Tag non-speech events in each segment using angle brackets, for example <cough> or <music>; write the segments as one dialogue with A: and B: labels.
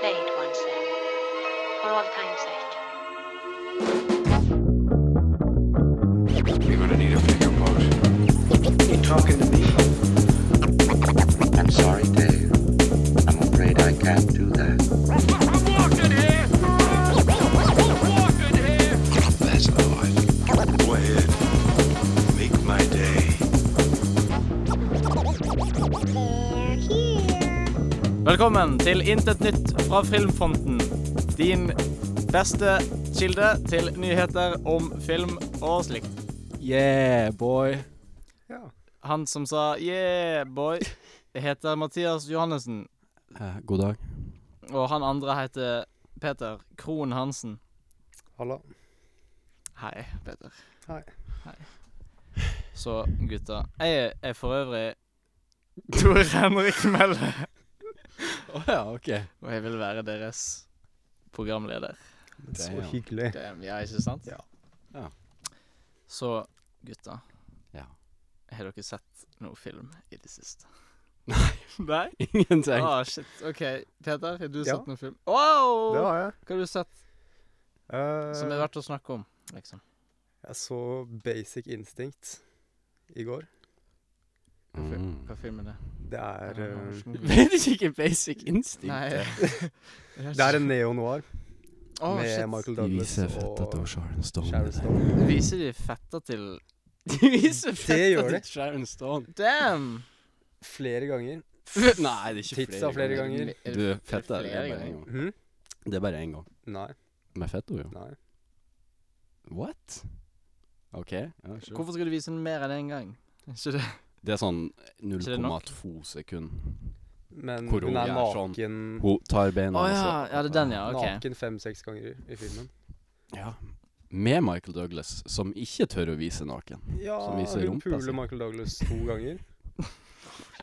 A: play it once then, for all time's sake.
B: You're gonna need a bigger boat.
C: You talking to me?
D: I'm sorry, Dave. I'm afraid I can't do that.
B: That's a lot. Go ahead. Make my day.
E: Velkommen til Intet nytt fra Filmfronten. Din beste kilde til nyheter om film og slikt. Yeah, boy.
C: Ja.
E: Han som sa 'yeah, boy', heter Mathias Johannessen.
D: Eh, god dag.
E: Og han andre heter Peter Krohn Hansen.
C: Halla.
E: Hei, Peter.
C: Hei.
E: Hei. Så, gutta. Jeg er for øvrig Tor Henrik Melle.
D: Å ja, ok. <laughs>
E: Og jeg vil være deres
C: <laughs>
E: programleder.
C: Så
D: Damn.
C: hyggelig.
E: Damn, ja, ikke sant?
C: Ja.
D: Ja.
E: Så, gutta.
D: Ja.
E: Har dere sett noe film i det
C: <laughs>
E: siste? Nei.
D: Ingenting.
E: Ah, shit. OK, Peter, har du
C: Ja.
E: sett noe film? Wow!
C: Det har jeg.
E: Hva har du sett
C: Eh,
E: som er verdt å snakke om, liksom?
C: jeg så Basic Instinct i
E: Hva,
C: går.
E: fil
D: Mm-hmm. <laughs>
E: hva film er det?
C: Mm. Det
E: Er
C: er,
E: det noe
C: eh,
E: norsk
C: <laughs>
E: film?
D: Vet ikke ikke basic instinct.
E: <laughs>
D: <laughs>
E: Nei.
C: det er en neo-noir
E: Å,
C: med
E: shit.
C: Michael Douglas og
D: Sharon
C: Sharon Stone.
D: <laughs>
E: Viser de fetta til
D: De viser fett
C: gjør
D: at
C: de.
D: det er Sharon Stone.
E: Damn!
C: Flere ganger.
D: <laughs> Nei, det er ikke
C: Titsa flere ganger.
E: Er det-
D: Du,
E: er det
D: fett er det
E: flere
D: er bare en
E: ganger?
D: gang.
C: Hm?
D: Det er bare en gang.
C: Nei.
D: Med fett, jo.
C: nei.
D: What? Ok. Ja, sure.
E: Hvorfor skal du vise den mer enn én gang? Ikke det?
D: Det er sånn
E: det nok?
D: 0,2 sekund.
C: Men
D: Hvor
C: hun
D: hun
C: er
D: er sånn-
C: naken
D: Hun tar beina altså, og
E: Å ja.
D: så-
E: ja, det er den, ja. OK.
C: Naken fem-seks ganger i filmen.
D: Ja. Med Michael Douglas, som ikke tør å vise naken.
C: Ja,
D: Som viser
C: hun
D: rumpa
C: puler
D: si.
C: Michael Douglas to <laughs> ganger.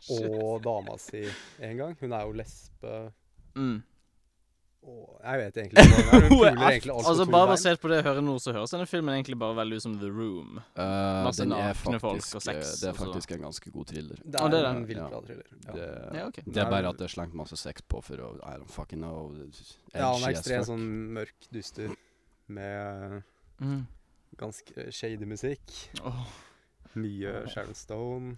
C: og dama si én gang. Hun er jo lesbe.
E: Mm.
C: Og jeg vet egentlig ikke hva
D: Hun er
C: hun er. Hun puler
D: alt.
C: egentlig alt på
E: Altså
C: to
E: Bare
C: bein.
E: basert på det jeg hører nå, så høres denne filmen egentlig bare veldig ut som The Room.
D: Eh,
E: Masse
D: den er
E: nakne folk
D: faktisk,
E: og sex
D: eh, Det er
E: og så-
D: faktisk en ganske god thriller.
C: Det
E: Ja,
C: er,
E: det er
C: en
D: det.
C: vilt
D: Ja.
C: bra thriller. Ja.
D: Det,
E: Ja, ok.
D: det er bare at det er slengt masse sex på for å I don't fucking know.
C: ja, han
D: edgy
C: er
D: as
C: ekstremt
D: fuck.
C: sånn mørk duster med
E: Mm.
C: ganske shady musikk.
E: Åh.
C: Mye Sharon Stone,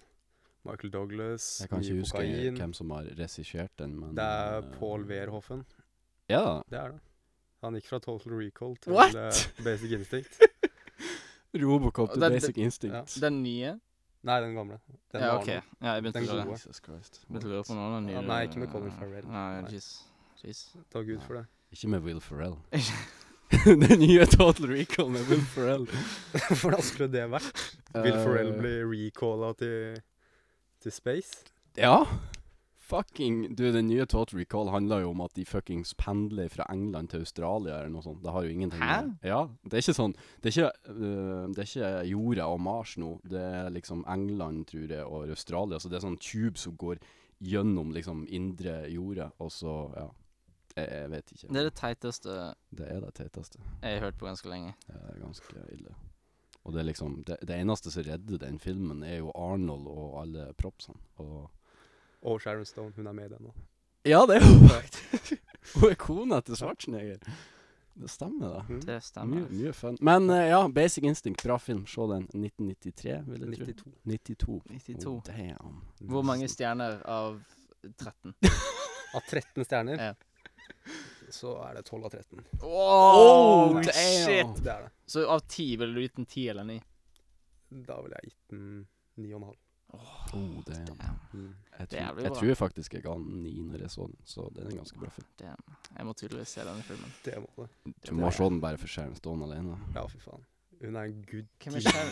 C: Michael Douglas,
D: Jeg kan ikke
C: mye
D: huske
C: sånn kokain.
D: hvem som har regissert den, men
C: Det er
D: eh,
C: Paul Wehrhoffen.
D: Ja.
C: Det er det. Han gikk fra Total Recall til
D: What?
C: eh, Basic
D: <laughs>
C: Instinct.
D: Robocop
E: Den-
D: Basic Instinct.
E: Den nye?
C: Nei, den gamle. Den
E: ja,
C: var
E: OK.
C: den.
E: Ja, jeg begynte
C: Den
E: å lure.
C: gode.
D: Jesus Christ.
E: Begynte å lure på noen av de
C: Ja,
E: nye
C: nei, ikke med Colin Farrell.
E: Nei,
C: Nei.
E: jeez. Jeez.
C: <laughs> Takk Gud for det.
D: Ikke med Will Ferrell.
E: Ikke-
D: den nye Total Recall med Will Ferrell.
C: Hvordan skulle det vært? <laughs> Will
D: Eh,
C: Ferrell bli recalla til, til space?
D: Eh, Ja. Fucking Du, den nye Total Recall handler jo om at de fuckings pendler fra England til Australia eller noe sånt. Det har jo ingenting
E: Hæ?
D: med- Ja. Det er ikke sånn Det er ikke, øh, det er ikke jorda og Mars nå. Det er liksom England, tror jeg, og Australia. Så det er sånn tube som går gjennom liksom indre jorda, og så Ja. Jeg, jeg vet ikke.
E: Det er det teiteste
D: Det er det teiteste.
E: jeg har hørt på ganske lenge.
D: Eh, Det er ganske ille. Og det er liksom Det, det eneste som redder den filmen, er jo Arnold og alle propsene. Og
C: Og Sharon Stone, hun er med i den nå.
D: Ja, det er <laughs> hun faktisk. Hun er kona til Schwarzenegger. Det stemmer, da.
C: Mm.
E: Det
D: Mye,
E: stemmer.
D: mye fun. Men eh, ja, Basic Instinct, bra film. Se den. 1993, vil jeg 92.
C: 92.
D: tro. 92.
E: 92.
D: Oh,
C: <laughs>
D: damn.
E: Hvor mange stjerner av 13?
C: Av 13 stjerner,
E: Ja.
C: så er det 12 av 13.
E: Oh,
D: damn.
E: shit!
C: Det er det.
E: Så av 10 ville du gitt en 10 eller 9?
C: Da ville jeg gitt den 9,5.
D: Oh, damn.
C: Mm.
D: Jeg,
E: Det er
D: tror,
E: jævlig
D: jeg
E: bra.
D: tror faktisk jeg ga den ni når jeg så den, så den er ganske bra film.
E: Jeg må tydeligvis se denne filmen.
C: Det må det.
D: Du må se den bare for Sharon Stone alene.
C: Ja, fy faen. Hun er en gud
E: Hvem er
C: Ti.
E: Sharon?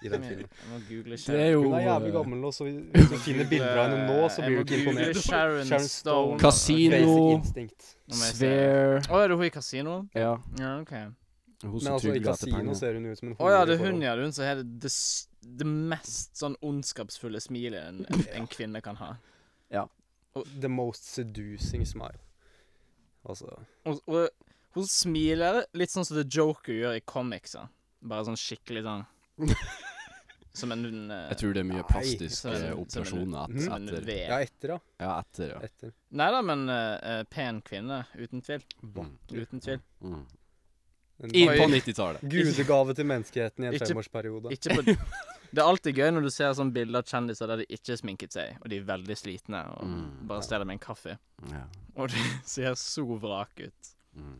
C: <laughs> i den filmen.
E: Jeg må google
D: Det er
E: Sharon.
D: jo eh,
C: Hun er jævlig gammel, og så hvis <laughs> du finner bilder av henne nå, så
E: Jeg
C: blir
E: må
C: du ikke
E: google
C: imponert.
E: eh, Sharon
C: Sharon
E: Stone.
C: Stone.
D: Casino.
C: Basic instinct.
E: Nå må jeg se.
D: eh, Sphere
E: Å, er det hun i kasino?
D: Ja.
E: Ja, ok.
D: Hun
C: Men
D: som
C: altså, i
D: trygler etter
C: kasino
D: penger.
C: ser hun ut som en
E: Å ja,
C: hore i
E: det er hun,
C: forhold.
E: ja. Det er hun som har det, det, s- det mest sånn ondskapsfulle smilet en, en, en kvinne kan ha.
C: The most seducing smile. Altså
E: Og, og hun
C: <laughs>
E: smiler litt sånn som The Joker gjør i comicser. Bare sånn skikkelig sånn Som en eh,
D: Jeg tror det er mye eh,
C: Nei,
D: plastiske
E: som en- som en-
D: operasjoner et,
E: som en
D: etter.
E: ved.
C: Ja, etter, ja.
D: Ja, etter, ja.
C: Etter.
E: Nei da, men eh, eh, pen kvinne. Uten tvil.
D: Mm.
E: Uten tvil.
D: Mm.
C: En
D: Inn
E: Oi.
D: på 90-tallet.
C: Gudegave til menneskeheten i en
E: Ikke-
C: femårsperiode.
E: Ikke på <laughs> Det er alltid gøy når du ser sånn bilder av kjendiser der de ikke har sminket seg, og de er veldig slitne, og
D: Mm.
E: bare steller med en kaffe. <laughs>
D: Ja.
E: Og de ser så vrak ut.
D: Mm.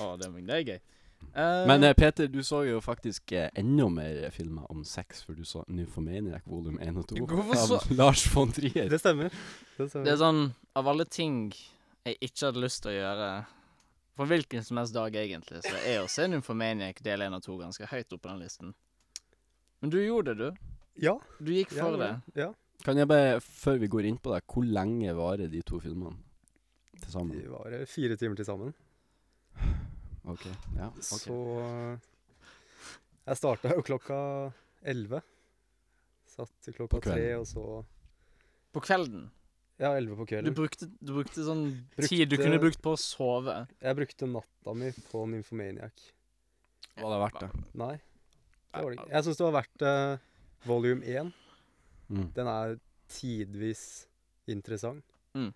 E: Å, det, det er gøy. Eh,
D: Men eh, Peter, du så jo faktisk eh, enda mer filmer om sex før du så Nymphomaniac volum 1 og 2
E: Hvorfor så-
D: av <laughs> Lars von Trier.
C: Det stemmer. Det
E: det
C: stemmer.
E: er sånn Av alle ting jeg ikke hadde lyst til å gjøre på hvilken som helst dag, egentlig, så er jo å se Nymphomaniac del 1 og 2 ganske høyt oppe på den listen. Men du gjorde det, du.
C: Ja.
E: Du gikk
C: ja,
E: for det.
C: Ja.
D: Kan jeg bare, før vi går inn på det, hvor lenge varer de to filmene til sammen?
C: De var eh, fire timer til sammen.
D: Ok, ja, ok.
C: Så eh, Jeg starta jo klokka elleve. Satt til klokka
D: På kvelden.
C: tre, og så
E: På kvelden.
C: Ja, elleve på
E: Du
C: kvelden.
E: brukte, du brukte sånn
C: Brukte-
E: tid du kunne brukt på å sove.
C: Jeg brukte natta mi på Nymphomaniac.
D: Var det verdt det?
C: Nei, det var det ikke. Jeg syns det var verdt eh, volume én.
D: Mm.
C: Den er tidvis interessant.
E: Mm.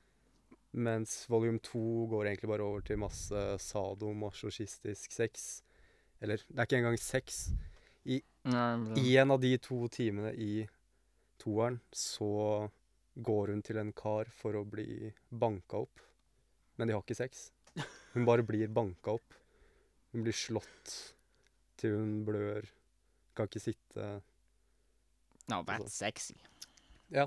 C: Mens volume to går egentlig bare over til masse sadomasochistisk sex. Eller det er ikke engang sex.
E: Nei, men-
C: I en av de to timene i toeren så går hun til en kar for å bli banka opp. Men de har ikke sex. Hun bare blir banka opp. Hun blir slått til hun blør. Kan ikke sitte.
E: No, that's
C: Altså.
E: sexy.
D: Ja.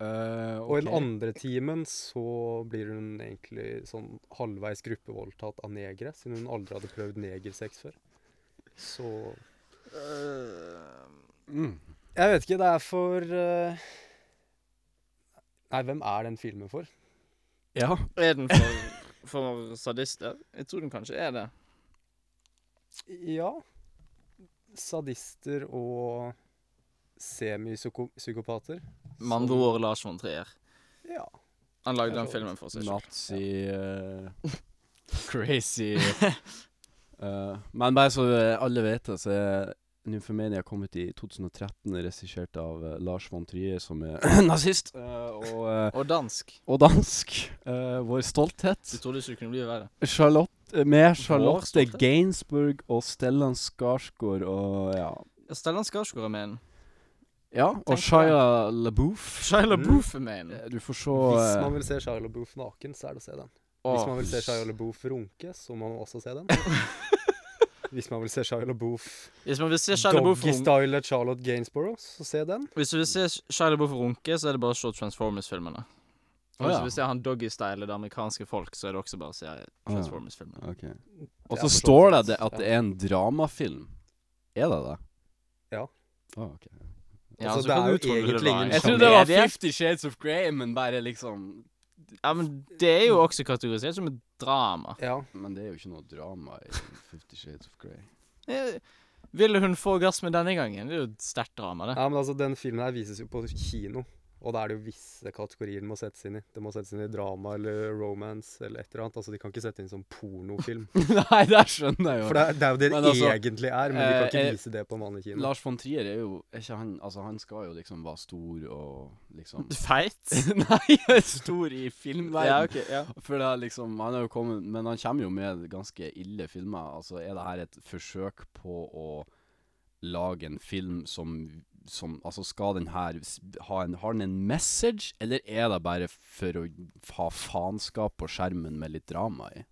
E: eh,
C: Og i den andre timen så blir hun egentlig sånn halvveis gruppevoldtatt av negere, siden hun aldri hadde prøvd negersex før. Så
E: Eh,
D: mm.
C: Jeg vet ikke, det er for eh, Nei, hvem er den filmen for?
D: Ja.
E: Er den for, for sadister? Jeg tror den kanskje er det.
C: Ja. Sadister og semipsykopater.
E: Med andre ord Lars von Trier.
C: Ja.
E: Han lagde
C: Jeg
E: den
C: så
E: filmen for seg selv.
D: Nazi eh, Crazy Eh, Men bare så eh, alle vet det, så er Nymphomania kommet i 2013, regissert av eh, Lars von Trier, som er <clears throat> nazist, eh, og, eh,
E: Og dansk.
D: og dansk. Eh, vår stolthet.
E: Du trodde ikke det kunne bli verre.
D: Charlotte, eh, med Charlotte
E: stolthet?
D: Gainsbourg og Stellan Skarsgård og ja.
E: Ja, Stellan Skarsgård er med i den.
D: ja og
E: Tenk
D: Shia LaBeouf.
E: Shia LaBeouf er med i den.
D: Eh, Du får se
C: Mm. Hvis
D: eh,
C: man vil se Shia LaBeouf naken, så er det å se den. Hvis
E: Åh,
C: man vil se
D: s-
C: Shia LaBeouf runke, så må man også se
D: <laughs>
C: den. Hvis man vil se Shia LaBeouf
E: Hvis man vil se Shia LaBeouf runke,
C: doggystyle Charlotte Gainsborough, så se den.
E: hvis du vil se Shia LaBeouf runke, så er det bare å se Transformers-filmene.
D: Å,
E: Og hvis
D: ja.
E: du vil se han doggystyle det amerikanske folk, så er det også bare å se Transformers-filmene.
D: Ok.
C: for
D: Og
C: så
D: så
C: vidt
D: står det,
C: sant.
D: det at det er en dramafilm. Er det det?
C: Ja.
D: Ah, ok.
E: Ja,
C: Altså,
E: så
C: det
E: kan
C: er
E: du
C: jo
E: tro det
C: egentlig
E: var en
C: ingen
D: Jeg
C: Jeg
D: trodde
C: trodde
D: det var
E: komedie.
D: Fifty Shades of Grey, men bare liksom
E: Ja, men det er jo også kategorisert som et drama.
C: Ja.
D: Men det er jo ikke noe drama i Fifty Shades of <laughs> Grey.
E: Eh, Ville hun få gass med denne gangen? Det er jo et sterkt drama, det.
C: ja, men altså, den filmen her vises jo på kino. Og da er det jo visse kategorier den må settes inn i. Det må settes inn i drama eller romance eller et eller annet. Altså, De kan ikke sette inn som pornofilm.
D: Nei, der skjønner jeg
C: For
D: jo.
C: det er, det er jo det det
D: Men altså,
C: egentlig er, men de kan
D: eh,
C: ikke
D: eh,
C: vise det på en vanlig kino.
D: Lars von Trier er jo er ikke han Altså, han skal jo liksom være stor og <laughs> liksom
E: <laughs> Feit.
D: Nei, stor i
E: Ja,
D: filmverden.
E: ok, ja.
D: For det er liksom Han har jo kommet Men han kommer jo med ganske ille filmer. Altså, er det her et forsøk på å lage en film som som, altså Skal den her s- ha en, Har den en message, eller er det bare for å ha faenskap på skjermen med litt drama i?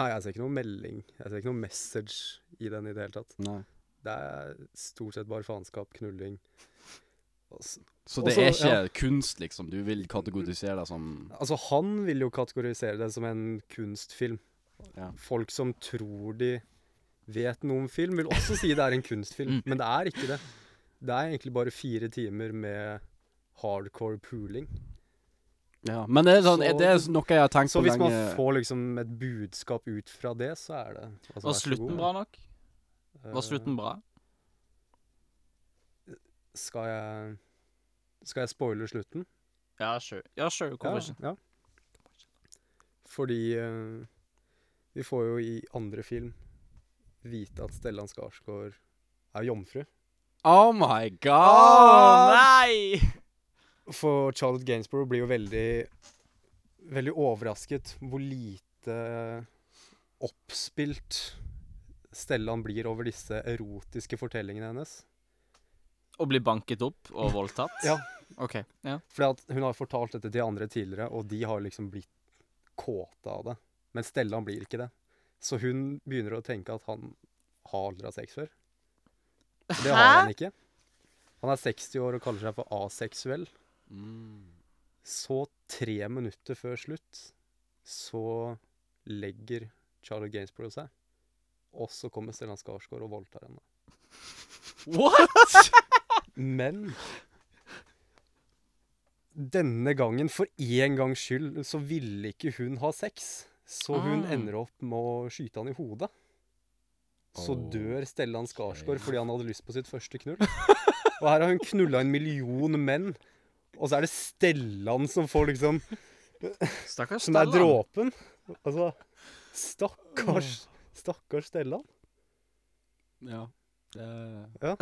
C: Nei, jeg ser ikke noe melding. Jeg ser ikke noe message i den i det hele tatt.
D: Nei.
C: Det er stort sett bare faenskap, knulling. Altså, Og s-
D: Så det
C: Også-
D: er ikke
C: ja.
D: kunst, liksom? Du vil kategorisere deg som
C: Altså, han vil jo kategorisere det som en kunstfilm.
D: Ja.
C: Folk som tror de vet noe om film, vil også si det er
D: <laughs>
C: en kunstfilm,
D: Mm.
C: men det er ikke det. Det er egentlig bare fire timer med hardcore pooling.
D: Ja, men det er, sånn,
C: Så-
D: det er noe jeg har tenkt
C: Så
D: på
C: hvis
D: lenge
C: man får liksom et budskap ut fra det, så er det altså, vær
E: Var
C: så
E: slutten
C: god.
E: bra nok?
C: Eh,
E: Var slutten bra?
C: Skal jeg Skal jeg spoile slutten?
E: Ja, sure. Ja, sure, hvorfor ikke?
C: Ja. Fordi eh, vi får jo i andre film vite at Stellan Skarsgård er jomfru.
D: Oh my
E: Å
D: god!
E: nei!
C: For Charlotte Gainsborough blir jo veldig Veldig overrasket hvor lite oppspilt Stellan blir over disse erotiske fortellingene hennes.
E: Å bli banket opp og voldtatt?
C: Ja.
E: OK. Ja.
C: Fordi at hun har fortalt dette til andre tidligere, og de har liksom blitt kåte av det. Men Stellan blir ikke det. Så hun begynner å tenke at han har aldri hatt sex før. Og Det har han ikke. Han er 60 år og kaller seg for aseksuell.
D: Mm.
C: Så tre minutter før slutt så legger Charlotte Gainsborough seg. Og så kommer Stellan Skarsgård og voldtar henne.
E: What?!
C: Men denne gangen, for én gangs skyld, så ville ikke hun ha sex. Så hun
E: Ah.
C: ender opp med å skyte han i hodet. Så
D: Oh,
C: dør Stellan Skarsgård
D: shit.
C: fordi han hadde lyst på sitt første knull. Og her har hun knulla en million menn, og så er det Stellan som får liksom
E: Stakkars
C: Som er
E: Stellan.
C: dråpen. Altså Stakkars Stakkars Stellan.
D: Ja. Det-
E: Hva?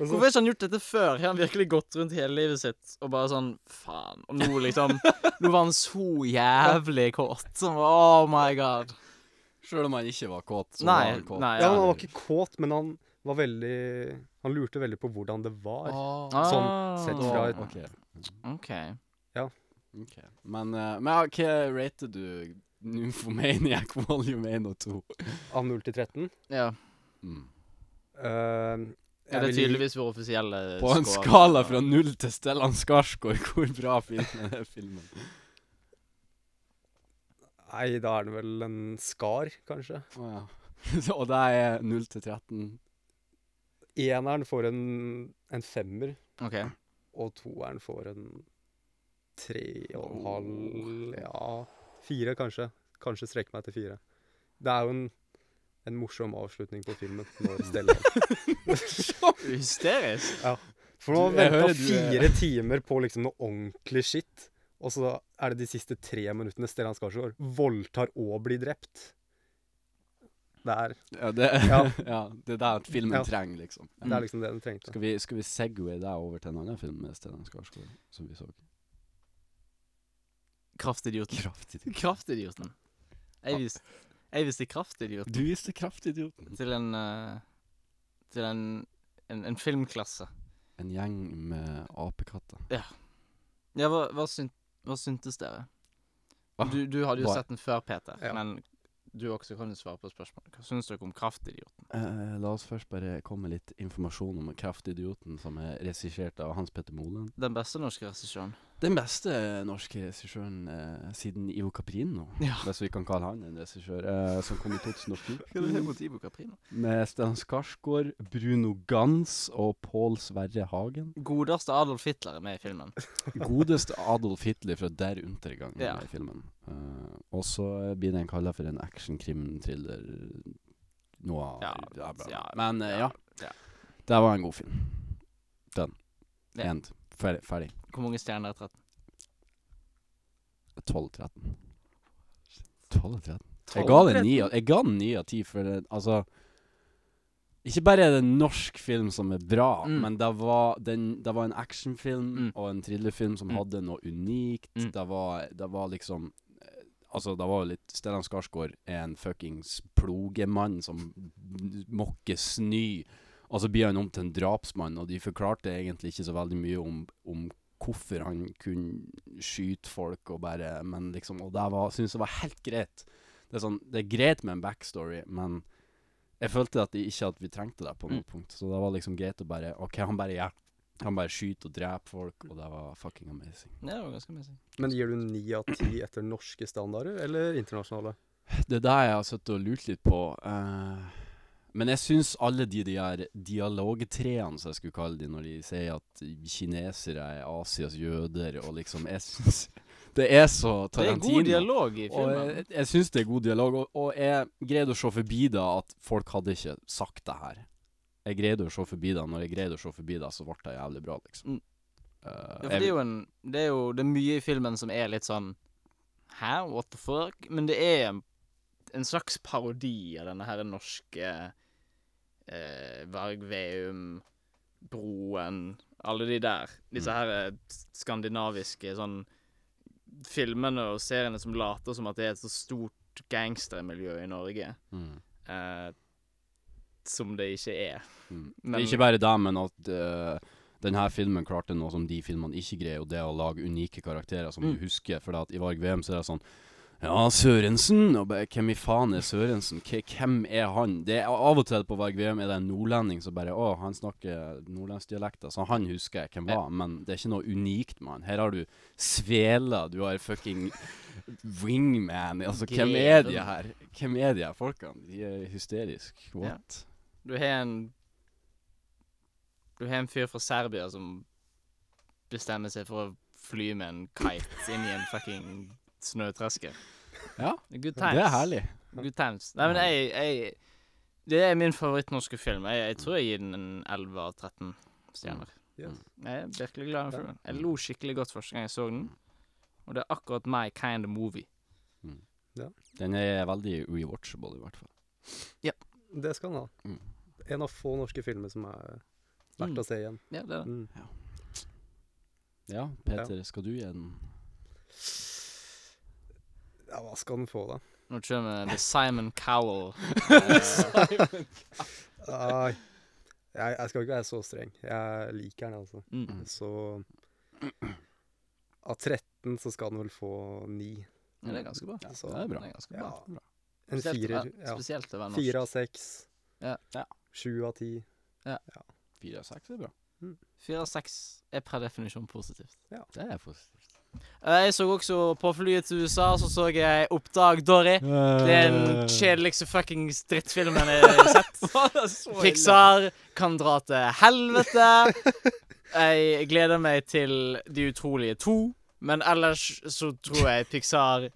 C: Altså,
E: Hvorfor har ikke han gjort dette før? Har han virkelig gått rundt hele livet sitt og bare sånn Faen. Og nå liksom Nå var han så jævlig kåt. Sånn, Oh my god.
D: Selv om han ikke var kåt, så var
E: Nei.
D: han kåt.
E: nei
C: ja, han var ikke kåt, men han var veldig Han lurte veldig på hvordan det var.
D: Åh,
E: Ah,
C: sånn sett fra et-
D: ok,
E: OK.
D: ok. Men, eh, men ja, hva rater du Nymphomaniac Volume 1 og 2?
C: Av 0 til 13.
E: Ja.
D: Mm.
C: Ehm, jeg
E: Er det
C: vil gi-
E: tydeligvis vår offisielle
D: På en
E: score?
D: skala fra null til Stellan Skarsgård, hvor bra filmen er filmen?
C: Nei, da er det vel en skar, kanskje.
D: Å, ja. <laughs> Så- Og det er 0 til 13.
C: Eneren får en, en femmer,
E: OK.
C: og toeren får en tre og en halv
D: Oh.
C: Ja, fire, kanskje. Kanskje strekke meg til fire. Det er jo en, en morsom avslutning på filmen. Når Stellan
E: Hysterisk.
C: <laughs> For nå har
D: Du- jeg
C: venta
D: hører du er-
C: fire timer på liksom noe ordentlig shit, og så er det de siste tre minuttene Stellan Skarsgård voldtar og blir drept. Det er,
D: Ja, det, <laughs> ja.
C: Ja.
D: det er det at filmen
C: Ja.
D: trenger, liksom.
C: det
E: Mm.
C: er liksom det den trengte.
D: Skal vi, skal vi segway deg over til en annen film med Stellan Skarsgård, som vi så?
E: Kraftidioten.
D: Kraftig
E: Kraftidioten. Jeg viste, jeg viste kraftidioten
D: Du viste kraftidioten.
E: til en eh, Til en, en, en filmklasse.
D: En gjeng med apekatter.
E: Ja, hva, hva, syn, hva syntes dere?
D: Hva?
E: Du, du hadde jo
D: Hva?
E: sett den før, Peter,
C: Ja.
E: men du også kan jo svare på spørsmålet. Hva syns dere om Kraftidioten?
D: Eh, la oss først bare komme med litt informasjon om Kraftidioten, som er regissert av Hans Petter Moland.
E: Den beste norske regissøren.
D: Den beste norske regissøren eh, siden Ivo Caprino,
E: Ja.
D: hvis vi kan kalle han en regissør, eh, som kom i 2014.
E: Ivo Caprino?
D: Med Stellan Skarsgård, Bruno Gans og Pål Sverre Hagen.
E: Godeste Adolf Hitler er med i filmen.
D: Godeste Adolf Hitler fra Der Untergang er
E: Ja.
D: med i filmen. Eh, og så blir den kalla for en actionkrim-thriller noe av
E: Ja,
D: bla, bla, bla.
E: ja,
D: Men eh, ja.
E: ja.
D: Det var en god film. Den.
E: Ja.
D: End. Ferdig. ferdig.
E: Hvor mange stjerner er 13?
D: 12-13. 12-13. Jeg ga den ni av- jeg ga den ni av ti, for det, altså Ikke bare er det en norsk film som er bra,
E: Mm.
D: men det var, den, det var en actionfilm
E: Mm.
D: og en thrillerfilm som
E: Mm.
D: hadde noe unikt.
E: Mm.
D: Det, var, det var liksom eh, Altså, det var jo litt Stellan Skarsgård er en fuckings plogemann som mokker snø. Og så blir han om til en drapsmann, og de forklarte egentlig ikke så veldig mye om, om hvorfor han kunne skyte folk og bare Men liksom Og det var, synes jeg var helt greit. Det er sånn Det er greit med en backstory, men jeg følte at de ikke at vi trengte det på noe punkt. Så det var liksom greit å bare OK, han bare gjør Han bare skyter og dreper folk, og det var fucking amazing.
E: Ja, det var ganske amazing.
C: Men gir du ni av ti etter norske standarder, eller internasjonale?
D: Det er det jeg har sittet og lurt litt på. eh, men jeg syns alle de der dialogtreene, som jeg skulle kalle de, når de sier at kinesere er Asias jøder, og liksom Jeg syns Det er så
E: Det er
D: Tarantino.
E: god dialog i
D: Og eh,
E: filmen.
D: jeg, jeg syns det er god dialog, og, og jeg greide å se forbi det at folk hadde ikke sagt det her. Jeg greide å se forbi det, og når jeg greide å se forbi det, så ble det jævlig bra, liksom.
E: Mm.
D: Eh,
E: Ja,
D: jeg-
E: for det er jo en Det er jo det er mye i filmen som er litt sånn Hæ? What the fuck? Men det er en, en slags parodi av denne her norske eh, Varg Veum Broen, alle de der.
D: Mm.
E: Disse her eh, skandinaviske sånn filmene og seriene som later som at det er et så stort gangstermiljø i Norge,
D: Mm.
E: eh, som det ikke er.
D: Mm.
E: Men-
D: Ikke bare det, men at eh, denne filmen klarte noe som de filmene ikke greier, og det er å lage unike karakterer som
E: Mm.
D: du husker. For at i Varg VM så er det sånn Ja, Sørensen! Og bare, hvem i faen er Sørensen? K hvem er han? Det er, Av og til på Varg VM er det en nordlending som bare Å, han snakker nordlendsdialekter, så han husker jeg hvem
E: Ja.
D: var. Men det er ikke noe unikt med han. Her har du Svela, du har fucking Wingman. Altså, hvem er de
E: Greven.
D: her? Hvem er de her folkene? De er hysteriske. What?
E: Du har en Du har en fyr fra Serbia som bestemmer seg for å fly med en kite inn i en fucking snøtreske.
D: Ja,
E: Good times.
D: det er herlig.
E: Good times. Nei, men jeg, jeg Det er min favorittnorske film. Jeg, jeg tror jeg gir den en 11 av 13 stjerner.
C: Yes.
D: Mm.
E: Jeg er virkelig glad i den
C: Ja.
E: filmen. Jeg lo skikkelig godt første gang jeg så den. Og det er akkurat my kind of movie.
D: Den er veldig rewatchable, i hvert fall.
C: Det skal han ha.
D: Mm.
C: En av få norske filmer som er verdt
E: Mm.
C: å se igjen.
E: Ja, det er det.
C: Mm.
D: Ja, Peter, skal du gi den?
C: Ja, hva skal den få, da?
E: Nå kommer The Simon
D: <laughs>
E: Cowell.
C: Nei, jeg, jeg skal ikke være så streng. Jeg liker den, altså.
E: Mm.
C: Så av 13 så skal den vel få 9.
E: Ja, det er ganske bra.
D: Ja,
C: Så-
D: det er bra.
E: Det er ganske bra.
C: Ja. En
E: Spesielt å
C: firer.
E: være-
C: Ja.
E: Spesielt å være norsk.
C: Fire av seks.
E: Ja.
D: Ja.
C: Sju av ti.
D: Fire av seks er bra.
E: Fire av seks er per definisjon positivt.
D: Det er positivt.
E: Eh, Jeg så også på flyet til USA, så så jeg Oppdag Dory. Det er den kjedeligste fuckings drittfilmen jeg har sett. Pixar kan dra til helvete. Jeg gleder meg til De utrolige to, men ellers så tror jeg Pixar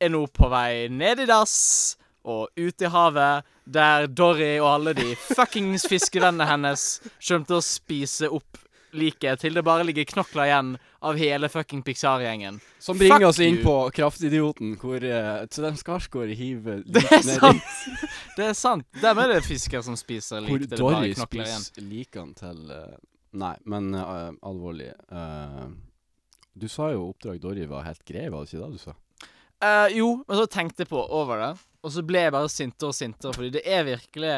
E: er nå på vei ned i dass og ut i havet, der Dory og alle de fuckings fiskevennene hennes skjømte å spise opp liket til det bare ligger knokler igjen av hele fucking Pixar-gjengen.
D: Som bringer
E: Fuck
D: oss inn
E: you.
D: på Kraftidioten, hvor uh, Stellan Skarsgård hiver lik
E: <laughs> Det er
D: ned i-
E: sant! Det er sant. Dem er det fisker som spiser lik
D: Hvor
E: til det bare
D: Dory
E: knokler igjen.
D: spiser likene til eh, Nei, men eh, alvorlig. eh, du sa jo Oppdrag Dory var helt grei, var det ikke det du sa?
E: Eh, jo, men så tenkte jeg på over det, og så ble jeg bare sintere og sintere, fordi det er virkelig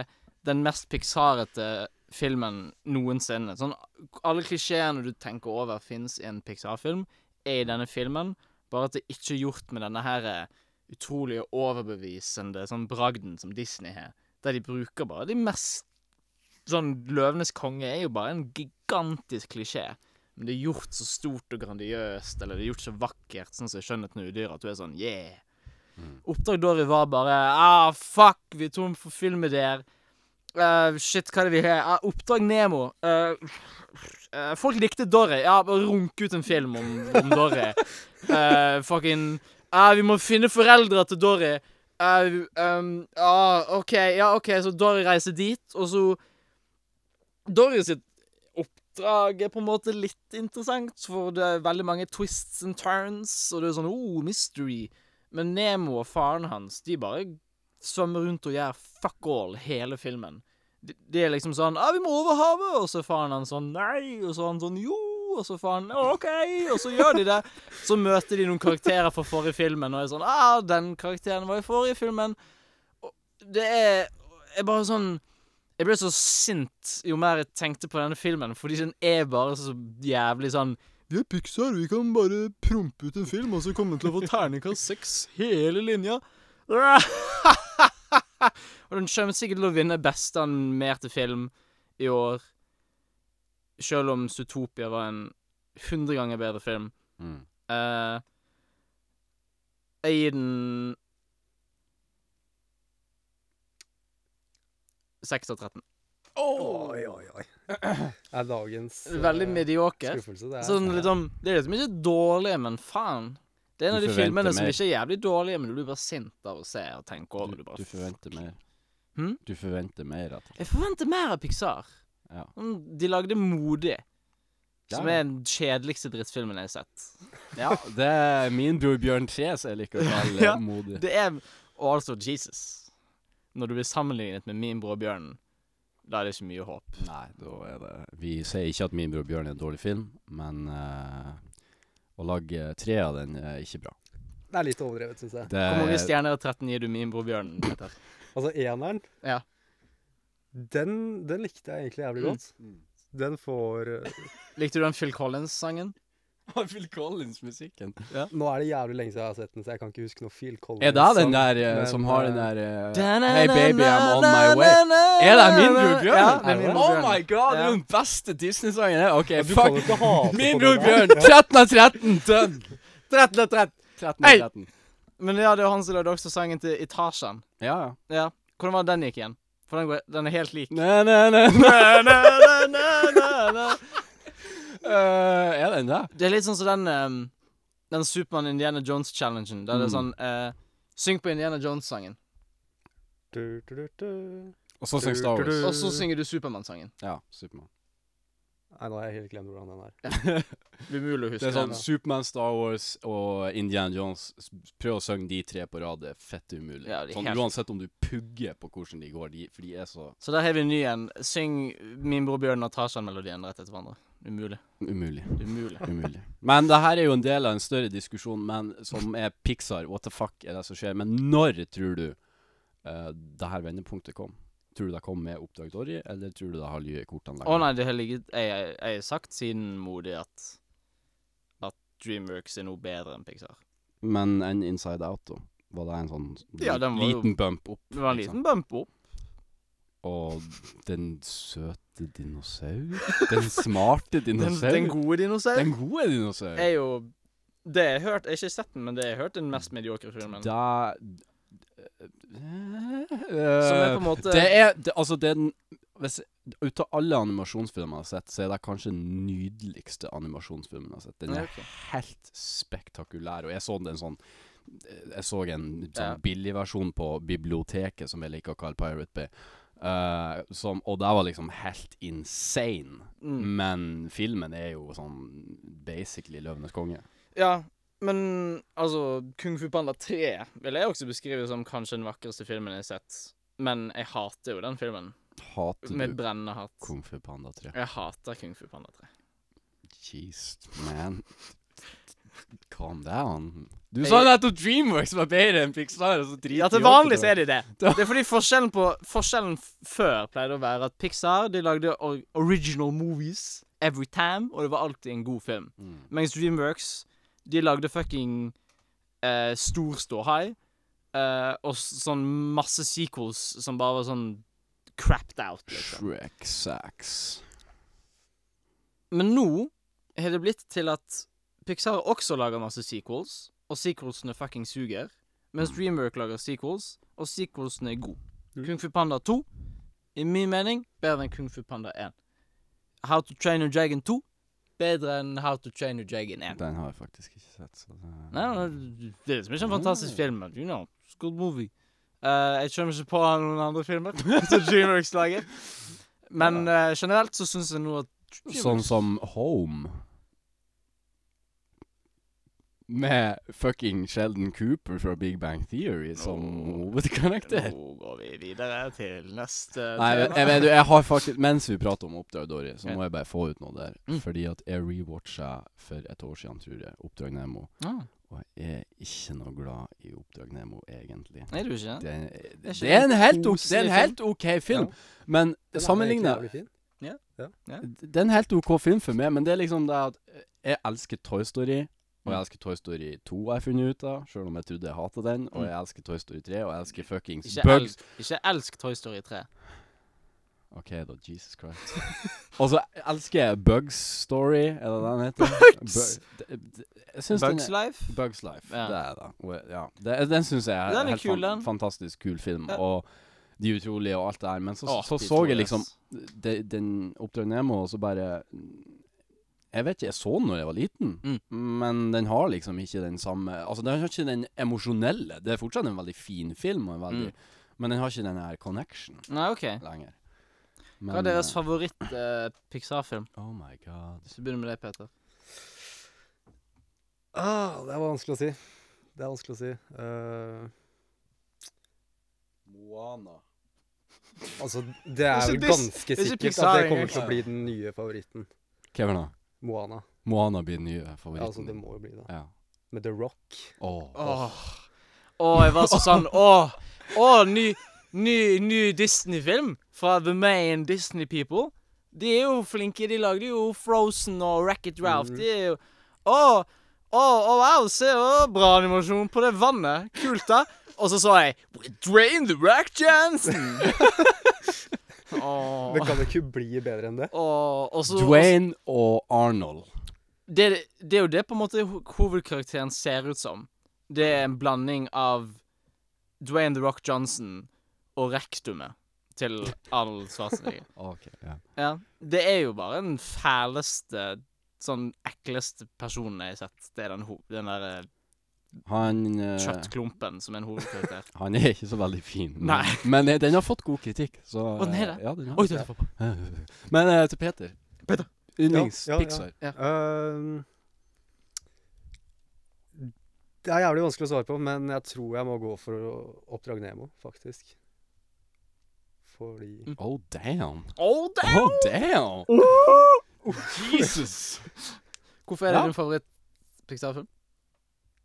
E: den mest pixarete filmen noensinne. Sånn, alle klisjeene du tenker over fins i en Pixar-film, er i denne filmen, bare at det ikke er gjort med denne her eh, utrolig overbevisende sånn bragden som Disney har, der de bruker bare de mest Sånn Løvenes konge er jo bare en gigantisk klisjé. Men det er gjort så stort og grandiøst, eller det er gjort så vakkert, sånn som i 'Skjønnheten og udyret', at du er sånn yeah. Oppdrag Dory var bare ah, fuck, vi er tom for filmideer. Uh, shit, hva er det vi har? Ah, Oppdrag Nemo. Eh, eh, folk likte Dory. Ja, bare runke ut en film om, om Dory. Eh, fucking ah, Vi må finne foreldra til Dory. Eh, um, ah, OK, ja, OK, så Dory reiser dit, og så Dory sitt oppdrag er på en måte litt interessant, for det er veldig mange twists and turns, og det er sånn oh, mystery. Men Nemo og faren hans, de bare svømmer rundt og gjør fuck all hele filmen. De, de er liksom sånn ah, 'Vi må over havet!' Og så er faren hans sånn 'Nei!' Og så er han sånn 'Jo!' Og så faren 'OK!' Og så gjør de det. Så møter de noen karakterer fra forrige filmen, og er sånn 'Ah, den karakteren var i forrige filmen.' Og det er, er bare sånn jeg ble så sint jo mer jeg tenkte på denne filmen, fordi den er bare så jævlig sånn Vi er Pixar, vi kan bare prompe ut en film, og så kommer den til å få terningkast seks hele linja. <laughs> og den kommer sikkert til å vinne beste animerte film i år, sjøl om Zootopia var en hundre ganger bedre film. Eh, jeg gir den 6 av 13.
C: Oi, oi, oi. Er dagens eh,
E: Veldig medioker.
C: skuffelse. Det er
E: Sånn, liksom, det er liksom ikke dårlig, men faen. Det er en av
D: Du
E: de
D: forventer
E: filmene som
D: mer.
E: ikke er jævlig dårlige, men du blir bare sint av å se og tenke over.
D: Du,
E: Du, bare,
D: du forventer mer.
E: Hm?
D: Du forventer mer, rett og slett.
E: Jeg forventer mer av Pixar.
D: Ja.
E: Mm, De lagde Modig, som
D: Ja.
E: er den kjedeligste drittfilmen jeg har sett.
D: Ja, det er min bror Bjørn Tres er <laughs> likevel
E: Ja.
D: ja. modig.
E: Det er og altså Jesus. Når du blir sammenlignet med min bror Bjørn, da er det ikke mye håp.
D: Nei, da er det Vi sier ikke at Min bror Bjørn er en dårlig film, men eh, å lage tre av den er ikke bra.
C: Det er litt overdrevet, syns jeg.
D: Det
E: Hvor mange
D: er
E: stjerner av 13 gir du min bror Bjørn? Petter?
C: Altså, eneren,
E: Ja.
C: den, den likte jeg egentlig jævlig
E: Mm.
C: godt. Den får eh,
E: Likte du den Phil Collins-sangen?
D: Phil Collins-musikken.
C: Nå er det jævlig lenge siden jeg har sett den, så jeg kan ikke huske noe Phil Collins.
D: Er det den
C: sang,
D: der eh,
C: men,
D: som har den
C: eh,
D: der eh, Hey baby, I'm on my way. Er det Min bror Bjørn?
E: Ja, det er min bror
D: oh
E: Bjørn.
D: my god, det er
E: Ja.
D: jo den beste Disney-sangen. her. OK,
C: ja, Du kan jo
D: eh, fuck.
C: ikke hate
D: Min
C: på den
D: bror
C: der.
D: Bjørn, 13 av 13, dønn!
E: 13 av 13.
D: 13
E: Hei!
D: av 13.
E: Men ja, det er jo han som lagde også sangen til Itasjan.
D: Ja, ja.
E: Ja. Hvordan var det den gikk igjen? For den, går, den er helt lik.
D: Næ, næ, næ, næ, næ, næ, næ, næ, næ. <laughs> Eh, er den det?
E: Det er litt sånn som den ehm, Den Supermann Indiana Jones-challengen. Der det er sånn eh, Syng på Indiana Jones-sangen,
C: Du, du, du, du.
D: Og så synger Star Wars.
E: og så synger du Supermann-sangen.
D: Ja, Supermann.
C: Nei, nå har jeg helt glemt hvordan den er.
E: Det er Umulig
D: Det
E: å huske.
D: er sånn
E: den.
D: Supermann, Star Wars og Indiana Jones. S- Prøv å synge de tre på rad, det er fett umulig.
E: Ja, det er
D: Sånn,
E: helt-
D: uansett om du pugger på hvordan de går, de, for de er så
E: Så der har vi en ny en. Syng Min bror Bjørn og Tarzan-melodien rett etter hverandre. Umulig.
D: umulig.
E: Umulig.
D: Umulig. Men det her er jo en del av en større diskusjon men som er Pixar. What the fuck er det som skjer? Men når tror du eh, det her vendepunktet kom? Tror du det kom med Oppdrag Dory, eller tror du det har løyet i kortene
E: Å nei, det har ligget Jeg jeg- jeg har sagt siden modig at At Dreamworks er noe bedre enn Pixar.
D: Men en Inside Out, da? Var det en sånn
E: Ja, den var jo-
D: liten bump opp? liksom?
E: Det var en
D: ikke
E: liten bump opp.
D: Og den søte dinosaur? Den smarte
E: <laughs> Den,
D: dinosaur?
E: den gode dinosauren
D: Den gode dinosaur?
E: er jo Det jeg har hørt Jeg har ikke sett den, men det jeg har hørt, er den mest mediokre filmen.
D: Da
E: Som er på en måte
D: Det er det, Altså, det er den hvis, Ut av alle animasjonsfilmer jeg har sett, så er det kanskje den nydeligste animasjonsfilmen jeg har sett. Den
E: Ja,
D: er
E: ok.
D: helt spektakulær. Og jeg så den sånn Jeg så en
E: Ja.
D: sånn billig versjon på biblioteket, som jeg liker å kalle Pirate Bay. eh, som, og det var liksom helt insane.
E: Mm.
D: Men filmen er jo sånn basically 'Løvenes konge'.
E: Ja, men altså Kung Fu Panda 3 vil jeg også beskrive som kanskje den vakreste filmen jeg har sett. Men jeg hater jo den filmen.
D: Hater
E: Med
D: du
E: brennende hat.
D: Kung Fu Panda 3?
E: Jeg hater Kung Fu Panda 3.
D: Jeez, man. Calm down. Du
E: Jeg-
D: sa nettopp Dreamworks var bedre enn Pixar, og så driter
E: Ja, til vanlig så er de det. <laughs> Det er fordi forskjellen på Forskjellen f- før pleide å være at Pixar de lagde or original movies every time, og det var alltid en god film.
D: Mm.
E: Mens Dreamworks de lagde fucking eh, stor ståhai eh, og s- sånn masse sequels som bare var sånn crapped out. Liksom.
D: Shrek Sax.
E: Men nå har det blitt til at Pixar også lager masse sequels, og sequelsene fucking suger.
D: Mm.
E: Mens Dreamwork lager sequels, og sequelsene er gode.
C: Mm.
E: Kung Fu Panda 2, i min mening, bedre enn Kung Fu Panda 1. How to Train Your Dragon 2, bedre enn How to Train Your Dragon 1.
D: Den har jeg faktisk ikke sett. Så det...
E: Nei, nei, det er liksom ikke en
D: Ah.
E: fantastisk film, men you know, it's a good movie. Eh, jeg kommer ikke på noen andre filmer <laughs> som Dreamworks lager. Men eh, generelt så syns jeg nå at
D: Sånn som Home. Med fucking Sheldon Cooper fra Big Bang Theory som
E: Nå-
D: hovedkarakter.
E: Nå går vi videre til neste
D: Nei, jeg, jeg, vet du, jeg har faktisk Mens vi prater om Oppdrag Dory, så må jeg bare få ut noe der.
E: Mm.
D: Fordi at jeg rewatcha for et år siden, tror jeg, Oppdrag Nemo.
E: Ah,
D: Og jeg er ikke noe glad i Oppdrag Nemo, egentlig.
E: er du ikke det?
D: Det,
E: er
D: det,
E: ikke
D: er en
E: en
D: helt, ok-
E: koselig
D: det er en helt OK film, men
C: Den er
D: sammenligna
C: egentlig jævlig fin.
D: Det er en helt OK film for meg, men det er liksom det at jeg elsker Toy Story. Og jeg elsker Toy Story 2, har jeg funnet ut av, sjøl om jeg trodde jeg hatet den. Og jeg elsker Toy Story 3, og jeg elsker fuckings
E: Ikke,
D: Bugs
E: elsk, ikke elsk Toy Story 3.
D: OK, da. Jesus Christ. og så elsker jeg Bugs Story, er det det den heter?
E: <laughs> Bugs!
D: Bu- d- d- jeg synes den
E: Bugs
D: er-
E: Life?
D: Bugs Life.
E: Ja.
D: Det er det. Og, ja. det den syns jeg er,
E: Den er
D: helt
E: kul,
D: fan-
E: den.
D: fantastisk kul film.
E: Ja.
D: Og De utrolige og alt det der. Men så
E: Å,
D: så,
E: de
D: så jeg
E: to,
D: liksom
E: yes.
D: de, den Oppdrag Nemo, og så bare Jeg vet ikke, jeg så den når jeg var liten,
E: Mm.
D: men den har liksom ikke den samme Altså, den har ikke den emosjonelle. Det er fortsatt en veldig fin film, og en veldig,
E: Mm.
D: men den har ikke den her connection
E: Nei, OK.
D: lenger.
E: Hva er deres favoritt-Pixar-film?
D: eh, Oh my god.
E: Hvis vi begynner med deg, Peter.
C: Ah, det er vanskelig å si. Det er vanskelig å si. Eh,
D: Moana.
C: Altså, det er
E: er
C: vel
E: ikke dis-
C: ganske
E: det er ikke
C: sikkert at
E: Pixar
C: det kommer
E: engang.
C: til
D: sånn.
C: å bli den nye favoritten.
D: Hva er det da?
C: Moana.
D: Moana blir den nye
C: Ja, altså,
D: favoritten
C: det
D: din.
C: må jo bli det.
D: Ja.
C: Med The Rock.
D: Åh.
E: Åh. Åh, jeg var så sånn
C: <laughs>
E: Åh, åh ny, ny, ny Disney-film fra The Main Disney People. De er jo flinke. De lagde jo Frozen og Racket Ralph.
C: Mm.
E: De er jo Åh, åh, åh, wow, se åh, bra animasjon på det vannet. Kult, da. Og så så jeg We drain the rack, Jansen.
C: <laughs> Det
E: Åh.
C: kan jo ikke bli bedre enn det.
E: Åh,
C: Altså,
E: og så
D: Dwayne og Arnold.
E: det, det er jo det på en måte ho- hovedkarakteren ser ut som. Det er en blanding av Dwayne The Rock Johnson og rektumet til Arnold Schwarzenegger.
D: Ok, ja.
E: <laughs> ja. Det er jo bare den fæleste, sånn ekleste personen jeg har sett. Det er den, ho- den der eh,
D: Han, eh,
E: kjøttklumpen som er en <laughs> hovedkarakter.
D: han er ikke så veldig fin. men-
E: Nei.
D: <laughs> Men eh, den har fått god kritikk. Så,
E: Å, den har
D: eh,
E: det?
D: Ja, den har
E: Oi,
D: det.
E: det er pappa.
D: <laughs> Men eh, til Peter.
E: Peter.
D: Yndlings
C: Ja, ja, ja.
D: Pixar.
C: Øhm, det er jævlig vanskelig å svare på, men jeg tror jeg må gå for å- Oppdrag Nemo, faktisk. Fordi
D: Oh damn.
E: Oh, damn!
D: Oh damn. Jesus.
E: Hvorfor er
D: Ja.
E: det din favoritt-Pixar-film?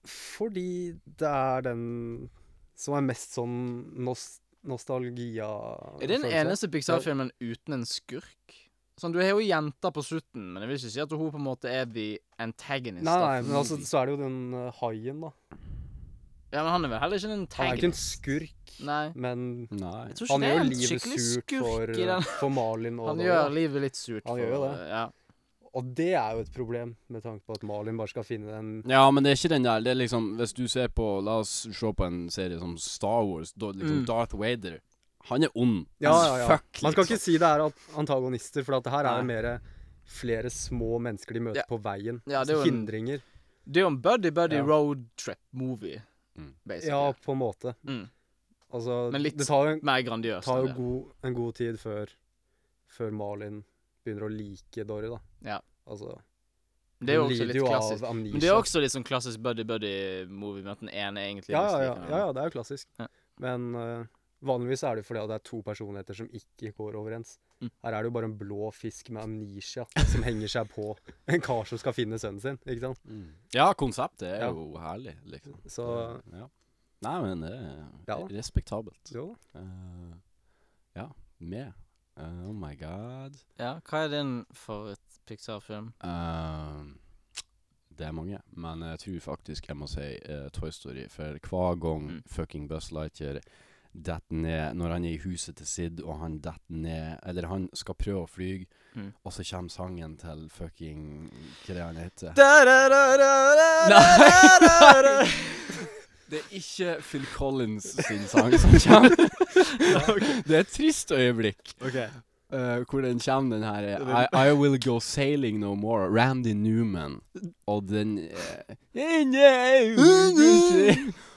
C: Fordi det er den som er mest sånn nos nostalgia
E: Er det den
C: følelse.
E: eneste Pixar-filmen uten en skurk? Sånn, Du har jo jenta på slutten, men jeg vil ikke si at hun på en måte er the antagonist.
C: Nei,
E: of
C: nei,
E: the
C: men altså,
E: movie.
C: så er det jo den eh, haien, da.
E: Ja, men Han er vel heller ikke en
C: Han er ikke en
E: antagonist.
C: skurk,
E: Nei.
C: men
D: Nei.
E: Jeg tror ikke
C: han
E: det er
C: gjør jo
E: en
C: livet
E: skikkelig
C: surt
E: skurk
C: for, eh,
E: i den.
C: for Malin og
E: Han
C: Dodo,
E: gjør
C: da.
E: livet litt surt.
C: Han gjør jo
E: for-
C: det.
E: Ja.
C: Og det er jo et problem, med tanke på at Malin bare skal finne en
D: Ja, men det er ikke den der. Det er liksom Hvis du ser på La oss se på en serie som Star Wars. Da, liksom
E: Mm.
D: Darth Vader. Han er ond.
C: Ja,
D: as
C: ja, ja.
D: Fuck,
C: Man skal
D: liksom.
C: ikke
E: sånn.
C: si det er at- antagonister, for at det her
D: Nei.
C: er mer flere små mennesker de møter
E: Ja.
C: på veien.
E: Ja, det er jo
C: altså
E: en-
C: hindringer.
E: Det er jo en buddy-buddy
C: Ja.
E: road trip-movie,
D: Mm.
E: basically.
C: Ja, på en måte.
E: Mm.
C: Altså,
E: Men litt
C: det tar jo, en,
E: Mer grandiøs.
C: tar
E: enn
C: jo
E: det.
C: god, en god tid før, før Malin begynner å like Dory, da.
E: Ja.
C: Altså,
E: det er jo
C: hun
E: også
C: lider
E: litt
C: jo
E: klassisk.
C: av amnesia.
E: Men det er også litt sånn klassisk buddy-buddy-movie med at den ene egentlig
C: Ja, ja, ja,
E: misliker den andre.
C: ja, ja, det er jo klassisk.
E: Ja.
C: Men eh, vanligvis er det jo fordi at det er to personligheter som ikke går overens.
E: Mm.
C: Her er det jo bare en blå fisk med amnesia <laughs> som henger seg på en kar som skal finne sønnen sin, ikke sant?
D: Mm. Ja, konseptet er
C: Ja.
D: jo herlig, liksom.
C: Så
D: ja. Nei, men det er
C: Ja da.
D: respektabelt.
C: jo da.
D: Eh, ja, med. Eh, oh my god.
E: Ja, Hva er din favoritt-Pixar-film?
D: Eh, det er mange, men jeg tror faktisk jeg må si eh, Toy Story. For hver gang
E: Mm.
D: fucking Buzz Lightyear detter ned Når han er i huset til Sid, og han detter ned Eller han skal prøve å fly,
E: Mm.
D: og så kommer sangen til fucking Hva er det han heter?
E: Nei!
D: Det er ikke Phil Collins sin sang <laughs> som kommer. <laughs> Det er et trist øyeblikk. Eh, hvor den kommer, den her eh, I, I Will Go Sailing No More, Randy Newman. Og den eh,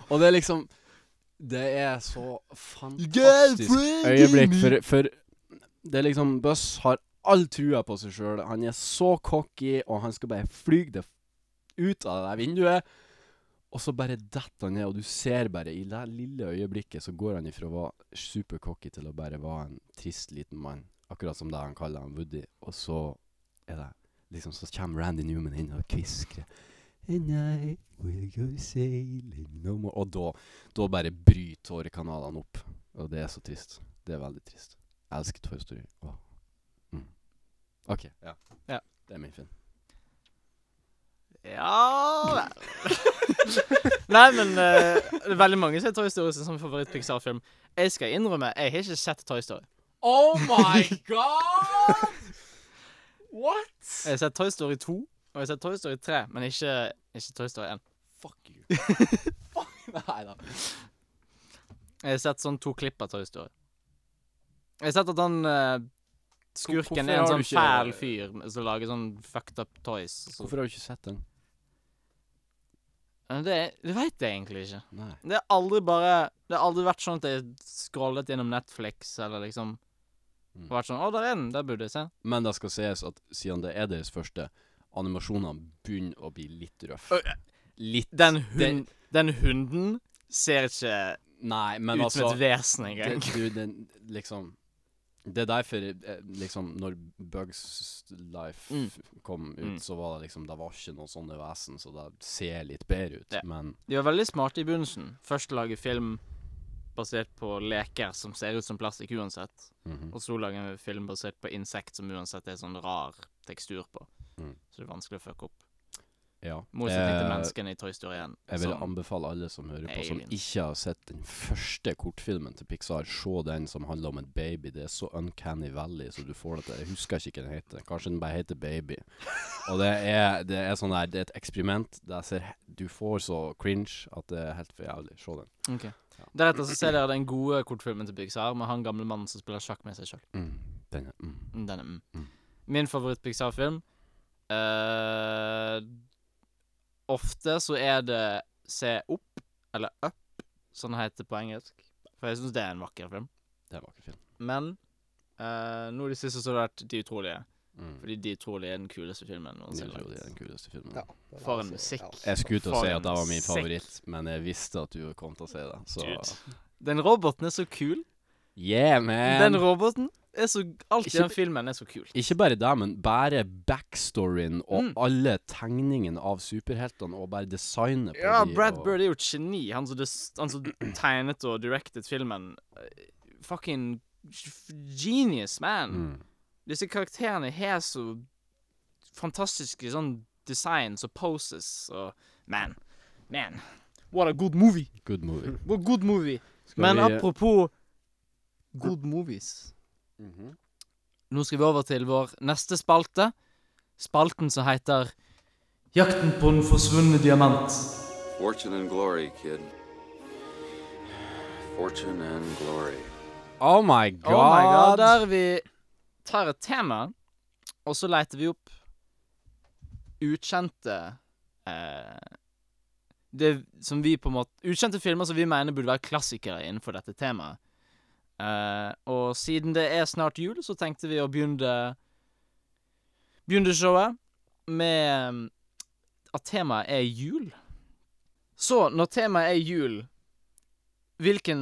D: Og det er liksom Det er så fantastisk øyeblikk, for, for det er liksom Buss har all trua på seg sjøl. Han er så cocky, og han skal bare fly det f- ut av det der vinduet. Og så bare detter han ned, og du ser bare i det lille øyeblikket så går han ifra å være supercocky til å bare være en trist liten mann. Akkurat som det han kaller han Woody. Og så er det liksom Så kommer Randy Newman inn og kviskrer. And I will go sailing no more. Og da, da bare bryter tårekanalene opp. Og det er så trist. Det er veldig trist. Jeg elsker Toy Story. Åh. Mm. OK. Ja.
E: Ja.
D: Det er min film.
E: Ja vel. <laughs> Nei, men eh, det er veldig mange som har Toy Story som favoritt-Pixar-film. Jeg skal innrømme, jeg har ikke sett Toy Story.
D: Oh my
E: <laughs>
D: god! What?
E: Jeg har sett Toy Story 2, og jeg har sett Toy Story 3, men ikke, ikke Toy Story 1.
D: Fuck you. Fuck Nei da.
E: Jeg har sett sånn to klipp av Toy Story. Jeg har sett at han eh,
D: Hvorfor
E: skurken er en
D: har du
E: sånn
D: ikke-
E: fæl fyr som lager sånn fucked up toys. og Så.
D: <laughs> Hvorfor har du ikke sett den?
E: Men Det, det veit jeg egentlig ikke.
D: Nei.
E: Det har aldri bare Det har aldri vært sånn at jeg scrollet gjennom Netflix eller liksom
D: Mm.
E: Vært sånn 'Å, der er den! Der burde jeg se'.
D: Men det skal sies at siden det er deres første, animasjonene begynner å bli litt røff.
E: Ø,
D: Litt
E: Den,
D: Det-
E: hun, den hunden ser ikke
D: Nei, men
E: ut
D: altså
E: som et vesen en gang.
D: det, du, den, liksom Det er derfor eh, liksom Når Bugs Life
E: Mm.
D: kom ut,
E: Mm.
D: så var det liksom Det var ikke noe sånne vesen, så det ser litt bedre ut.
E: Ja.
D: Men
E: De var veldig smarte i begynnelsen. Først lage film basert på leker som ser ut som plastikk uansett.
D: mhm.
E: Og så lage en film basert på insekt som uansett er sånn rar tekstur på.
D: Mm.
E: Så det er vanskelig å fucke opp.
D: ja.
E: Motsetning
D: Eh,
E: til menneskene i Toy Story 1.
D: Jeg vil
E: som-
D: anbefale alle som hører på, som
E: Aliens.
D: ikke har sett den første kortfilmen til Pixar, se den som handler om en baby. Det er så uncanny valley så du får det til. Jeg husker ikke hva den heter. Kanskje den bare heter Baby. Og det er, det er sånn der, det er et eksperiment. Det er ser, du får så cringe at det er helt for jævlig. Se den.
E: Ok. Deretter så ser dere den gode kortfilmen til Pixar med han gamle mannen som spiller sjakk med seg sjøl.
D: Mm. Den er mm.
E: Denne. Mm.
D: Mm.
E: Min favoritt-Pixar-film eh, Ofte så er det Se opp, eller Up, som det heter på engelsk. For jeg syns det er en vakker film.
D: Det er en vakker film.
E: Men eh, nå i det siste så har det vært De utrolige.
D: Mm.
E: Fordi De utrolige er den kuleste filmen.
D: Det er
E: noensinne
D: jo
E: lagd.
D: den kuleste filmen.
C: Ja, det er
E: For en
C: altså-
E: musikk.
C: Ja.
D: Jeg skulle til å
E: For
D: si
E: en
D: at det var min
E: sekk.
D: favoritt, men jeg visste at du kom til å si det. Så
E: Dude. Den roboten er så kul.
D: yeah, man!
E: Den roboten er så Alt i
D: Ikke
E: den filmen er så kult.
D: Ikke bare det, men bare backstoryen og
E: Mm.
D: alle tegningene av superheltene og bare designet på
E: Ja,
D: de,
E: Brad
D: og-
E: Bird er jo et geni. Han som, des- han som tegnet og directed filmen. Eh, Fucking f- genius, man.
D: Mm.
E: Disse karakterene har så fantastiske sånn designs og poses og Man. Man. What a good movie.
D: Good movie.
E: What a good movie.
D: Skal
E: Men
D: vi-
E: apropos good movies
D: Mhm.
E: Nå skal vi over til vår neste spalte. Spalten som heter Jakten på den forsvunne diamant.
F: Fortune and glory, kid. Fortune and glory.
D: Oh my god!
E: <laughs> Oh my god, Der vi tar et tema, og så leter vi opp ukjente eh, Det som vi på en måte Ukjente filmer som vi mener burde være klassikere innenfor dette temaet. Eh, og siden det er snart jul, så tenkte vi å begynne Begynne showet med mm, at temaet er jul. Så når temaet er jul, hvilken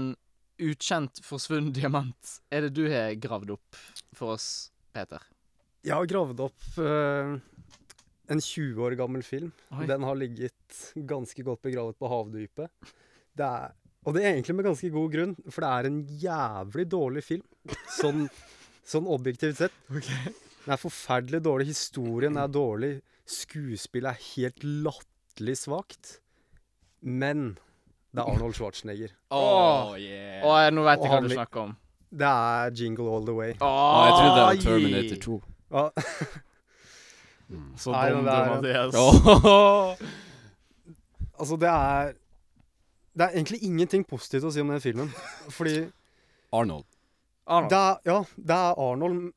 E: ukjent, forsvunnen diamant er det du har gravd opp for oss, Peter?
C: Jeg har gravd opp eh, en 20 år gammel film.
E: Oi.
C: Den har ligget ganske godt begravet på havdypet. Det er, og det er egentlig med ganske god grunn, for det er en jævlig dårlig film. Sånn, sånn objektivt sett. Den er forferdelig dårlig. Historien er dårlig. Skuespillet er helt latterlig svakt. Men det er Arnold Schwarzenegger.
D: Oh, yeah.
E: Å, nå vet jeg hva
C: Og
E: du
C: han-
E: snakker om.
C: Det er Jingle All The Way.
E: Å,
D: Ah, jeg trodde det var Terminator 2.
C: Ja,
E: Mm. Så
C: Nei,
E: dum
C: den
E: du,
C: der-
E: Mathias.
D: Oh.
C: altså, det er Det er egentlig ingenting positivt å si om den filmen. Fordi
D: <laughs>
E: <laughs>
D: Arnold.
E: Arnold,
C: det er, Ja, det er Arnold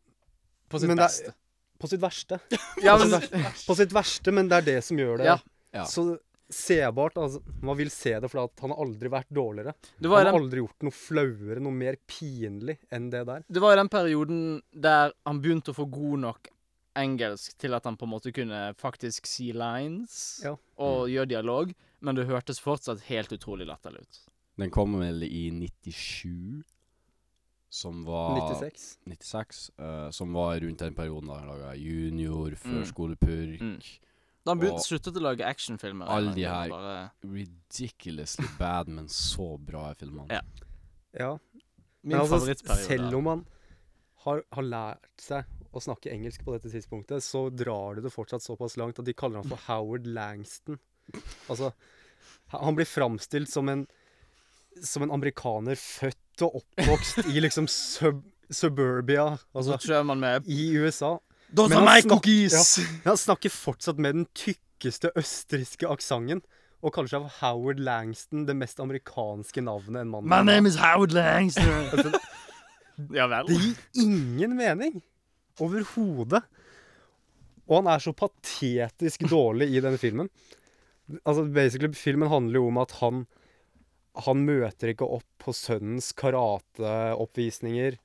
E: på sitt
C: men det er-
E: beste.
C: på sitt verste.
E: Ja, <laughs>
C: på,
E: men,
C: sitt verste på sitt verste, men det er det som gjør det
E: Ja.
D: Ja.
C: så sebart. Altså, man vil se det, for at han har aldri vært dårligere.
E: det, var
C: Han
E: i
C: har
E: den,
C: aldri gjort noe flauere, noe mer pinlig enn det der.
E: det var i den perioden der han begynte å få god nok engelsk til at han på en måte kunne faktisk si lines
C: Ja.
D: Mm.
E: og gjøre dialog, men det hørtes fortsatt helt utrolig latterlig ut.
D: Den kom vel i 97, som var
C: 96.
D: 96, eh, som var rundt den perioden da han laga Junior,
E: Mm.
D: Førskolepurk
E: Mm. Da han begynte,
D: Og-
E: sluttet å lage actionfilmer.
D: Alle de
E: det var
D: her-
E: bare-
D: Ridiculously bad, men så bra i filmene.
E: Ja.
C: Ja.
E: Min favorittperiode.
C: altså, Selv om han har, har lært seg å snakke engelsk på dette tidspunktet, så drar du det fortsatt såpass langt at de kaller han for Howard Langston. Altså, ha- han blir framstilt som en, som en amerikaner født og oppvokst i liksom sub, suburbia, altså
E: Så kjører man med
C: i USA.
E: Those
C: Men han snakker-
E: cookies!
C: Men han snakker fortsatt med den tykkeste østerrikske aksenten. Og kaller seg for Howard Langston, det mest amerikanske navnet en mann
E: My
C: kan ha.
E: name is Howard Langster. <laughs> ja vel.
C: Det gir ingen mening. Overhodet. Og han er så patetisk dårlig i den filmen. Altså, basically, Filmen handler jo om at han Han møter ikke opp på sønnens karateoppvisninger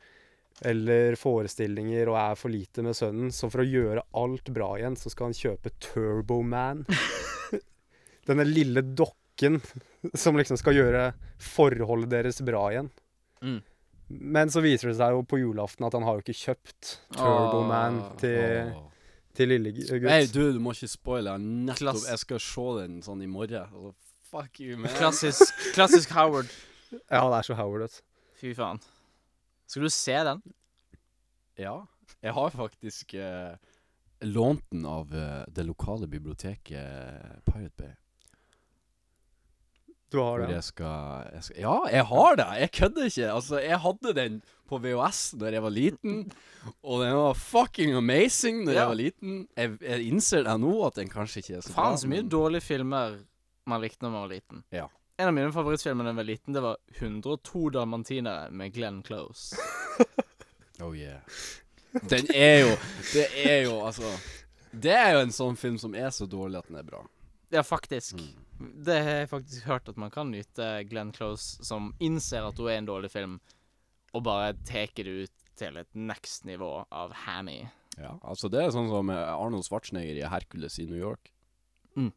C: eller forestillinger og er for lite med sønnen, så for å gjøre alt bra igjen, så skal han kjøpe Turboman. Denne lille dokka pakken som liksom skal gjøre forholdet deres bra igjen.
E: Mm.
C: Men så viser det seg jo på julaften at han har jo ikke kjøpt Turboman
E: Åh.
C: til,
D: Åh.
C: til lille gu- gutt.
D: Nei, du, du må ikke spoile. Jeg har Nettopp,
E: Klass-
D: jeg skal se den sånn i morgen. Altså, fuck you, man.
E: Klassisk, klassisk Howard.
C: Ja, det er så Howard, vet du.
E: Fy faen. Skal du se den?
D: Ja. Jeg har faktisk eh, lånt den av eh, det lokale biblioteket eh, Pirate Bay.
C: Du
D: Hvor
C: har det.
D: jeg skal, jeg skal Ja, jeg har det! Jeg kødder ikke. Altså, jeg hadde den på VHS da jeg var liten,
E: <laughs>
D: og den var fucking amazing da
E: Ja.
D: jeg var liten. Jeg, jeg innser det nå, at den kanskje ikke er så
E: Faen, så mye
D: men-
E: dårlige filmer man likte når man var liten.
D: Ja.
E: En av mine favorittfilmer da jeg var liten, det var 102 dalmantinere med Glenn Close.
D: Oh yeah. Den er jo Det er jo, altså Det er jo en sånn film som er så dårlig at den er bra.
E: Ja, faktisk. Det har jeg faktisk hørt at man kan nyte Glenn Close som innser at hun er en dårlig film, og bare teker det ut til et next nivå av hammy.
D: Ja, altså Det er sånn som eh, Arnold Schwarzenegger i 'Hercules i New York'.
E: Mm.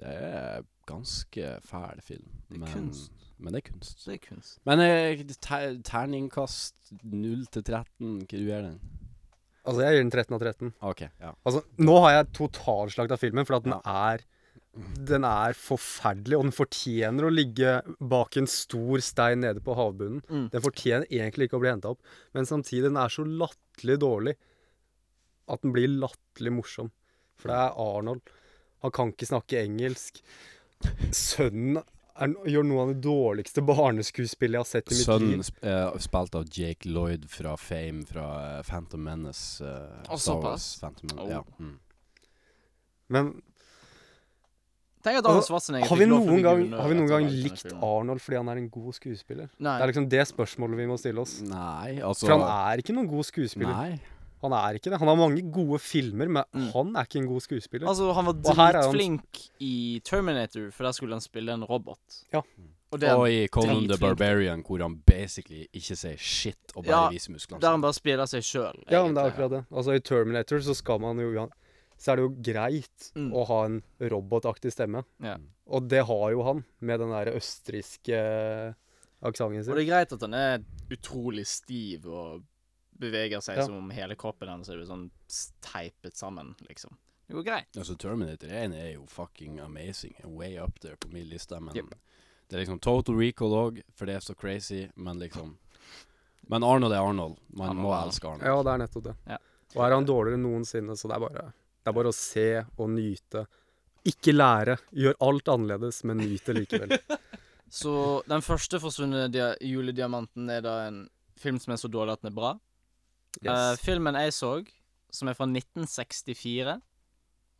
D: Det er ganske fæl film.
E: Det er
D: men,
E: kunst.
D: Men det er kunst.
E: Det er kunst.
D: Men eh, ter terningkast 0 til 13, hva du gjør den?
C: Altså, jeg gir den 13 av 13.
D: OK. ja
C: Altså, nå har jeg totalslakt av filmen, for at den er den er forferdelig, og den fortjener å ligge bak en stor stein nede på havbunnen. Den fortjener egentlig ikke å bli henta opp, men samtidig den er så latterlig dårlig at den blir latterlig morsom. For det er Arnold. Han kan ikke snakke engelsk. Sønnen er, gjør noe av det dårligste barneskuespillet jeg har sett i mitt
D: Sønnen
C: liv.
D: sp eh, spilt av Jake Lloyd fra Fame, fra eh, Phantom Menace. eh,
E: Å,
D: Star
E: såpass?
D: Wars, Phantom Menace,
E: Oh.
D: ja. mm.
C: Men
E: Tenk at Arnold Schwarzenegger
C: Altså, har vi
E: fikk lov til å
C: noen
E: bli
C: gang,
E: guvernør
C: har vi noen
E: etter å ha
C: gang
E: laget denne
C: likt
E: filmen.
C: Arnold fordi han er en god skuespiller?
E: liksom- Nei.
C: Det er liksom det spørsmålet vi må stille oss.
D: Nei, altså
C: For han er ikke noen god skuespiller.
D: Nei.
C: Han er ikke det. Han har mange gode filmer, men han er ikke en god skuespiller.
E: Mm. Altså, han var
C: Og her er han-
E: dritflink i Terminator, for der skulle han spille en robot.
C: Ja.
E: Og det,
D: og i Conan the
E: dritflink.
D: Barbarian, hvor han basically ikke sier shit og bare
E: Ja,
D: viser musklene.
E: der han bare spiller seg sjøl.
C: ja, men det er akkurat det. Altså, I Terminator så skal man jo Så er det jo greit
E: Mm.
C: å ha en robotaktig stemme.
E: Ja.
C: Og det har jo han, med den der østerrikske aksenten
E: Og det
C: sin.
E: er greit at han er utrolig stiv og beveger seg
C: Ja.
E: som om hele kroppen hans er sånn s- teipet sammen, liksom. Det går greit.
D: Altså, Terminator 1 er jo fucking amazing. Way up there på min liste, men
C: Jep.
D: det er liksom Total Recall òg, for det er så crazy, men liksom Men Arnold er Arnold. Man
E: Arnold
D: må
E: er
D: elske Arnold.
C: Ja, det er nettopp det.
E: Ja.
C: Og her er han dårligere enn noensinne, så det er bare, det er bare å se og nyte. Ikke lære. Gjør alt annerledes, men nyt det
E: <laughs>
C: likevel.
E: Så den første forsvunne dia julediamanten er da en film som er så dårlig at den er bra. Eh,
C: Yes.
E: filmen jeg så, som er fra 1964,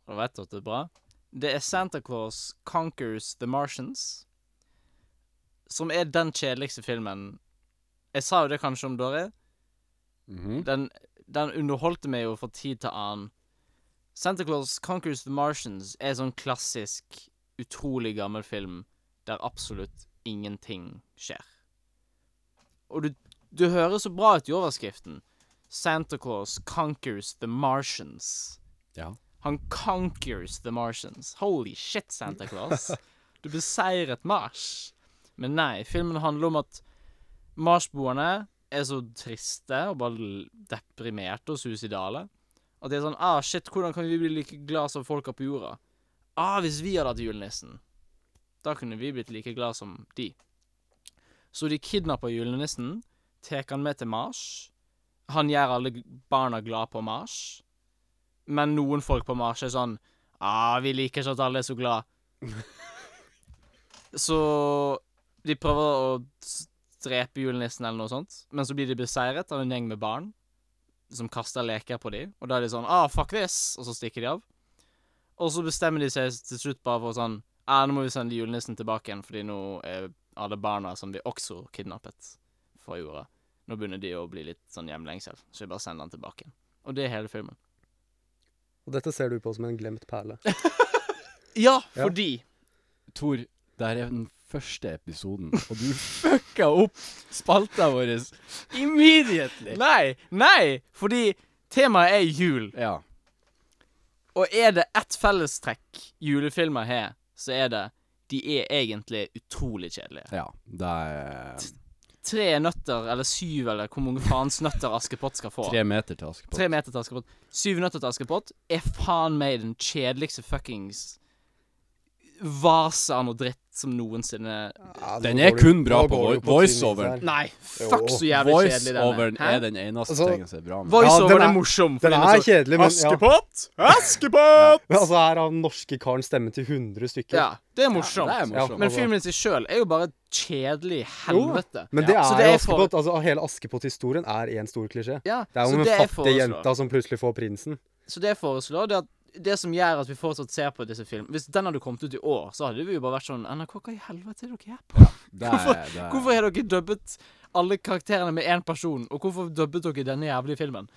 E: og vet du at det er bra, det er Santa Claus Conquers The Martians, som er den kjedeligste filmen. Jeg sa jo det kanskje om Dory.
D: Mhm.
E: Den, den underholdte meg jo fra tid til annen. Santa Claus Conquers The Martians er sånn klassisk, utrolig gammel film der absolutt ingenting skjer. Og du, du hører så bra ut i overskriften. Santa Claus Conquers The Martians.
D: Ja.
E: Han conquers the Martians. Holy shit, Santa Claus. Du beseiret Mars. Men nei, filmen handler om at marsboerne er så triste og bare l- deprimerte og suicidale. At det er sånn Ah, shit, hvordan kan vi bli like glad som folka på jorda? Ah, hvis vi hadde hatt julenissen. Da kunne vi blitt like glad som de. Så de kidnapper julenissen, tar han med til Mars. Han gjør alle g- barna glad på Mars. Men noen folk på Mars er sånn Ah, vi liker ikke at alle er så glad. så de prøver å s- drepe julenissen eller noe sånt, men så blir de beseiret av en gjeng med barn som kaster leker på dem, og da er de sånn Ah, fuck this! Og så stikker de av. Og så bestemmer de seg til slutt bare for sånn Ja, ah, nå må vi sende julenissen tilbake igjen, fordi nå er alle barna som vi også kidnappet fra jorda Nå begynner de å bli litt sånn hjemlengsel, så vi bare sender den tilbake igjen. Og det er hele filmen.
C: Og dette ser du på som en glemt perle.
E: Ja,
C: Ja.
E: fordi
D: Tor, det her er den første
E: <laughs>
D: episoden, og du fucka opp spalta vår immediately.
E: Nei, nei! Fordi temaet er jul.
D: Ja.
E: Og er det ett fellestrekk julefilmer har, så er det de er egentlig utrolig kjedelige.
D: Ja, det er
E: Tre nøtter, eller syv, eller hvor mange faens nøtter Askepott skal få.
D: tre meter til Askepott.
E: Tre meter til Askepott. Syv nøtter til Askepott er faen meg den kjedeligste fuckings vase av noe dritt som noensinne
C: Ja, nå
D: Den
C: går
D: er
C: du-
D: kun bra
C: nå
D: på
C: går du
D: voi-
C: tynnis
D: voiceoveren.
C: her.
E: Nei, fuck
C: Jo.
E: så jævlig kjedelig
D: Voiceoveren
E: den
D: er
E: er. Hæ?
D: den eneste
C: Altså,
D: tingen som er bra med den.
C: Ja,
E: Voiceoveren
C: den
E: er
C: er-
E: morsom.
C: Den
E: fordi
C: er
E: så-
C: kjedelig, men ja.
E: Askepott!
C: Men Altså, her har den norske karen stemme til 100 stykker.
E: Ja, det er morsomt.
D: Ja, det er morsomt.
E: Men filmen i seg sjøl er jo bare et kjedelig helvete.
C: Men det
E: Ja. Så
C: er
E: det
C: jo
E: er for-
C: Askepott. Altså, hele Askepott-historien er én stor klisjé.
E: Ja,
C: Det er
E: så
C: jo
E: det
C: den
E: jeg
C: fattige
E: foreslår-
C: jenta som plutselig får prinsen.
E: Så det jeg foreslår, det er at det som gjør at vi fortsatt ser på disse filmene Hvis den hadde kommet ut i år, så hadde vi jo bare vært sånn NRK, hva i helvete er dere her på?
D: Det er-
E: Hvorfor,
D: det er-
E: hvorfor har dere dubbet alle karakterene med én person, og hvorfor dubbet dere denne jævlige filmen?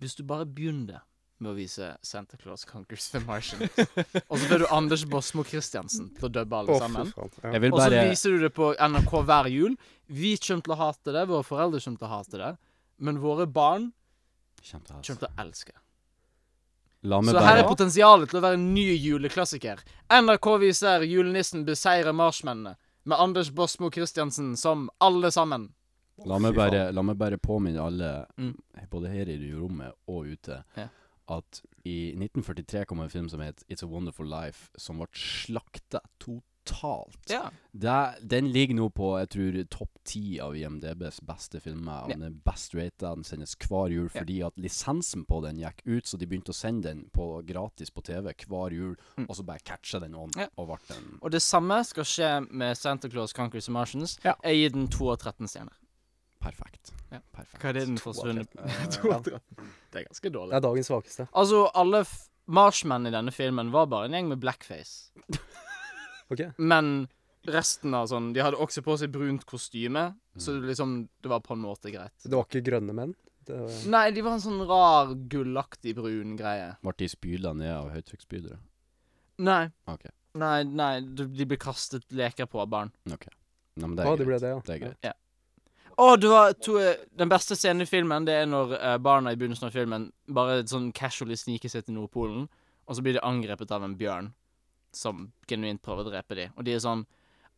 E: Hvis du bare begynner med å vise Santa Claus Conquers the Martian, <laughs> og så blir du Anders Bosmo Christiansen til å dubbe alle
C: Å, fy
E: sammen,
C: faen.
D: Jeg
C: Ja.
D: vil
E: og så
D: bare
E: viser du det på NRK hver jul Vi kommer til å hate det, våre foreldre kommer til å hate det, men våre barn
D: Kjempe-
E: kommer til å elske det.
D: La meg
E: Så her
D: bare
E: er potensialet til å være en ny juleklassiker. NRK viser 'Julenissen beseirer marshmennene' med Anders Bosmo Christiansen som alle sammen.
D: La meg,
C: Fy
D: bare, la meg bare påminne alle,
E: Mm.
D: både her i det rommet og ute,
E: Ja.
D: at i 1943 kom en film som het It's a Wonderful Life, som ble slakta totalt. Det, den ligger nå på jeg tror topp ti av IMDbs beste filmer. Og
E: Ja.
D: Den er best rata, den sendes hver jul
E: Ja.
D: fordi at lisensen på den gikk ut, så de begynte å sende den på gratis på TV hver jul,
E: Mm.
D: og så bare catcha den on,
E: Ja.
D: og ble den
E: Og det samme skal skje med Santa Claus Conquers the Martians.
D: Ja.
E: Jeg gir den 2 av 13 stjerner.
D: perfekt.
E: Ja.
D: perfekt.
E: Hva er det den
D: To av
E: forsvunne-
D: tretten. Eh,
E: To av 13. Det er ganske
C: Det
E: dårlig.
C: er dagens svakeste.
E: Altså, alle f marshmennene i denne filmen var bare en gjeng med blackface.
C: Ok.
E: Men resten av sånn De hadde også på seg brunt kostyme, så det liksom Det var på en måte greit.
C: Det var ikke grønne menn. Det var...
E: Nei, de var en sånn rar, gullaktig brun greie.
D: Ble de spyla ned av høytrykksspylere?
E: Nei.
D: Ok.
E: Nei, nei, de de blir kastet leker på av barn.
D: Nei, men det er
C: Å,
D: greit.
C: det ble det, ja.
D: Det er greit.
E: Å, du har to eh, Den beste scenen i filmen, det er når eh, barna i begynnelsen av filmen bare sånn casually sniker seg til Nordpolen, og så blir de angrepet av en bjørn som genuint prøver å drepe dem, og de er sånn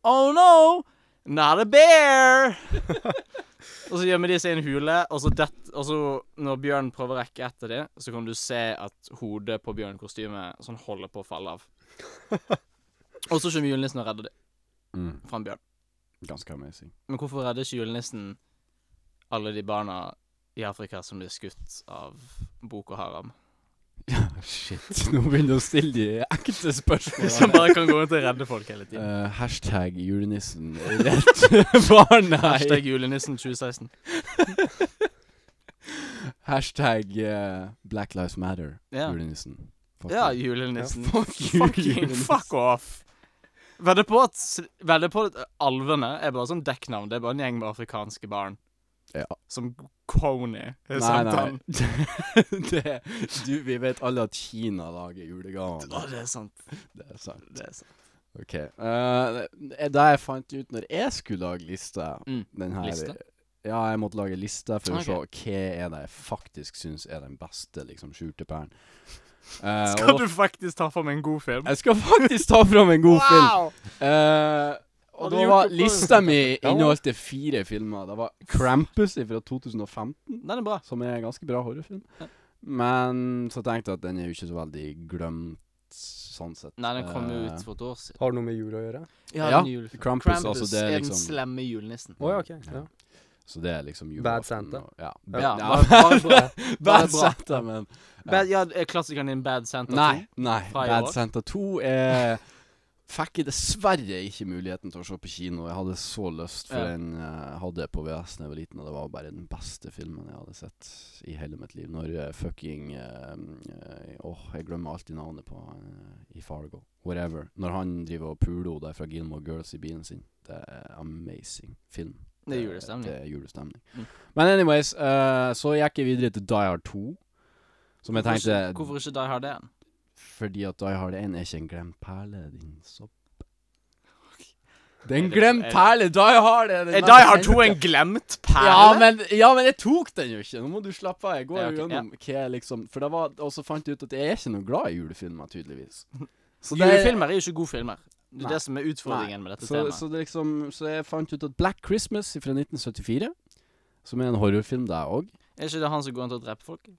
E: Oh no! Not a bear! <laughs> og så gjemmer de seg i en hule, og så, det, og så når bjørnen prøver å rekke etter dem, så kan du se at hodet på bjørnkostymet sånn holder på å falle av. og så kommer julenissen og redder dem
D: Mm.
E: fra en bjørn.
D: Ganske amazing. <laughs>
E: Men hvorfor redder ikke julenissen alle de barna i Afrika som blir skutt av Boko
D: <laughs>
E: Haram?
D: Shit, nå begynner du å stille de ekte
E: <laughs> Som
D: spørsmålene.
E: bare kan gå rundt og redde folk hele tiden.
D: Eh, hashtag julenissen rett <laughs> barn, <laughs> nei.
E: Hashtag julenissen 2016.
D: Hashtag eh, Black Lives Matter,
E: Ja.
D: julenissen. Fuck
E: Ja,
D: you.
E: julenissen.
D: Ja, fuck you,
E: Fucking
D: julenissen.
E: fuck off! Vedder på at s- vedder på at alvene er bare sånn dekknavn. Det er bare en gjeng med afrikanske barn.
D: Ja.
E: Som Kony.
D: Nei, nei. <laughs> det, du, vi vet alle at Kina lager
E: Å,
D: julegaver.
E: det er sant.
D: Det er sant.
E: Det er sant.
D: Ok. eh, det- da jeg fant ut når jeg skulle lage lista
E: Mm.
D: den her,
E: Liste?
D: Ja, jeg måtte lage lista for å
E: Ok.
D: se hva er det jeg faktisk syns er den beste liksom, skjulte pæren. Eh,
E: <laughs> Skal
D: og
E: du faktisk ta for meg en god film?
D: Jeg skal faktisk ta fram en god film.
E: Wow!
D: Eh,
E: Har
D: og
E: du
D: da
E: gjort
D: var
E: det før?
D: lista
E: <laughs>
D: mi inneholdt det fire filmer. Det var Krampus fra 2015,
E: Den er bra.
D: som er en ganske bra horrorfilm. Men så tenkte jeg at den er jo ikke så veldig glemt, sånn sett.
E: Nei, den kom jo
D: Eh,
E: ut for et år siden.
C: Har det noe med jul å gjøre?
D: Ja,
E: den julefen.
D: Krampus, altså, det er
E: er
D: liksom-
E: den slemme julenissen.
C: Å ja, ok. Ja.
D: Så det er liksom
C: Bad
D: julaften
C: Santa.
D: og- Ja.
C: Ja.
E: Ja,
D: ja.
E: bare, bare
D: <laughs>
E: <laughs> bra.
D: Bad
E: bra.
D: Santa, men
E: Bad, ja, er klassikeren din Bad Santa 2.
D: Nei, nei.
E: Fra i
D: Bad
E: år?
D: Santa 2 er Fikk jeg dessverre ikke muligheten til å se på kino. Jeg hadde så lyst, for
E: Ja.
D: den eh, hadde jeg på VHS da jeg var liten, og det var bare den beste filmen jeg hadde sett i hele mitt liv. Når eh, fucking eh, eh, Åh, jeg glemmer alltid navnet på han eh, i Fargo. Whatever. Når han driver og puler henne der fra Gilmore Girls i bilen sin. Det er amazing film.
E: Det er julestemning.
D: Det er julestemning.
E: Mm.
D: Men anyways, eh, så gikk jeg videre til Die Hard 2, som jeg
E: Hvorfor
D: tenkte
E: ikke- Hvorfor ikke Die Hard 1?
D: fordi at Die Hard 1 er ikke en glemt perle, din sopp.
E: Er
D: Den
E: det-
D: glemt
E: er det-
D: perle! Die Hard er den
E: Er
D: mest
E: Die Hard 2
D: kjente.
E: en glemt perle?
D: Ja men, ja, men jeg tok den jo ikke! Nå må du slappe av. Jeg går
E: Ja,
D: jo
E: ok,
D: gjennom hva jeg liksom For det
E: <laughs>
D: var Og så fant jeg ut at jeg er ikke noe glad i julefilmer, tydeligvis. Så det-
E: Julefilmer er jo ikke gode filmer. Det er
D: Nei.
E: det som er utfordringen med dette
D: så,
E: temaet.
D: så, det er liksom, så jeg fant ut at Black Christmas fra 1974, som er en horrorfilm, det òg
E: Er ikke det han som går rundt og dreper folk?
D: Jo.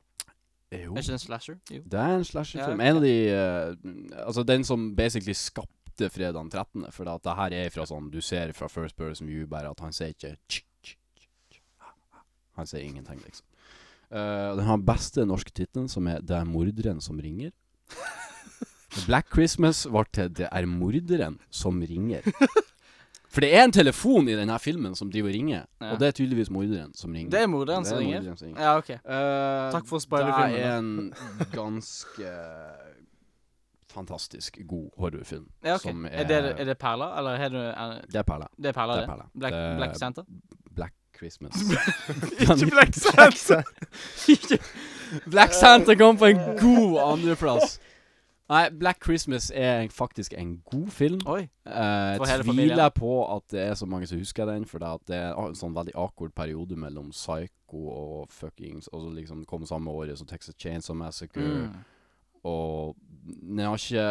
E: Er ikke det en slasher? Jo.
D: Det er en slasherfilm.
E: Ja, ok.
D: En av de eh, Altså, den som basically skapte fredag den 13., for at det her er fra sånn Du ser fra First Person View bare at han sier ikke tsk, tsk, tsk, tsk. Han sier ingenting, liksom. Eh, den har den beste norske tittelen, som er 'Det er morderen som
E: <laughs>
D: ringer'. Black Christmas var til 'Det er morderen som ringer'. For det er en telefon i denne filmen som driver og ringer,
E: Ja.
D: og det er tydeligvis morderen som ringer.
E: Det er morderen som
D: Det er
E: ringer.
D: morderen som ringer.
E: Ja, OK.
D: Eh,
E: Takk for å spoile filmen,
D: Det
E: da.
D: er en ganske fantastisk god horrorfilm.
E: Ja, ok.
D: Som
E: Er, det, er det perler, eller er det, er,
D: Det er perla.
E: det er perler,
D: Det
E: det?
D: er perler.
E: Black,
D: Det-
E: Black
D: <laughs>
E: Santa?
D: Black Christmas.
E: Ikke Black Santa!
D: <laughs> Black Santa kom på en god andreplass. Nei, Black Christmas er faktisk en god film.
E: Oi.
D: Eh,
E: For hele familien.
D: tviler på at det er så mange som husker den, for det, at det er en sånn veldig awkward periode mellom Psycho og fuckings Og så liksom det kom samme året som Texas Chainsaw Massacre.
E: Mm.
D: Og den har ikke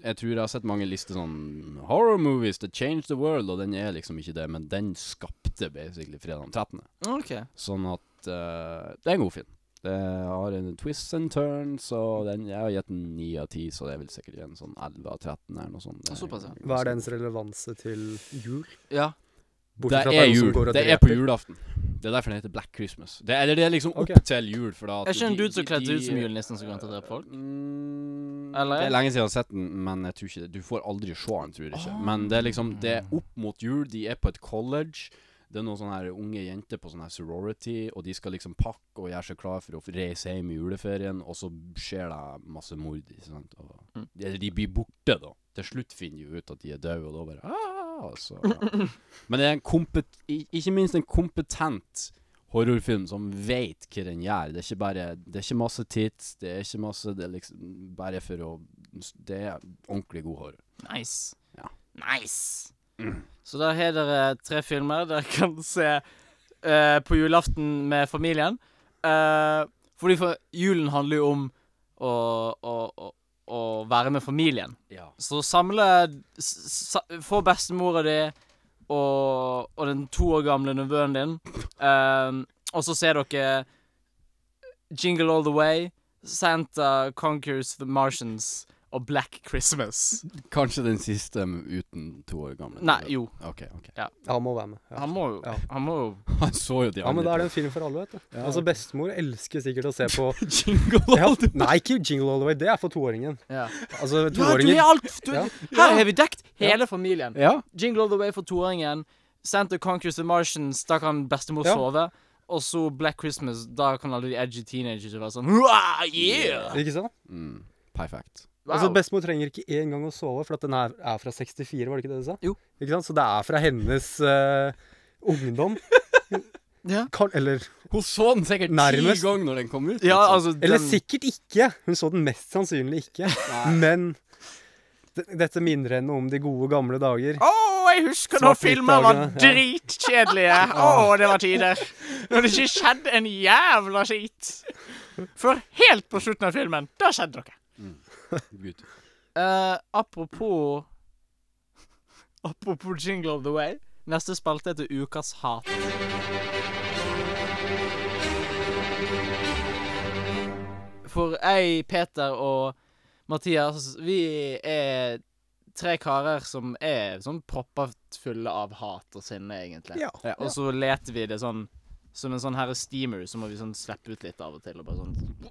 D: Jeg tror jeg har sett mange lister sånn Horror movies that changed the world, og den er liksom ikke det, men den skapte basically fredag den 13.
E: OK.
D: Sånn at eh, Det er en god film. Det har en twist and turns, og den jeg har gitt den 9 av 10, så det er vel sikkert en sånn 11 av 13 eller noe sånt. Det er
E: Såpass, ja.
D: ganske-
C: Hva er dens relevanse til jul?
E: Ja.
D: Det
C: Bortsett fra at
D: er
C: det er noen som
D: jul.
C: går og
D: Det er på
C: dreper.
D: julaften. Det er derfor den heter Black Christmas. Det er, eller det er liksom opp
C: Ok.
D: til jul. For da at
E: Er ikke en
D: de-
E: dude som
D: de-
E: kledde seg ut
D: de-
E: som julenissen som går rundt og dreper folk?
D: Mm,
E: Eller?
D: Det er lenge siden jeg har sett den, men jeg tror ikke det. Du får aldri se den, tror jeg ikke. Men det er liksom Det er opp mot jul, de er på et college. Det er noen sånne her unge jenter på sånn her sorority, og de skal liksom pakke og gjøre seg klar for å reise hjem i juleferien, og så skjer det masse mord. ikke Sant? Og,
E: Mm.
D: Eller de blir borte, da. Til slutt finner de jo ut at de er døde, og da bare «Ah», og så, ja. Men det er en kompet i- ikke minst en kompetent horrorfilm som vet hva den gjør. Det er ikke bare Det er ikke masse tits, det er ikke masse Det er liksom bare for å Det er ordentlig god horror.
E: Nice.
D: Ja.
E: Nice. Så der har dere tre filmer dere kan se eh, på julaften med familien. Eh, fordi for julen handler jo om å, å, å, å være med familien.
D: Ja.
E: Så samle s- sa, Få bestemora di og, og den to år gamle nevøen din. Ehm, og så ser dere Jingle All The Way, Santa Conquers The Martians og Black Christmas.
D: Kanskje den siste men uten to år gamle.
E: Nei, jo.
D: OK. ok <laughs>
C: Han må være med. Ja.
E: Han må jo
C: Ja.
E: Han må jo
D: Han så jo de
C: ja, men da
D: andre.
C: er det en film for alle, vet du.
D: Ja,
C: altså,
D: ok.
C: bestemor elsker sikkert å se på
E: Jingle
C: ja, <laughs> Nei, ikke Jingle All The Way, det er for toåringen.
E: Ja,
C: Altså,
E: ja du
C: toåringen
E: er alt du,
C: Ja.
E: Her har vi dekt hele familien.
D: ja.
E: Jingle All The Way for toåringen. Santa Conquers The Martians, da kan bestemor
C: Ja.
E: sove. Og så Black Christmas, da kan alle de edgy teenagers være sånn Wow, yeah!
C: Ikke sant?
D: Mm, perfekt.
E: Wow.
C: Altså, Bestemor trenger ikke engang å sove, for at den er, er fra 64, var det ikke det du sa?
E: Jo.
C: Ikke sant? Så det er fra hennes eh, <laughs> ungdom.
E: Ja.
C: Kan, eller,
D: Hun så den sikkert
C: Nærmest.
D: ti ganger når den kom ut.
E: ja,
D: liksom.
E: altså
C: eller
E: den-
C: sikkert ikke! Hun så den mest sannsynlig <laughs> ikke. Men d- dette minner henne om de gode, gamle dager.
E: Å, jeg husker når
C: Svart-hvitt
E: filmer var
C: dagene, ja.
E: dritkjedelige.
C: <laughs>
E: Å, det var tider. Når det ikke skjedde en jævla skit. For helt på slutten av filmen, da skjedde noe. altså.
D: Gud.
E: Eh, apropos <laughs> Apropos Jingle of the Way. Neste spalte heter Ukas hat. For jeg, Peter og Mathias, vi er tre karer som er sånn proppet fulle av hat og sinne, egentlig.
C: Ja.
D: Ja, altså.
E: Og så leter vi det sånn som en sånn her steamer, så må vi sånn slippe ut litt av og til. Og bare sånn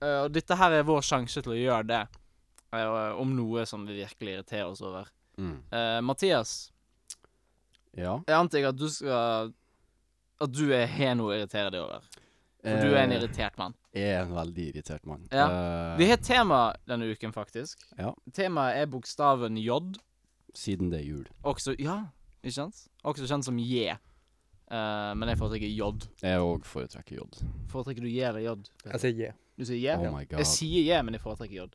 E: Eh, Og dette her er vår sjanse til å gjøre det, eh, om noe som vi virkelig irriterer oss over.
D: Mm.
E: Eh, Mathias,
D: ja.
E: jeg antar at du skal At du er- har noe å irritere deg over. For du er en irritert mann.
D: Eh, er en veldig irritert mann. Eh,
E: Vi har et tema denne uken, faktisk.
D: Ja.
E: Temaet er bokstaven J.
D: Siden det er jul.
E: Også Ja, ikke sant? Også kjent som J. Eh, men jeg foretrekker J.
D: Jeg òg foretrekker J.
E: Foretrekker du J eller J?
C: Jeg sier J.
E: Du sier J?
D: Oh my god.
E: jeg sier J, men jeg foretrekker J.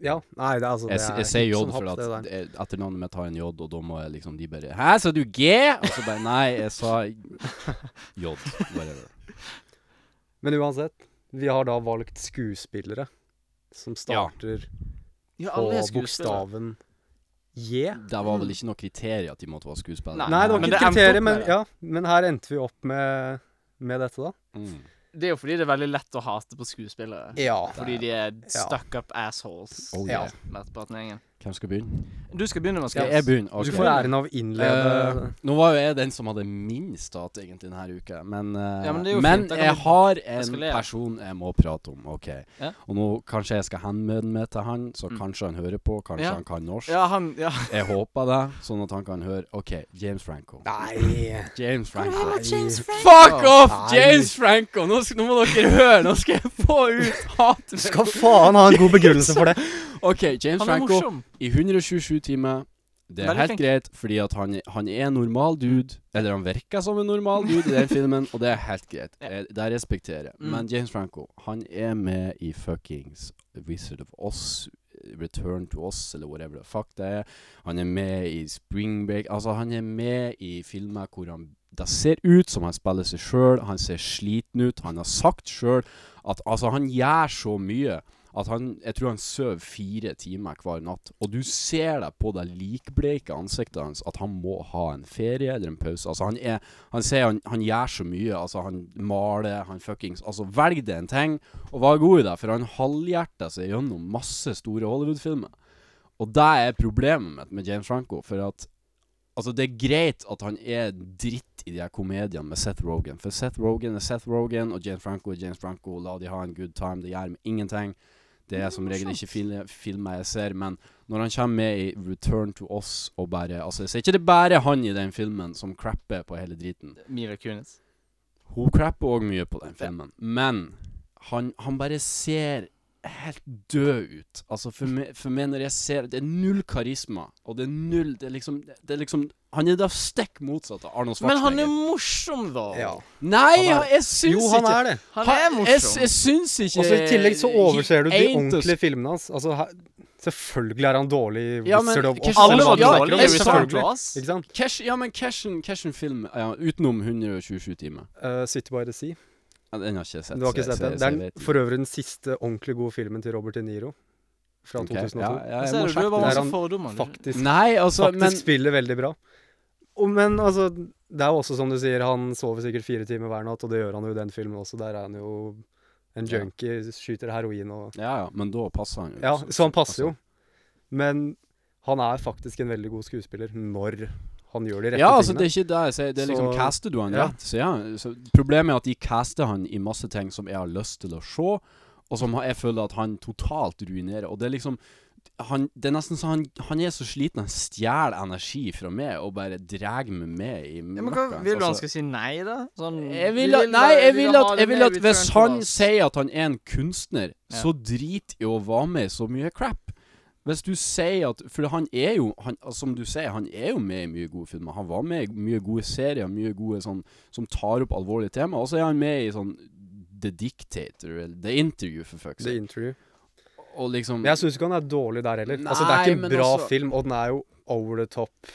C: Ja. Nei, det er altså det
D: Jeg,
C: er
D: s- jeg sier J
C: hipp som
D: for
C: happ,
D: at
C: det der.
D: det- etternavnet mitt har en J, og da må jeg liksom de bare Hæ, sa du G? Og så bare Nei, jeg
C: <laughs>
D: sa J. Whatever.
C: Men uansett, vi har da valgt skuespillere som starter
E: Ja,
C: på
E: alle er skuespillere.
C: bokstaven Yeah.
D: Der var vel ikke noe kriterier at de måtte være skuespillere.
E: Nei.
C: Nei, det var
E: men
C: ikke
E: det
C: et
E: endte
C: kriterium,
E: opp
C: men,
E: med det.
C: ja, men her endte vi opp med, med dette, da.
D: Mm.
E: Det er jo fordi det er veldig lett å hate på skuespillere.
C: Ja.
E: Fordi de er stuck up assholes.
D: Oh,
C: Ja.
D: yeah.
E: Merteparten av gjengen.
D: Hvem skal begynne?
E: Du skal begynne, Mathias.
D: Skal jeg begynne?
C: Du
D: Ok.
C: får æren av å innlede
D: Eh, nå var jo jeg den som hadde minst hat egentlig denne uka, men, eh,
E: Ja, men det er jo fint, da kan
D: jeg
E: vi
D: har en
E: eskalere.
D: person jeg må prate om, OK?
E: Ja. Mm.
D: Og nå kanskje jeg skal henvende meg til han, så kanskje han hører på, kanskje
E: Ja.
D: han kan norsk.
E: Ja, han Ja.
D: Jeg håper det, sånn at han kan høre OK, James Franco.
C: Nei.
D: James Franco.
C: James
D: Fuck off,
C: Nei.
D: James Franco! Nå, sk- nå må dere høre, nå skal jeg få ut hatet. mitt.
C: Skal faen ha en god begrunnelse
D: <laughs>
C: for det.
D: OK, James
E: Han er
D: Franco
E: morsom.
D: i 127 timer. Det er
E: Veldig
D: helt
E: flink.
D: greit, fordi at han, han er en normal dude. Eller han virker som en normal dude i den filmen, og det er helt greit.
E: Ja.
D: Eh, Det respekterer jeg.
E: Mm.
D: Men James Franco, han er med i fuckings Wizard of Oz, eh, Return to Oz, eller whatever the fuck det er. Han er med i Spring Break Altså, han er med i filmer hvor han det ser ut som han spiller seg sjøl, han ser sliten ut. Han har sagt sjøl at altså, han gjør så mye at han Jeg tror han sover fire timer hver natt. Og du ser det på det likbleike ansiktet hans at han må ha en ferie eller en pause. Altså, han er Han sier han, han gjør så mye. Altså, han maler, han fuckings Altså, velg deg en ting, og vær god i det, for han halvhjerter seg gjennom masse store Hollywood-filmer. Og det er problemet mitt med James Franco. For at Altså, det er greit at han er dritt i de her komediene med Seth Rogan. For Seth Rogan er Seth Rogan, og James Franco er James Franco. La de ha en good time. Det gjør meg ingenting. Det er som regel ikke fil filmer jeg ser, men når han kommer med i Return to Us og bare Altså, jeg ser ikke det er bare han i den filmen som crapper på hele driten.
E: Mila Kunis.
D: Hun crapper òg mye på den filmen, men han, han bare ser helt død ut. Altså, for meg, for meg når jeg ser Det er null karisma, og det er null Det er liksom, det er liksom Han er da stikk motsatt av Arnold
E: Men
D: Schwarzenegger.
E: han er morsom, da.
C: Ja.
D: Nei,
C: han er-
D: jeg syns
C: Jo, han
D: ikke
C: er det.
E: Han er
D: Jeg,
E: morsom.
D: jeg syns ikke
C: Og så I tillegg så overser du de
D: He ain't a
C: ordentlige filmene hans. Altså, her, selvfølgelig er han dårlig i
D: Ja, men
C: Wizard of Oz.
D: Christian-
C: eller
E: Alle
C: hva
E: var
C: du
D: Ja,
C: snakker om,
D: jeg
E: dårlige. i
D: sa-
E: Wizard of
C: selvfølgelig.
E: Oz.
C: Ikke sant?
D: Cash, ja, men Cashen, Cashen film ja, Utenom 127 timer.
C: Eh, City by the Sea.
D: Ja, Den har ikke jeg sett.
C: Du har ikke
D: så jeg- så
C: sett den?
D: jeg- så
C: Det er
D: jeg
C: den-
D: vet ikke.
C: for øvrig den siste ordentlig gode filmen til Robert De Niro fra
D: Ok,
C: 2002.
D: Ja, ja, jeg
E: Ser
D: må
E: du, du
D: sjekke
E: er bare
D: det.
C: Der
E: masse
C: han
E: fordommer. du.
C: Faktisk,
D: Nei, altså,
C: faktisk
D: men
C: spiller veldig bra. Og, men altså, det er jo også som du sier, han sover sikkert fire timer hver natt, og det gjør han jo i den filmen også. Der er han jo en
D: Ja.
C: junkie, skyter heroin og
D: Ja, ja, men da passer han jo.
C: Ja, så han passer jo.
D: altså.
C: Men han er faktisk en veldig god skuespiller når han gjør de rette
D: Ja, altså det
C: tingene.
D: er ikke det jeg sier, det er liksom
C: Så-
D: caster du han
C: ja.
D: rett. Så ja, så problemet er at de caster han i masse ting som jeg har lyst til å se, og som jeg føler at han totalt ruinerer. Og det er liksom han, det er nesten så han, han er så sliten, han stjeler energi fra meg og bare drar meg med i
E: Ja, men hva,
D: møkka.
E: vil du han
D: Altså,
E: skal si nei, da? Sånn,
D: jeg
E: vi
D: vil at, nei,
E: ha-
D: jeg
E: vi
D: vil at,
E: ha det
D: jeg vil
E: med
D: at
E: Return
D: hvis
E: to
D: han
E: Oz.
D: sier at han er en kunstner,
E: Ja.
D: så drit i å være med i så mye crap. Hvis du sier at For han er jo, han, altså, som du sier, han er jo med i mye gode filmer. Han var med i mye gode serier, mye gode sånn som tar opp alvorlige tema. Og så er han med i sånn The Dictator, eller The Interview, for fuck's
C: The
D: sake.
C: Interview.
D: Og liksom
C: Men jeg syns ikke han er dårlig der heller. altså, det
D: Nei,
C: er ikke
D: men
C: en bra
D: altså-
C: film, og den er jo over the top.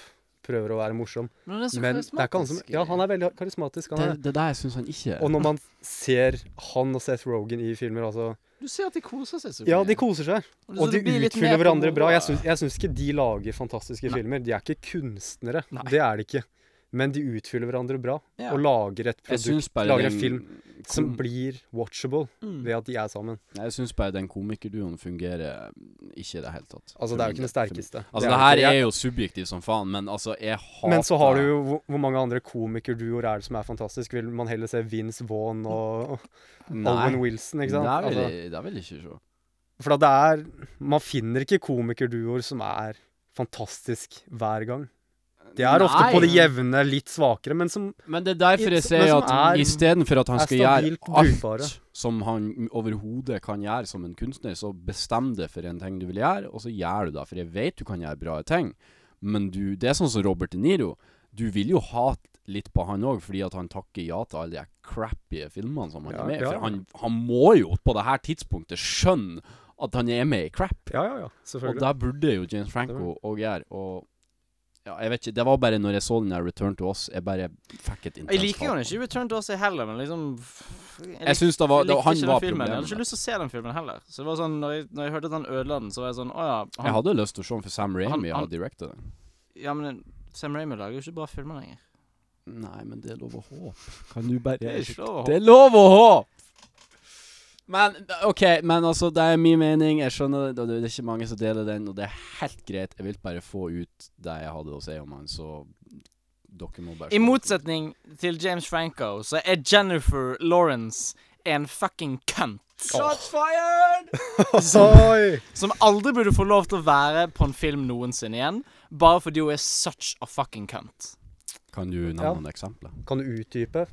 C: Prøver å være morsom.
E: Men han er så
C: Men det er ikke han som
E: Altså, karismatisk.
C: Ja, han er veldig karismatisk.
D: Det
C: Han er.
D: det er der jeg syns han ikke
C: Og
D: er.
C: når man ser han og Seth Rogan i filmer, altså
E: Du ser at de koser seg så
C: Ja,
E: mye.
C: de koser seg.
E: Og det- så
C: Og de
E: det blir litt mer
C: utfyller
E: på
C: hverandre bra.
E: moroa.
C: Jeg syns, jeg syns ikke de lager fantastiske filmer. De er ikke kunstnere.
E: Nei.
C: Det er de ikke. Men de utfyller hverandre bra,
E: Ja.
C: og lager et
D: Jeg
C: produkt
D: syns bare
C: lager en
D: den
C: film som
D: kom-
C: blir watchable
E: Mm.
C: ved at de er sammen.
D: Jeg syns bare den komikerduoen fungerer ikke i det hele tatt. For
C: Altså, det er jo
D: min
C: ikke den
D: del. For min-
C: sterkeste.
D: Altså,
C: er
D: det
C: ikke-
D: her
C: jeg-
D: er jo subjektivt som faen, men altså, jeg hater
C: Men så har du jo hvor, hvor mange andre komikerduoer er det som er fantastisk? Vil man heller se Vince Vaughn og og Owen
D: Nei,
C: Wilson, ikke sant?
D: Det vil,
C: Altså,
D: jeg, det vil jeg ikke se.
C: for at det er Man finner ikke komikerduoer som er fantastisk hver gang. De er ofte på det
D: Nei.
C: jevne, litt svakere, men som
D: Men det er derfor
C: Men
D: jeg sier
C: som
D: at
C: er-
D: istedenfor at han
C: er
D: skal gjøre
C: stabilt brukbare.
D: alt som han overhodet kan gjøre som en kunstner, så bestem deg for en ting du vil gjøre, og så gjør du det. For jeg vet du kan gjøre bra ting, men du Det er sånn som Robert De Niro. Du vil jo hate litt på han òg, fordi at han takker ja til alle de her crappy filmene som han
C: Ja,
D: er med i.
C: ja.
D: For han, han må jo på det her tidspunktet skjønne at han er med i crap.
C: Ja, ja, ja.
D: Og
C: Selvfølgelig.
D: der burde jo James Franco òg gjøre. Og ja, jeg vet ikke, det var bare når jeg så den der Return to Us, jeg bare fikk et intenst
E: Jeg liker jo den ikke i Return to Us heller, men liksom Jeg,
D: Jeg syns det var det,
E: likte
D: Han
E: ikke den
D: var
E: filmen. Jeg hadde
D: problemet.
E: ikke lyst til å se den filmen heller. Så det var sånn, Når jeg, når jeg hørte at han ødela den, så var jeg sånn Å ja.
D: Jeg
E: Han,
D: hadde lyst til å se den, for Sam
E: Han-
D: Ramy
E: han-
D: har directa den.
E: ja men Sam Ramy lager jo ikke bra filmer lenger.
D: Nei, men det er lov å håpe. Kan du bare
E: Det er ikke lov å
D: Det er lov å håpe! Men OK, men altså, det er min mening. Jeg skjønner det. og Det det er ikke mange som deler den, og det er helt greit. Jeg vil bare få ut det jeg hadde å si om han, så dere må bare
E: I motsetning til James Franco, så er Jennifer Lawrence en fucking cunt. Shots fired!
C: <laughs> Oi!
E: Som aldri burde få lov til å være på en film noensinne igjen, bare fordi hun er such a fucking cunt.
D: Kan du nevne
C: Ja.
D: noen eksempler?
C: Kan du utdype?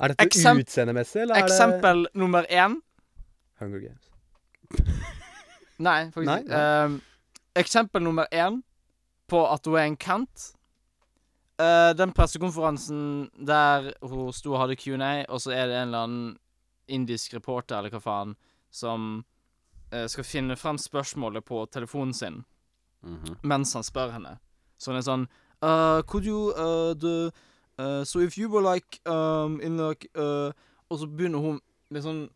C: Er dette
E: Eksem-
C: utseendemessig, eller er
E: Eksempel nummer én
C: det Hunger Games?
E: Nei, faktisk
C: Nei,
E: ikke. Ehm, Eksempel nummer én på at hun er en cunt. eh, den pressekonferansen der hun sto og hadde Q&A, og så er det en eller annen indisk reporter eller hva faen som eh, skal finne fram spørsmålet på telefonen sin
D: Mhm.
E: mens han spør henne. Så hun er sånn uh, Could you uh, the, uh, So if you were like um, in like uh, Og så begynner hun med sånn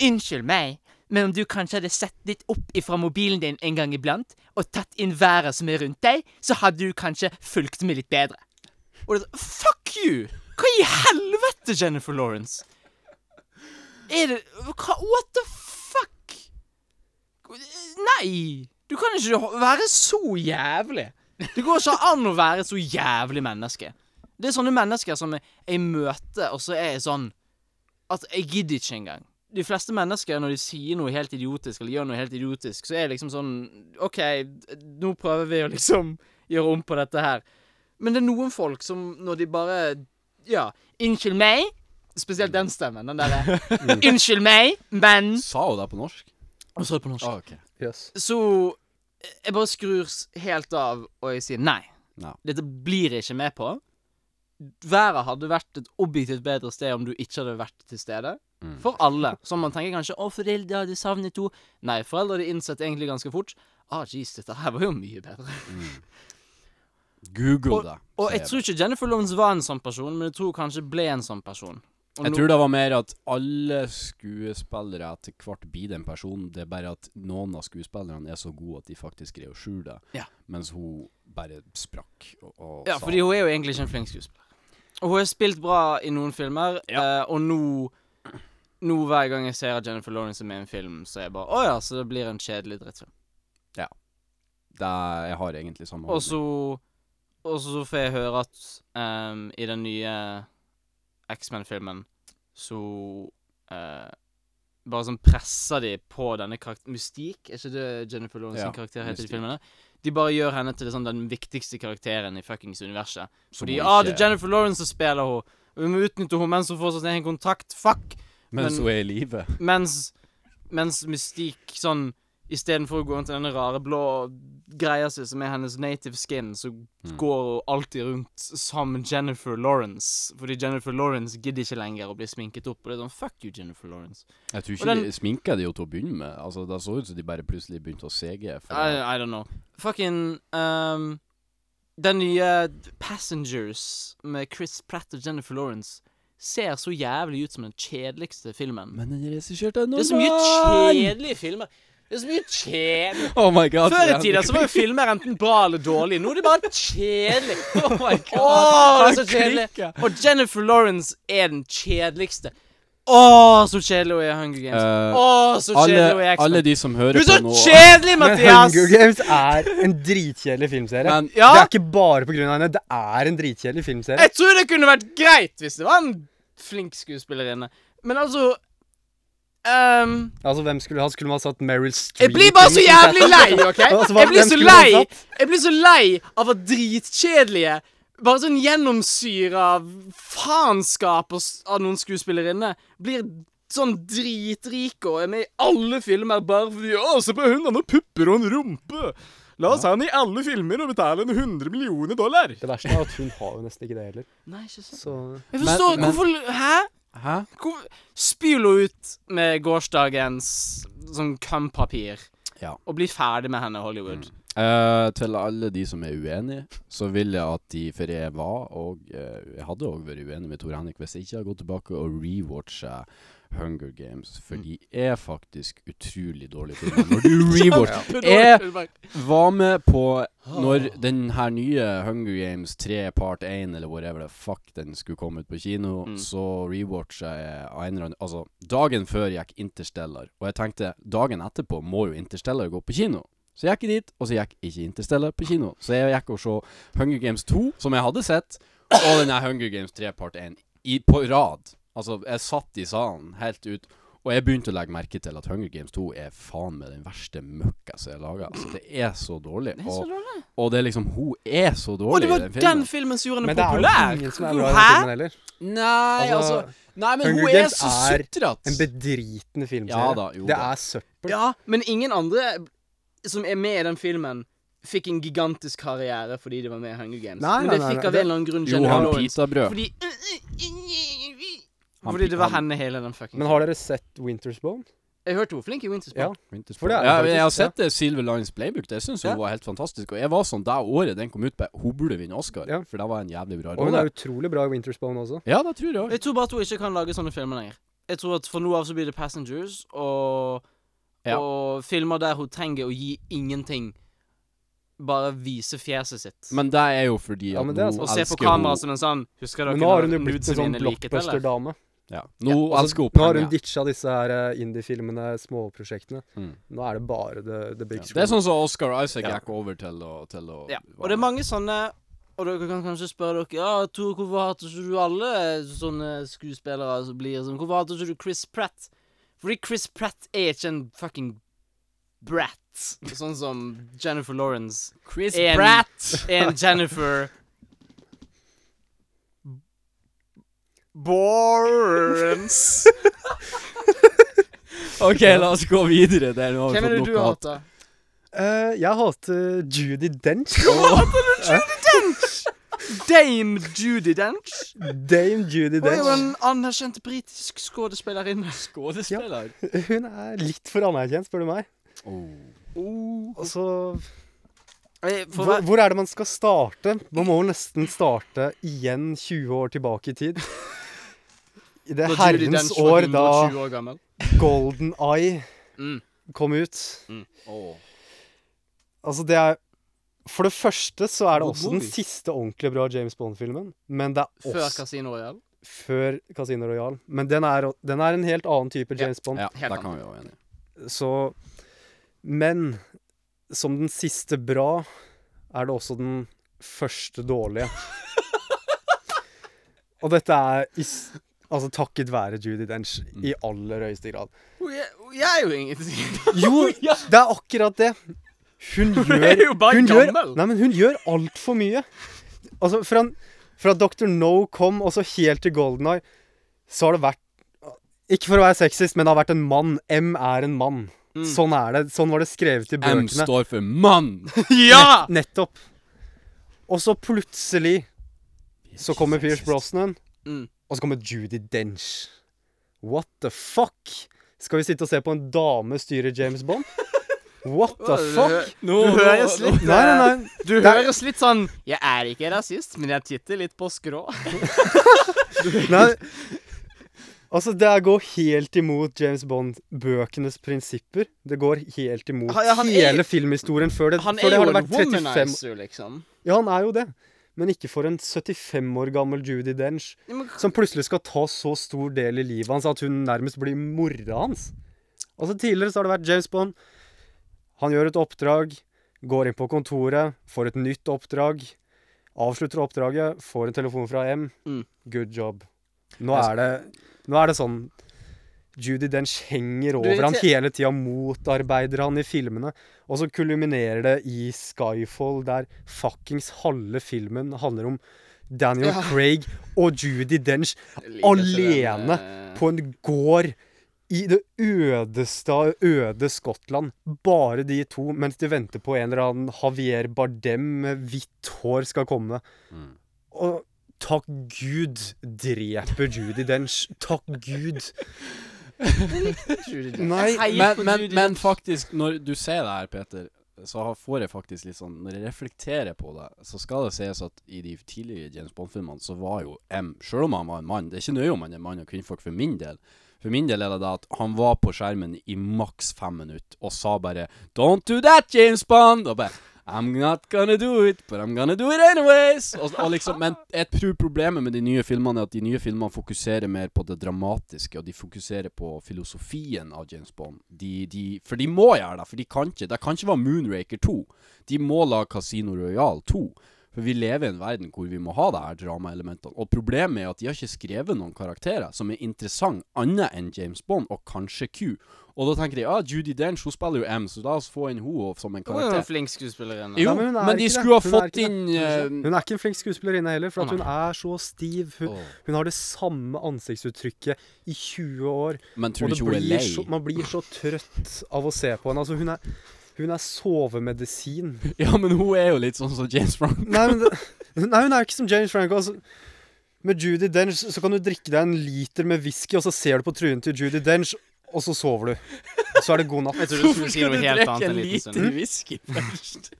E: Unnskyld meg, men om du kanskje hadde sett litt opp ifra mobilen din en gang iblant, og tatt inn været som er rundt deg, så hadde du kanskje fulgt med litt bedre. Og det er sånn Fuck you! Hva i helvete, Jennifer Lawrence? Er det hva, What the fuck? Nei! Du kan ikke ho- være så jævlig. Det går ikke an å være så jævlig menneske. Det er sånne mennesker som jeg- jeg møter, og så er jeg sånn At jeg gidder ikke engang. De fleste mennesker, når de sier noe helt idiotisk, eller gjør noe helt idiotisk, så er det liksom sånn OK, d- nå prøver vi å liksom gjøre om på dette her. Men det er noen folk som, når de bare Ja, unnskyld meg. Spesielt den stemmen. Den derre Unnskyld meg, men
D: Sa hun det på norsk?
E: Og så er det på norsk.
D: Ah, ok.
C: Jøss.
E: Så eh, jeg bare skrur s- helt av, og jeg sier nei.
D: Ja.
E: Dette blir jeg ikke med på. Verden hadde vært et objektivt bedre sted om du ikke hadde vært til stede.
D: Mm.
E: For alle. Som man tenker kanskje 'Å, foreldre hadde savnet henne'. Nei, foreldre hadde innsett egentlig ganske fort 'Ah, jeez, dette her var jo mye
D: <laughs>
E: bedre'.
D: Mm. Google det. sier
E: Og jeg tror ikke Jennifer Lawrence var en sånn person, men jeg tror kanskje ble en sånn person. Og
D: Jeg
E: nå-
D: tror det var mer at alle skuespillere etter hvert blir den personen. Det er bare at noen av skuespillerne er så gode at de faktisk greier å skjule det.
E: Ja.
D: Mens hun bare sprakk og, og
E: Ja,
D: sa
E: fordi hun er jo egentlig ikke en flink skuespiller. Og hun har spilt bra i noen filmer, eh, og nå Nå hver gang jeg ser at Jennifer Lawrence er med i en film, så er jeg bare Å ja, så det blir en kjedelig drittfilm.
D: det, Jeg har egentlig samme holdning.
E: Og så Og så får jeg høre at ehm, i den nye X-Men-filmen så eh, bare sånn presser de på denne karakter... Mystik? Er ikke det Jennifer Lawrence
D: Ja,
E: sin karakter heter i
D: Mystique.
E: filmene? De bare gjør henne til sånn, den viktigste karakteren i fuckings universet.
D: Som
E: Fordi
D: hun
E: ah,
D: ikke-
E: det er Jennifer Lawrence som spiller henne. Og Vi må utnytte henne mens hun får sin egen kontakt. Fuck!
D: Mens
E: men-
D: hun er i live.
E: Mens, mens Mystique sånn Istedenfor å gå rundt i denne rare blå greia si som er hennes native skin, så går hun alltid rundt som Jennifer Lawrence. Fordi Jennifer Lawrence gidder ikke lenger å bli sminket opp. Og det er sånn Fuck you, Jennifer Lawrence.
D: Jeg tror
E: Og
D: ikke
E: den-
D: de sminka de jo til å begynne med. Altså Det så ut som de bare plutselig begynte å sege. For
E: I, I don't know. Fucking ehm, Den nye Passengers med Chris Pratt og Jennifer Lawrence ser så jævlig ut som den kjedeligste filmen.
D: Men den regisserte
E: Det er så mye kjedelige filmer. Det er så mye kjedelig
D: Oh my god.
E: Før i
D: Ren.
E: tida
D: <laughs>
E: så var jo filmer enten bra eller dårlig. Nå er det bare kjedelig. Oh my god. det er så kjedelig. Og Jennifer Lawrence er den kjedeligste. Å, så kjedelig hun er i Hunger Games.
D: Eh,
E: Å, så kjedelig hun er i
D: alle, alle
E: X-Men.
D: de som hører
E: Du er så
D: på nå
E: kjedelig,
C: Men
E: Mathias!
C: Hunger Games er en dritkjedelig filmserie.
D: Men-
E: Ja.
C: Det er ikke bare på grunn av henne, det er en dritkjedelig filmserie.
E: Jeg tror det kunne vært greit hvis det var en flink skuespillerinne. Men altså ehm,
C: Altså, hvem skulle ha? Skulle man ha satt Meryl Streep?
E: Jeg blir bare så
C: inn i
E: jævlig
C: setet? <laughs>
E: lei, <laughs> OK?
C: Altså, hva-
E: Jeg blir
C: hvem
E: så
C: skulle man
E: lei
C: satt?
E: Jeg blir så lei av at dritkjedelige bare sånn gjennomsyra av faenskap og s- av noen skuespillerinne blir sånn dritrike og er med i alle filmer bare fordi 'Å, se på hun, han har pupper og en rumpe'. La oss ha henne i alle filmer og betale henne 100 millioner dollar.
C: Det verste er at hun har jo nesten ikke det heller.
E: Nei, ikke sant.
C: Så
E: Jeg
D: Men-
E: forstår
D: men-
E: Hvorfor Hæ?
D: Hæ?
E: Hvor, spyl henne ut med gårsdagens sånn kømpapir
D: Ja.
C: Mm.
E: og bli ferdig med henne, Hollywood.
D: Eh, til alle de som er uenige, så vil jeg at de For jeg var og eh, Jeg hadde òg vært uenig med Tor Henrik hvis jeg ikke hadde gått tilbake og rewatcha Hunger Games, for
E: Mm.
D: de er faktisk utrolig dårlige filmer. Når du
E: <laughs>
D: rewatcher
C: Eh,
D: Jeg var med på når den her nye Hunger Games 3 part 1 eller whatever the fuck den skulle komme ut på kino,
E: Mm.
D: så rewatcha jeg av en eller annen Altså, dagen før gikk Interstellar, og jeg tenkte dagen etterpå må jo Interstellar gå på kino. Så jeg gikk dit, og så gikk ikke Interstellar på kino. Så jeg gikk og så Hunger Games 2, som jeg hadde sett, og den her Hunger Games 3 part 1 i, på rad. Altså, jeg satt i salen helt ut, og jeg begynte å legge merke til at Hunger Games 2 er faen meg den verste møkka som er laga. Altså, det er så dårlig.
E: Det er så
D: Og,
E: dårlig.
D: og det er liksom Hun er så
E: Å,
D: dårlig
E: det var
D: i den
E: den
D: filmen.
E: filmen som gjorde henne
C: Men det er jo
E: populær!
C: ingen som er bra i den
E: Hæ?
C: filmen heller.
D: Nei, altså,
C: Altså,
D: Nei, men
C: Hunger
D: hun er
C: Games
D: så
C: er En
D: sutrete.
C: bedritende filmserie.
D: Ja da, jo
C: det
D: da.
C: er søppel.
E: Ja, men ingen andre som er med i den filmen, fikk en gigantisk karriere fordi de var med i Hunger Games.
C: Nei,
E: men det
C: nei, nei,
E: fikk
C: nei,
E: av
C: det-
E: en eller annen grunn Jennifer
D: Johan
E: Lawrence.
D: Pitabrød.
E: Fordi
D: Han
E: Fordi
D: pi-
E: det var
D: han-
E: henne hele den fucking
C: Men har dere sett Winter's Bone?
E: Jeg hørte hun var flink i Wintersport.
C: Ja. For
D: Wintersport.
C: det er det
D: Ja, men jeg har
C: faktisk, ja.
D: sett det Silver Lines Playbook. Det syns hun
C: Ja.
D: var helt fantastisk. Og jeg var sånn det året den kom ut, på, hun burde vinne Oscar.
C: Ja.
D: For det var en jævlig bra
C: Og hun
D: rolle.
C: er utrolig bra i Winter's Bone også.
D: Ja, det tror jeg òg.
E: Jeg tror bare at hun ikke kan lage sånne filmer lenger. Jeg tror at For nå av så blir det Passengers og,
D: Ja.
E: og filmer der hun trenger å gi ingenting. Bare vise fjeset sitt.
D: Men det er jo fordi
C: Ja,
D: at
C: men det
D: nå
C: er
E: og
C: sånn- sant.
E: se på
D: elsker hun
E: kamera som en sånn Husker dere
C: Men nå har hun
E: når
C: jo blitt
E: nudesen
C: en sånn
E: mine liket, eller?
C: blockbuster-dame.
D: ja. Nå
C: Altså,
D: elsker hun
C: nå har hun
D: penger.
C: ditcha disse her eh, indie-filmene, småprosjektene.
D: Mm.
C: Nå er det bare the, the big
D: Ja. Det
C: screen.
D: er sånn som Oscar Isaac
C: liksom- Ja.
D: gikk over til å, til å
E: Ja. Og det er mange sånne Og dere kan kanskje spørre dere Ja, Tor, hvorfor hater ikke du alle sånne skuespillere som blir sånn? Hvorfor hater ikke du Chris Pratt? Fordi Chris Pratt er ikke en fucking brat. Sånn som Jennifer Lawrence.
D: Chris
E: En-
C: <laughs>
D: Pratt!
E: En Jennifer Borens.
D: OK, la oss gå videre. Der, nå har vi
E: Hvem
D: fått
E: er det
D: nok
E: du
D: hat.
E: hater?
C: <laughs> Eh, jeg hater Judy
D: <laughs>
C: Dench.
E: Dame Judy Dench.
C: Dame Judy
E: Hun er jo
C: Dench.
E: en anerkjent britisk skuespillerinne.
D: Skådespiller.
C: Hun er litt for anerkjent, spør du meg.
E: Oh.
C: Altså,
E: Eh, for
C: hvor,
E: hver-
C: hvor er det man skal starte? Man må jo nesten starte igjen 20 år tilbake i tid. I det
E: når Judi
C: herrens
E: Dench var
C: år da
E: 120 år gammel.
C: Golden Eye
E: Mm.
C: kom ut.
D: Åh.
C: Altså, det er For det første så er det
D: Good
C: også den
D: movie.
C: siste ordentlig bra James Bond-filmen. Men det er
E: Før
C: også
E: Casino Royale.
C: før Casino Royale. Men den er, den er en helt annen type
E: Ja.
C: James Bond.
D: Ja,
E: Helt
D: der
E: sant.
D: kan vi være enige.
C: Så Men som den siste bra, er det også den første dårlige. Og dette er i, s- altså takket være Judy Dench i aller høyeste grad.
E: Hun er, hun er jo ingenting.
C: Jo, det er akkurat det. Hun
E: Hun
C: gjør
E: er jo bare
C: hun gjør,
E: gammel.
C: nei, men hun gjør altfor mye. Altså, fra, fra Dr. No kom, og så helt til Golden Eye, så har det vært Ikke for å være sexist, men det har vært en mann. M er en mann.
E: Mm.
C: Sånn er det. Sånn var det skrevet i
D: M
C: bøkene.
D: står for mann!
E: <laughs> ja!
C: <laughs> Nettopp. Og så plutselig så kommer Pierce Brosnan,
E: Mm.
C: og så kommer Judy Dench. What the fuck? Skal vi sitte og se på en dame styre James Bond? What the fuck?
E: Du høres litt
C: Nei, nei, nei.
E: Du høres litt sånn Jeg er ikke rasist, men jeg titter litt på skrå.
C: Nei Altså, det er- går helt imot James Bond-bøkenes prinsipper. Det går helt imot
E: Ja, han er-
C: hele filmhistorien før det,
E: Han
C: før
E: er
C: det
E: jo
C: har det
E: en
C: vært 35
E: womanizer, liksom.
C: Ja, han er jo det. Men ikke for en 75 år gammel Judy Dench
E: Ja, men-
C: som plutselig skal ta så stor del i livet hans at hun nærmest blir mora hans. Altså, tidligere så har det vært James Bond. Han gjør et oppdrag, går inn på kontoret, får et nytt oppdrag, avslutter oppdraget, får en telefon fra M.
E: Mm.
C: Good job. Nå er det, nå er det sånn Judy Dench henger
E: Du,
C: over han
E: til-
C: hele tida, motarbeider han i filmene. Og så kulminerer det i Skyfall, der fuckings halve filmen handler om Daniel
E: Ja.
C: Craig og Judy Dench
E: Jeg liker ikke
C: alene
E: den, eh,
C: på en gård i det ødeste av øde Skottland. Bare de to, mens de venter på en eller annen Javier Bardem med hvitt hår skal komme.
D: Mm.
C: Og takk Gud dreper Judy Dench. Takk Gud.
E: Judy Dench.
C: Nei,
E: Jeg heier
D: Men,
E: på
D: men,
E: Judi
D: men
E: Dench.
D: faktisk, når du ser det her, Peter, så har- får jeg faktisk litt sånn Når jeg reflekterer på det, så skal det sies at i de tidligere James Bond-filmene så var jo M, selv om han var en mann Det er ikke nøye om han er mann og kvinnfolk for min del. For min del er det da at han var på skjermen i maks fem minutter og sa bare 'Don't do that, James Bond!' Og bare I'm not gonna do it, but I'm gonna do it anyways! Og, og liksom, men jeg tror problemet med de nye filmene er at de nye filmene fokuserer mer på det dramatiske, og de fokuserer på filosofien av James Bond. De, de, for de må gjøre det, for de kan ikke. Det kan ikke være Moonraker 2. De må lage Casino Royale 2. For vi lever i en verden hvor vi må ha det her dramaelementene. Og problemet er at de har ikke skrevet noen karakterer som er interessant annet enn James Bond og kanskje Q. Og da tenker de ah, Judy Dench hun spiller jo M, så la oss få inn henne som en
E: Hun er jo
D: karakter.
E: en flink skuespillerinne.
D: <laughs> Jo,
C: Nei, men
D: men,
C: hun er
D: de
C: ikke det.
D: skulle ha
C: Hun er
D: fått
C: ikke det.
D: inn eh,
C: Hun er ikke en flink skuespillerinne heller, for at
E: Å,
C: hun er så stiv. Hun,
D: Åh.
C: hun har det samme ansiktsuttrykket i 20 år.
D: eh, Men tror
C: og
D: du
C: det
D: ikke hun er
C: blir
D: lei?
C: Så, man blir så trøtt av å se på henne. Altså, hun er, hun er sovemedisin.
D: Ja, men hun er jo litt sånn som James Brown.
C: Nei, men det, <laughs> nei, hun er jo ikke som James Franco. Altså. Med Judy Dench så kan du drikke deg en liter med whisky, og så ser du på trynet til Judy Dench, og så sover du. Så er det god natt.
E: Jeg trodde du skulle si noe helt annet en liten
D: sånn-
E: stund.
D: whisky først?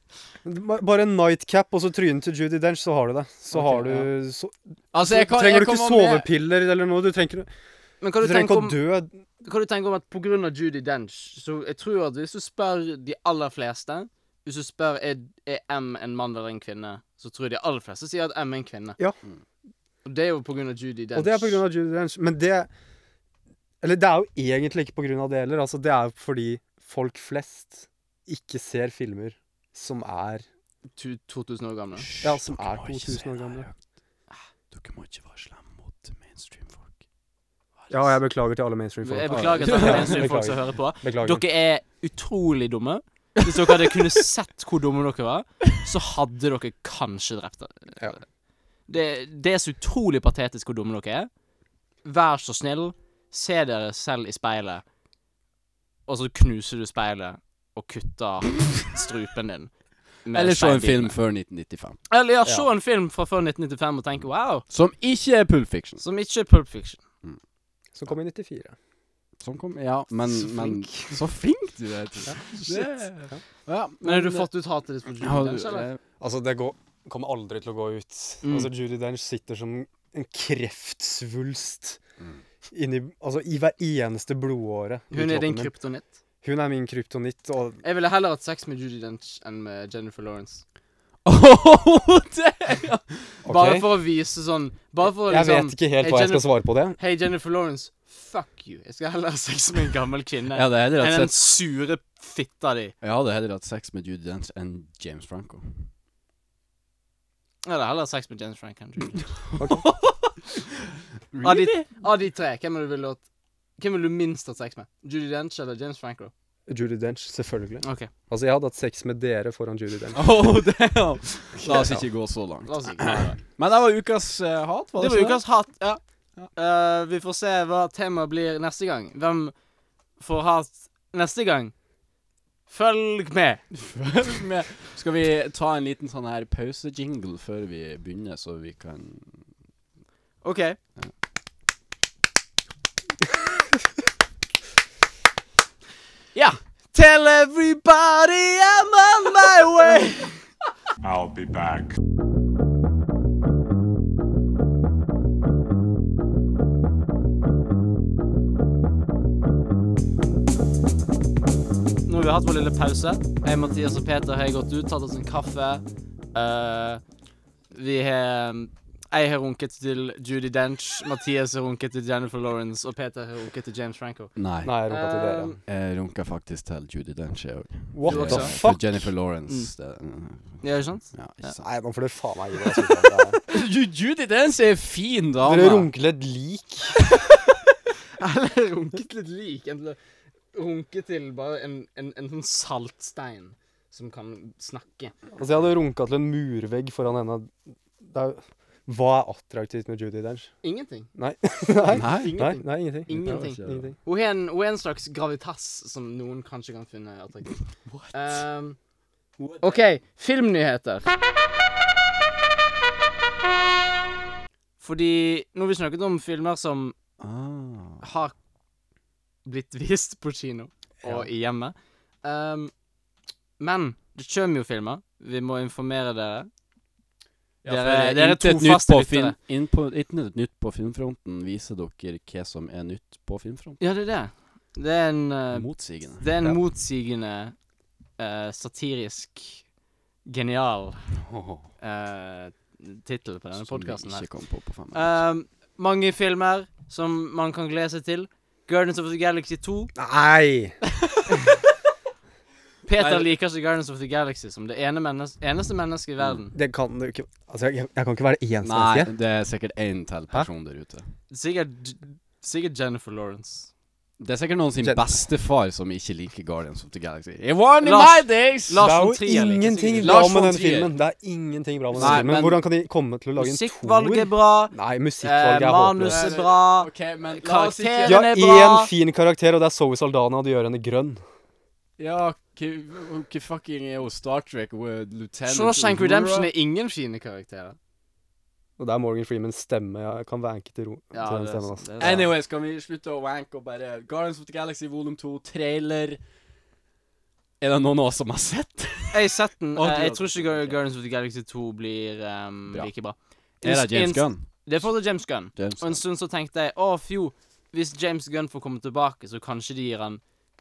C: Bare en nightcap og så trynet til Judy Dench, så har du det. Så
E: Ok,
C: har du så,
D: Altså, jeg kan,
C: Trenger
D: jeg
C: du ikke
D: kan være med-
C: sovepiller eller noe? Du trenger, du
E: Men hva du tenker
C: trenger ikke
E: om,
C: å dø.
E: hva du tenker om at på grunn av Judy Dench Så jeg tror at hvis du spør de aller fleste Hvis du spør er, er M en mann eller en kvinne, så tror jeg de aller fleste sier at M er en kvinne.
C: Ja.
E: Og det er jo på grunn av Judy Dench.
C: Og det er på grunn av Judy Dench. Men det Eller det er jo egentlig ikke på grunn av det heller. Altså, det er jo fordi folk flest ikke ser filmer som er
E: to, 2000 år gamle.
C: Ja, som
D: Dere
C: er
D: må ikke
C: 2000 år
D: si det
C: gamle.
D: høyt. Dere må ikke være slemme mot mainstream-folk.
C: Ja, jeg beklager til alle mainstream-folk.
E: Jeg beklager til
C: <laughs>
E: alle eneste folk som hører på.
C: Beklager.
E: Dere er utrolig dumme. Hvis dere hadde kunne sett hvor dumme dere var, så hadde dere kanskje drept dere.
C: Ja.
E: Det, det er så utrolig patetisk hvor dumme dere er. Vær så snill, se dere selv i speilet, og så knuser du speilet og kutter strupen din. med
D: Eller se en film
E: speilbitene.
D: før 1995.
E: Eller ja, se en film fra før 1995 og tenk wow,
D: Som ikke er Pulp Fiction.
E: som ikke er Pulp Fiction.
C: Som kom i 94.
D: Som kom, ja, men,
E: Så
D: men
E: flink.
D: Så flink du er, Tor. Det- Ja,
E: Men har du fått ut hatet ditt på Judy
D: Ja,
E: Dench, eller?
D: eh,
C: Altså, det går, kommer aldri til å gå ut.
E: Mm.
C: Altså, Judy Dench sitter som en kreftsvulst inni Altså, i hver eneste blodåre. i
E: Mm. Hun er din
C: kroppen min.
E: kryptonitt.
C: Hun er min kryptonitt, og
E: Jeg ville heller hatt sex med Judy Dench enn med Jennifer
D: <laughs>
E: Lawrence.
D: det, ja.
C: OK?
E: Bare for å vise sånn Bare for å
C: jeg
E: liksom
C: vet ikke helt
E: hey,
C: hva jeg skal
E: Jennifer-
C: svare på det.
E: <laughs> Hei, Jennifer Lawrence, fuck you. Jeg skal heller ha sex med en gammel kvinne
D: ja, det er heller
E: enn den
D: hatt sex,
E: sure fitta di.
D: ja, det er heller hatt sex med Judy Dench enn James Franco.
E: Jeg hadde heller hatt sex med Jennifer Frank enn Judy. Dench. Av de,
D: Really?
E: av de tre, hvem ville du hatt Hvem ville du minst hatt sex med? Judy Dench eller James Franco?
C: Judy Dench, selvfølgelig.
E: OK,
C: Altså, jeg hadde hatt sex med dere foran Judy Dench.
D: Oh, damn. <laughs> La oss ikke gå så langt.
E: la oss ikke gjøre det.
D: Men det var ukas eh, hat, var
E: Det
D: det,
E: var
D: ikke
E: ukas hat. Ja. Eh, vi får se hva temaet blir neste gang. Hvem får hat neste gang? Følg med.
D: Følg <laughs> med. Skal vi ta en liten sånn her pausejingle før vi begynner, så vi kan
E: OK. Ja. Tell everybody I'm on my way.
G: I'll be back.
E: Nå har vi hatt vår lille pause. Jeg, Mathias og Peter har gått ut, tatt oss en kaffe. Eh, vi har Jeg har runket til Judy Dench, Mathias har runket til Jennifer Lawrence, og Peter har runket til James Franco.
D: Nei.
C: Nei, jeg rumpa til dere.
E: Um,
D: Jeg runka faktisk til Judy Dench, jeg òg.
E: Du
C: What the
E: også?
C: fuck?
D: Jennifer Lawrence. Det,
E: Ja, ikke <laughs> sant?
D: Mm. ja, ikke sant.
C: Nei, nå får dere faen
E: <laughs>
C: meg gi dere. jeg synes at det er-
D: Ju- Judy Dench er en fin dame.
C: Dere runker til et lik.
E: Eller runket litt lik. Eller runket til bare en, en, en sånn saltstein som kan snakke.
C: Altså, jeg hadde runka til en murvegg foran henne. Det er, jo- hva er attraktivt med Judy Dench?
E: Ingenting.
C: Nei. <laughs>
D: Nei.
C: Nei,
E: Ingenting.
C: nei, ingenting.
E: Ingenting.
C: Ingenting.
E: Hun har en, hun har en slags gravitas som noen kanskje kan finne attraktiv. What? OK, filmnyheter. Fordi nå har vi snakket om filmer som
D: Ah.
E: har blitt vist på kino og i hjemmet. Ehm, men Det kommer jo filmer. Vi må informere dere.
D: Ja,
E: Dere-
D: for, eh,
E: dere er
D: inntil et nytt
E: trofaste
D: på
E: lyttere.
D: film- inn på- Inntil et nytt på filmfronten viser dere hva som er nytt på filmfronten.
E: Ja, det er det. Det er en eh,
D: Motsigende.
E: Det er en
D: Ja.
E: motsigende, eh, satirisk, genial
D: Åh,
E: uh, tittel på denne
D: som vi
E: podkasten her.
D: Ikke kom på på fem minutter.
E: Eh, mange filmer som man kan glede seg til. Guardians of the Galaxy 2.
C: Nei!
E: Peter
D: Nei, det- Mm.
E: liker ikke Guardians of the Galaxy som det ene mennes eneste mennesket i verden.
C: Det kan du ikke Altså, jeg, jeg kan ikke være det eneste
D: Nei,
C: menneske.
D: det er sikkert én til person der ute.
E: Sikkert, sikkert Jennifer Lawrence.
D: Det er sikkert noen sin
C: Jen-
D: bestefar som ikke liker Guardians of the Galaxy. It was in
E: Lars-
D: my days!
E: Lars
C: Det
E: von
C: er
E: Trier
C: jo
E: liker
C: ingenting
E: sikkert-
C: bra
E: Lars von
C: med den
E: Trier.
C: filmen. Det er ingenting bra med den
D: Nei,
C: filmen.
D: men-
C: Hvordan kan de komme til å lage en toer?
E: Musikkvalget er bra.
C: Nei,
E: Eh,
C: musikkvalget er håpløst.
E: manuset er bra.
D: Ok, men la oss ikke
E: Karakteren
C: De har
E: er
C: én
E: bra.
C: fin karakter, og det er Zoe Saldana, og de gjør henne grønn.
D: Ja, hva hva fucking er jo Star Trek with Lieutenant
E: Shawshank
D: Uhura?
E: Redemption er ingen fine karakterer.
C: Og det er Morgan Freemans stemme. Jeg kan vanke til ro.
E: Ja,
C: til den
E: det er
C: stemmen,
E: sant,
C: altså.
E: det er sant.
D: Anyways, kan vi slutte å wanke og bare Guardians of the Galaxy volum 2, trailer Er det noen av oss som har sett?
E: Jeg har sett den.
D: Å,
E: Eh,
D: du har
E: Jeg tror
D: sett
E: ikke
D: den,
E: Guar-
D: ok.
E: Guardians of the Galaxy 2 blir ehm,
D: Bra.
E: like bra.
D: Er det
E: Inst-
D: James
E: inst-
D: Gunn?
E: Det er fortsatt James Gunn.
D: James
E: Og en stund så tenkte jeg å fjo, hvis James Gunn får komme tilbake, så kanskje de gir han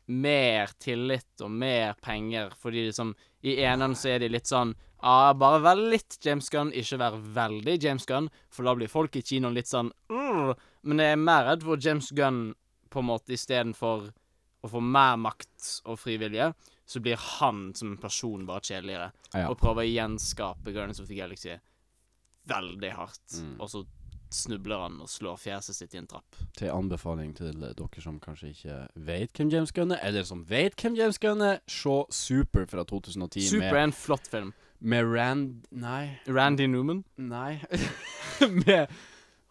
E: mer tillit og mer penger, fordi liksom i eneren så er de litt sånn Ja, bare vær litt James Gunn, ikke vær veldig James Gunn, for da blir folk i kinoen litt sånn «Urr». Men jeg er mer redd for James Gunn på en måte istedenfor å få mer makt og frivillige, så blir han som en person bare kjedeligere.
D: Ja.
E: Og prøver å gjenskape Guardians of the Galaxy veldig hardt.
D: Mm.
E: Og så snubler han og slår fjeset sitt i en trapp.
D: Til anbefaling til eh, dere som kanskje ikke vet hvem James Gunn er, eller som vet hvem James Gunn er, se Super fra 2010
E: Super er en flott film.
D: med Med Rand... Nei.
E: Randy Newman.
D: Nei. <laughs> med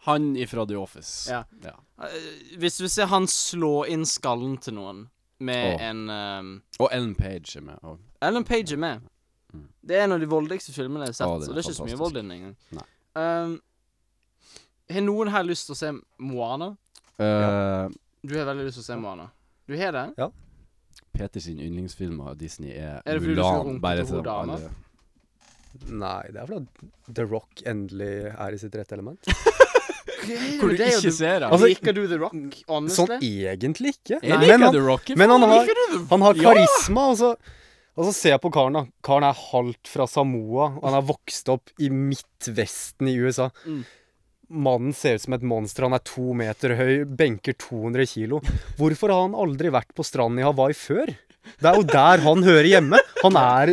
D: han ifra The Office.
E: Ja. Eh, Hvis du ser han slå inn skallen til noen med
D: Åh.
E: en ehm,
D: Og Ellen Page er med. Og
E: Ellen Page er med.
D: Mm.
E: Det er en av de voldeligste filmene jeg har sett.
D: Åh, den
E: og
D: er
E: det er ikke så mye
D: fantastisk.
E: vold i den engang.
D: Nei.
E: Ehm, har noen her lyst til å se Moana?
D: eh,
E: Du har veldig lyst til å se Moana. Du har det?
D: Peter sin yndlingsfilm av Disney er,
E: Er det fordi du skal
D: Mulan.
E: runke
D: Bare
E: til
D: til
E: hun dama?
D: alle.
C: Nei, det er fordi The Rock endelig er i sitt rette element.
D: Hvor du ikke ser ham.
C: Altså,
E: Liker du The Rock, honestly?
C: Sånn egentlig ikke.
D: jeg
C: men
D: liker
C: han,
D: The Rock.
C: men han har, han har
D: Ja!
C: karisma, og så og så ser jeg på karen, da. Karen er halvt fra Samoa, og han er vokst opp i Midtvesten i USA.
E: Mm.
C: Mannen ser ut som et monster. Han er to meter høy, benker 200 kilo. Hvorfor har han aldri vært på stranden i Hawaii før? Det er jo der han hører hjemme. Han er,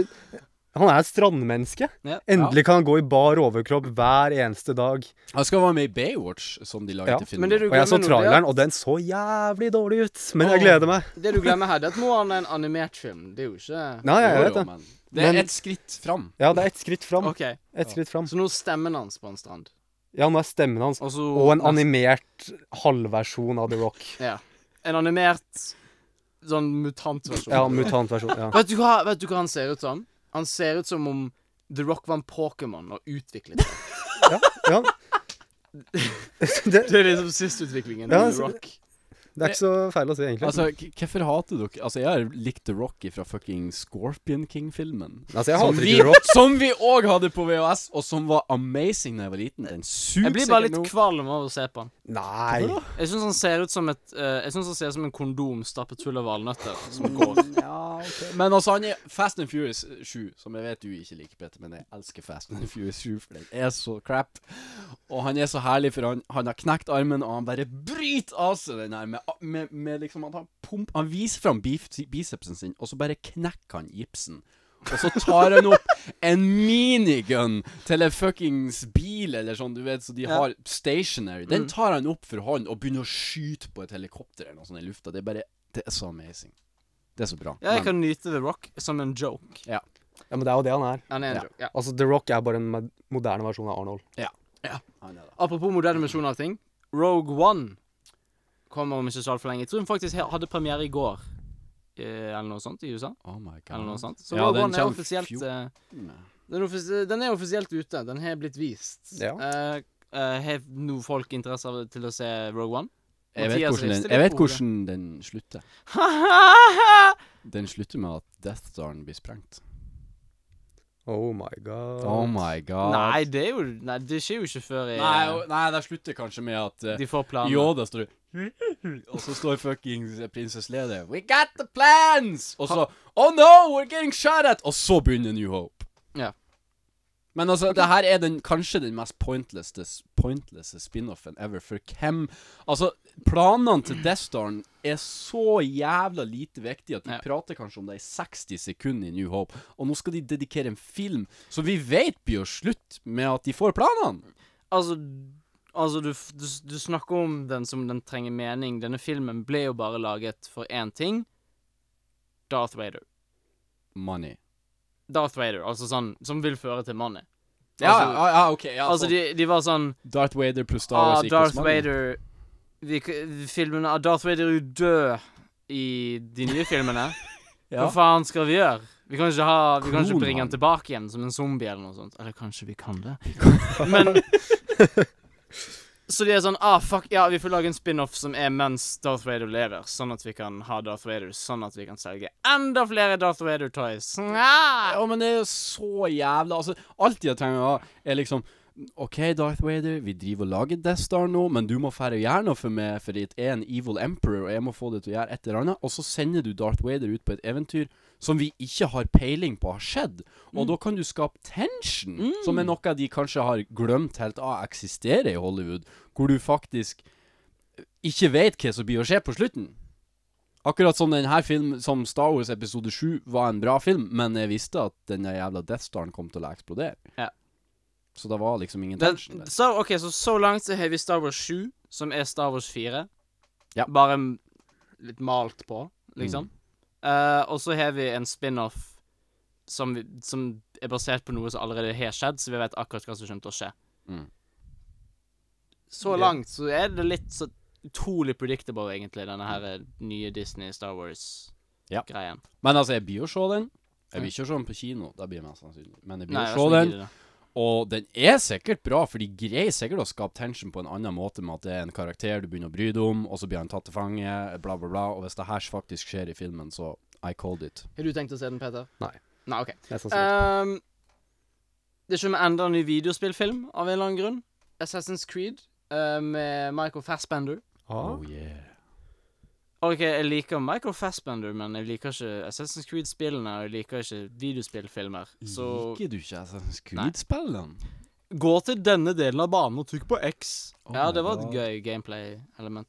C: han er et strandmenneske.
E: Ja.
C: Endelig kan han gå i bar overkropp hver eneste dag.
D: Han skal være med i Baywatch, som de lagde
C: Ja,
D: til film.
E: Men det
D: om.
E: du
C: Og jeg
E: glemmer
C: så
E: nå, det er
C: traileren, og den så jævlig dårlig ut. Men jeg gleder meg.
E: Det du glemmer her, det er at Moana er en animert film. Det er jo ikke
C: Nei, jeg
D: Jo,
C: vet
D: jo,
C: det.
D: men Det er
C: Men-
D: et skritt fram.
C: Ja, det er ett skritt fram.
E: OK,
C: Et skritt fram.
E: så nå er stemmen hans på en strand.
C: Ja, nå er stemmen hans
E: Og, så
C: Og en animert halvversjon av The Rock.
E: Ja. En animert sånn mutantversjon.
C: Ja, mutantversjon. <laughs> Ja.
E: Vet du, hva, vet du hva han ser ut som? Han ser ut som om The Rock var en Pokémon og utviklet seg.
C: ja, ja. Det,
E: Det er liksom sistutviklingen til
C: Ja,
E: The
C: så-
E: Rock.
C: det er ikke så feil å si, egentlig.
D: Altså, k- Hvorfor hater dere Altså, jeg har likt The Rock fra fucking Scorpion King-filmen.
C: Altså, jeg
D: Som
C: hater
D: vi
C: ikke The Rock.
D: Som vi òg hadde på VHS, og som var amazing da jeg var liten. Den suger
E: Jeg blir bare litt
D: sikkert nå.
E: kvalm av å se på han.
C: Nei.
E: Jeg syns han ser ut som et eh, Jeg synes han ser ut som en kondom stappet full av valnøtter som går.
D: Ja, ok. Men altså, han er Fast and Furious 7, som jeg vet du ikke liker, Peter, men jeg elsker Fast and Furious 7, for den er så crap. Og han er så herlig, for han, han har knekt armen, og han bare bryter av seg den her med, med, med liksom at han, pump, han viser fram bif, bicepsen sin, og så bare knekker han gipsen. Og så tar han opp en minigun til en fuckings bil eller sånn, du vet, så de har stationary.
E: Mm.
D: Den tar han opp for hånd og begynner å skyte på et helikopter eller noe sånt i lufta. Det er bare Det er så amazing. Det er så bra.
E: Ja, jeg
D: Men-
E: kan nyte The Rock som en joke.
C: Ja, men det er jo det han er.
E: Han er en
D: Ja.
E: joke. Ja.
C: Altså, The Rock er bare en med- moderne versjon av Arnold.
D: Han er det.
E: Apropos moderne versjon av ting. Rogue One kommer om ikke så altfor lenge. Jeg tror den faktisk he- hadde premiere i går. eh, Eller noe sånt i USA.
D: Oh my god.
E: Eller noe sånt. Så
D: Ja,
E: Rogue
D: den
E: One er
D: kommer
E: offisielt
D: fjor-
E: eh, den, er offis- den er offisielt ute. Den har blitt vist.
C: Ja.
E: Eh, eh, Har nå folk interesse av til å se Rogue One?
D: Jeg vet,
E: Mathias
D: hvordan den,
E: rister
D: jeg
E: litt
D: vet
E: på hodet. <laughs>
D: hvordan den slutter. Den slutter med at Death Starn blir sprengt.
C: Oh my god.
D: Oh my god.
E: Nei, det er jo Nei, det skjer jo ikke før i
D: Nei, og- nei, det slutter kanskje med at eh,
E: de får planen.
D: Yoda står Og så står fucking prinsesse Leia We got the plans! Og så Oh no, we're getting shot at! Og så begynner New Hope.
E: Ja.
D: Men altså, det her er den, kanskje den mest pointlesse, pointlesse spin-offen ever. For hvem Altså, planene til Death Staren er så jævla lite viktige at de
E: Ja.
D: prater kanskje om det i 60 sekunder i New Hope. Og nå skal de dedikere en film som vi vet blir å slutte med at de får planene.
E: Altså, altså du, f- du, s- du snakker om den som den trenger mening. Denne filmen ble jo bare laget for én ting. Darth Vader.
D: Money.
E: Darth Vader, altså sånn Som vil føre til money.
D: Ja,
E: Altså-
D: ja, ja, OK. Ja,
E: Altså,
D: sånn.
E: de, de var sånn
D: Darth Vader pluss Star Wars
E: Ah,
D: equals
E: Darth
D: money.
E: Vader vi, k- Filmene ah, Darth Vader er jo død i de nye <laughs> filmene.
D: Ja.
E: Hva faen skal vi gjøre? Vi kan ikke, ha, vi kan ikke
D: Klon
E: bringe
D: han.
E: han tilbake igjen som en zombie eller noe sånt. Eller kanskje vi kan <laughs> det. Men Så de er sånn Ah, fuck, ja, vi får lage en spin-off som er mens Darth Vader lever, sånn at vi kan ha Darth Vader, sånn at vi kan selge enda flere Darth Vader-toys. Nja.
D: Ja, men det er jo så jævla Altså, alt de trenger å ha, er liksom OK, Darth Vader, vi driver og lager Death Star nå, men du må færre gjøre noe for meg, for det er en evil emperor, og jeg må få deg til å gjøre et eller annet. Og så sender du Darth Vader ut på et eventyr som vi ikke har peiling på har skjedd. Og da kan du skape tension, som er noe de kanskje har glemt helt av eksisterer i Hollywood, hvor du faktisk ikke vet hva som blir å skje på slutten. Akkurat som denne filmen, som Star Wars episode 7 var en bra film, men jeg visste at den jævla Death Staren kom til å eksplodere.
E: Ja.
D: Så det var liksom ingen
E: Den,
D: tension der.
E: så, ok, så så langt så har vi Star Wars 7, som er Star Wars 4.
D: Ja.
E: Bare m- litt malt på, liksom.
D: Mm.
E: Eh, og så har vi en spin-off som, vi- som er basert på noe som allerede har skjedd, så vi vet akkurat hva som kommer til å skje.
D: Mm.
E: Så langt så er det litt så utrolig predictable, egentlig, denne her eh, nye Disney-Star
D: Ja.
E: Wars-greien.
D: Men altså, jeg blir å se den. Jeg vil ikke se den på kino, det blir jeg mest sannsynlig. Men jeg blir å se den, og den er sikkert bra, for de greier sikkert å skape tension på en annen måte med at det er en karakter du begynner å bry deg om, og så blir han tatt til fange, bla, bla, bla. Og hvis det her faktisk skjer i filmen, så I called it.
E: Har du tenkt å se den, Peter?
C: Nei.
E: Nei, ok.
C: Jeg sa sånn.
E: Um, det kommer enda en ny videospillfilm av en eller annen grunn. Assassin's Creed eh, med Michael Fassbender.
C: ah,
D: Oh yeah.
E: Ok, Jeg liker Michael Fassbender, men jeg liker ikke Assassin's Creed-spillene. Og jeg liker ikke videospillfilmer. Så
D: Liker du ikke Assassin's Creed-spillene?
E: gå til denne delen av banen og trykk på X.
D: Oh
E: ja,
D: my
E: det var et
D: God.
E: gøy gameplay-element.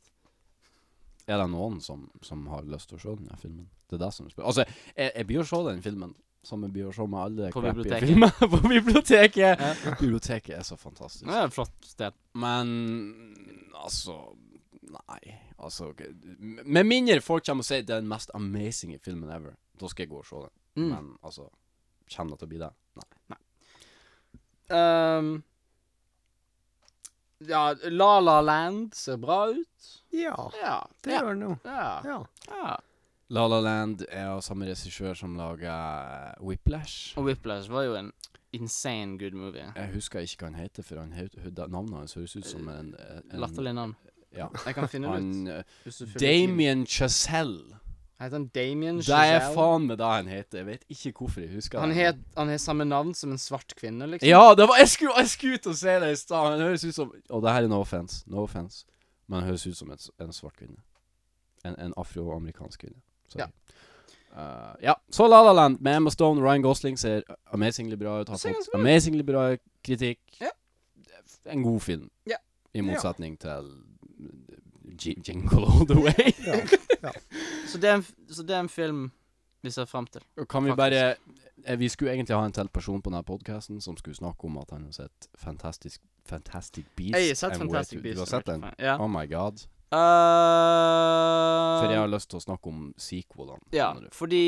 D: Er det noen som, som har lyst til å se den her filmen? Det er det som spør. Altså, jeg, jeg blir å se den filmen. Som jeg blir å se med alle
E: På
D: crappy
E: biblioteket.
D: filmer <laughs> på biblioteket.
E: <laughs> Ja.
D: Biblioteket er så fantastisk.
E: Det er et flott sted.
D: Men altså Nei. Altså ok, m- Med mindre folk kommer og sier det er den mest amazing filmen ever, da skal jeg gå og se den.
E: Mm.
D: Men altså Kommer det til å bli det? Nei.
E: Um, ja, La La Land ser bra ut.
C: ja,
E: Ja.
C: det gjør den jo.
E: Ja.
C: Ja.
E: ja.
D: La La Land er av samme regissør som laga Whiplash.
E: Og Whiplash var jo en insane good movie.
D: Jeg husker ikke hva han heter, for han het- hu- navnet hans høres ut som en, en
E: Latterlig navn.
D: Ja.
E: Jeg kan finne det ut.
D: Han eh,
E: hvis du følger tiden.
D: Damien Chazelle.
E: Heter han Damien
D: Det er
E: Chazelle?
D: faen meg det han heter. Jeg vet ikke hvorfor jeg husker
E: Han
D: det.
E: het han har samme navn som en svart kvinne, liksom?
D: Ja, det var, jeg skulle jeg skulle ut og se det i stad. Han høres ut som Og det her er no offense, no offense. Men han høres ut som en, s- en svart kvinne. En, en afroamerikansk kvinne. Sorry.
E: Ja.
D: Eh, ja. Så La La Land med Emma Stone Ryan Gosling ser amazingly bra ut. Har
E: Ser
D: fått
E: ganske bra ut.
D: amazingly bra kritikk.
E: Ja.
D: En god film.
E: Ja.
D: I motsetning til J- Jingle All The Way.
E: Så, det er en, f- så det er en film vi ser fram til.
D: Og Kan vi
E: Faktisk.
D: bare eh, Vi skulle egentlig ha en til person på denne podcasten som skulle snakke om at han har sett Fantastic, Fantastic Beast.
E: Jeg har sett Fantastic
D: Beast.
E: Beast.
D: Du har sett den?
E: Ja.
D: Oh my god. For jeg
E: Uh,
D: har lyst til å snakke om sequelene.
E: ja,
D: skjønner du.
E: fordi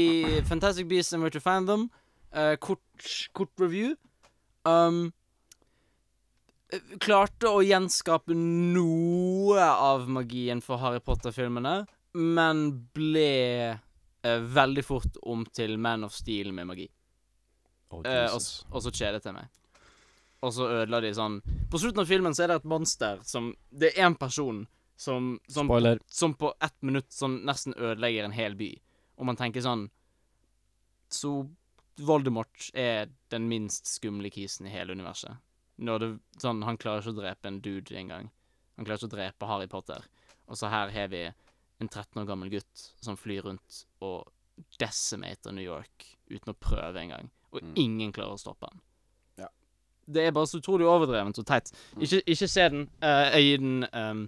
E: Fantastic Beasts and Where to Find Them eh, kort, kort review. Um, eh, klarte å gjenskape noe av magien for Harry Potter-filmene, men ble eh, veldig fort om til Man of Steel med magi.
D: Oh,
E: Eh, og,
D: Jesus.
E: og så kjedet jeg meg. Og så ødela de sånn På slutten av filmen så er det et monster som Det er én person som, som,
D: Spoiler.
E: som på ett minutt sånn nesten ødelegger en hel by. Og man tenker sånn Så Voldemort er den minst skumle kisen i hele universet. Når det, sånn, han klarer ikke å drepe en dude engang. Han klarer ikke å drepe Harry Potter. Og så her har vi en 13 år gammel gutt som flyr rundt og decimater New York uten å prøve engang. Og ingen klarer å stoppe han.
D: Ja.
E: Det er bare så utrolig overdrevent og teit. Ikke, ikke se den. Eh, jeg gir den ehm,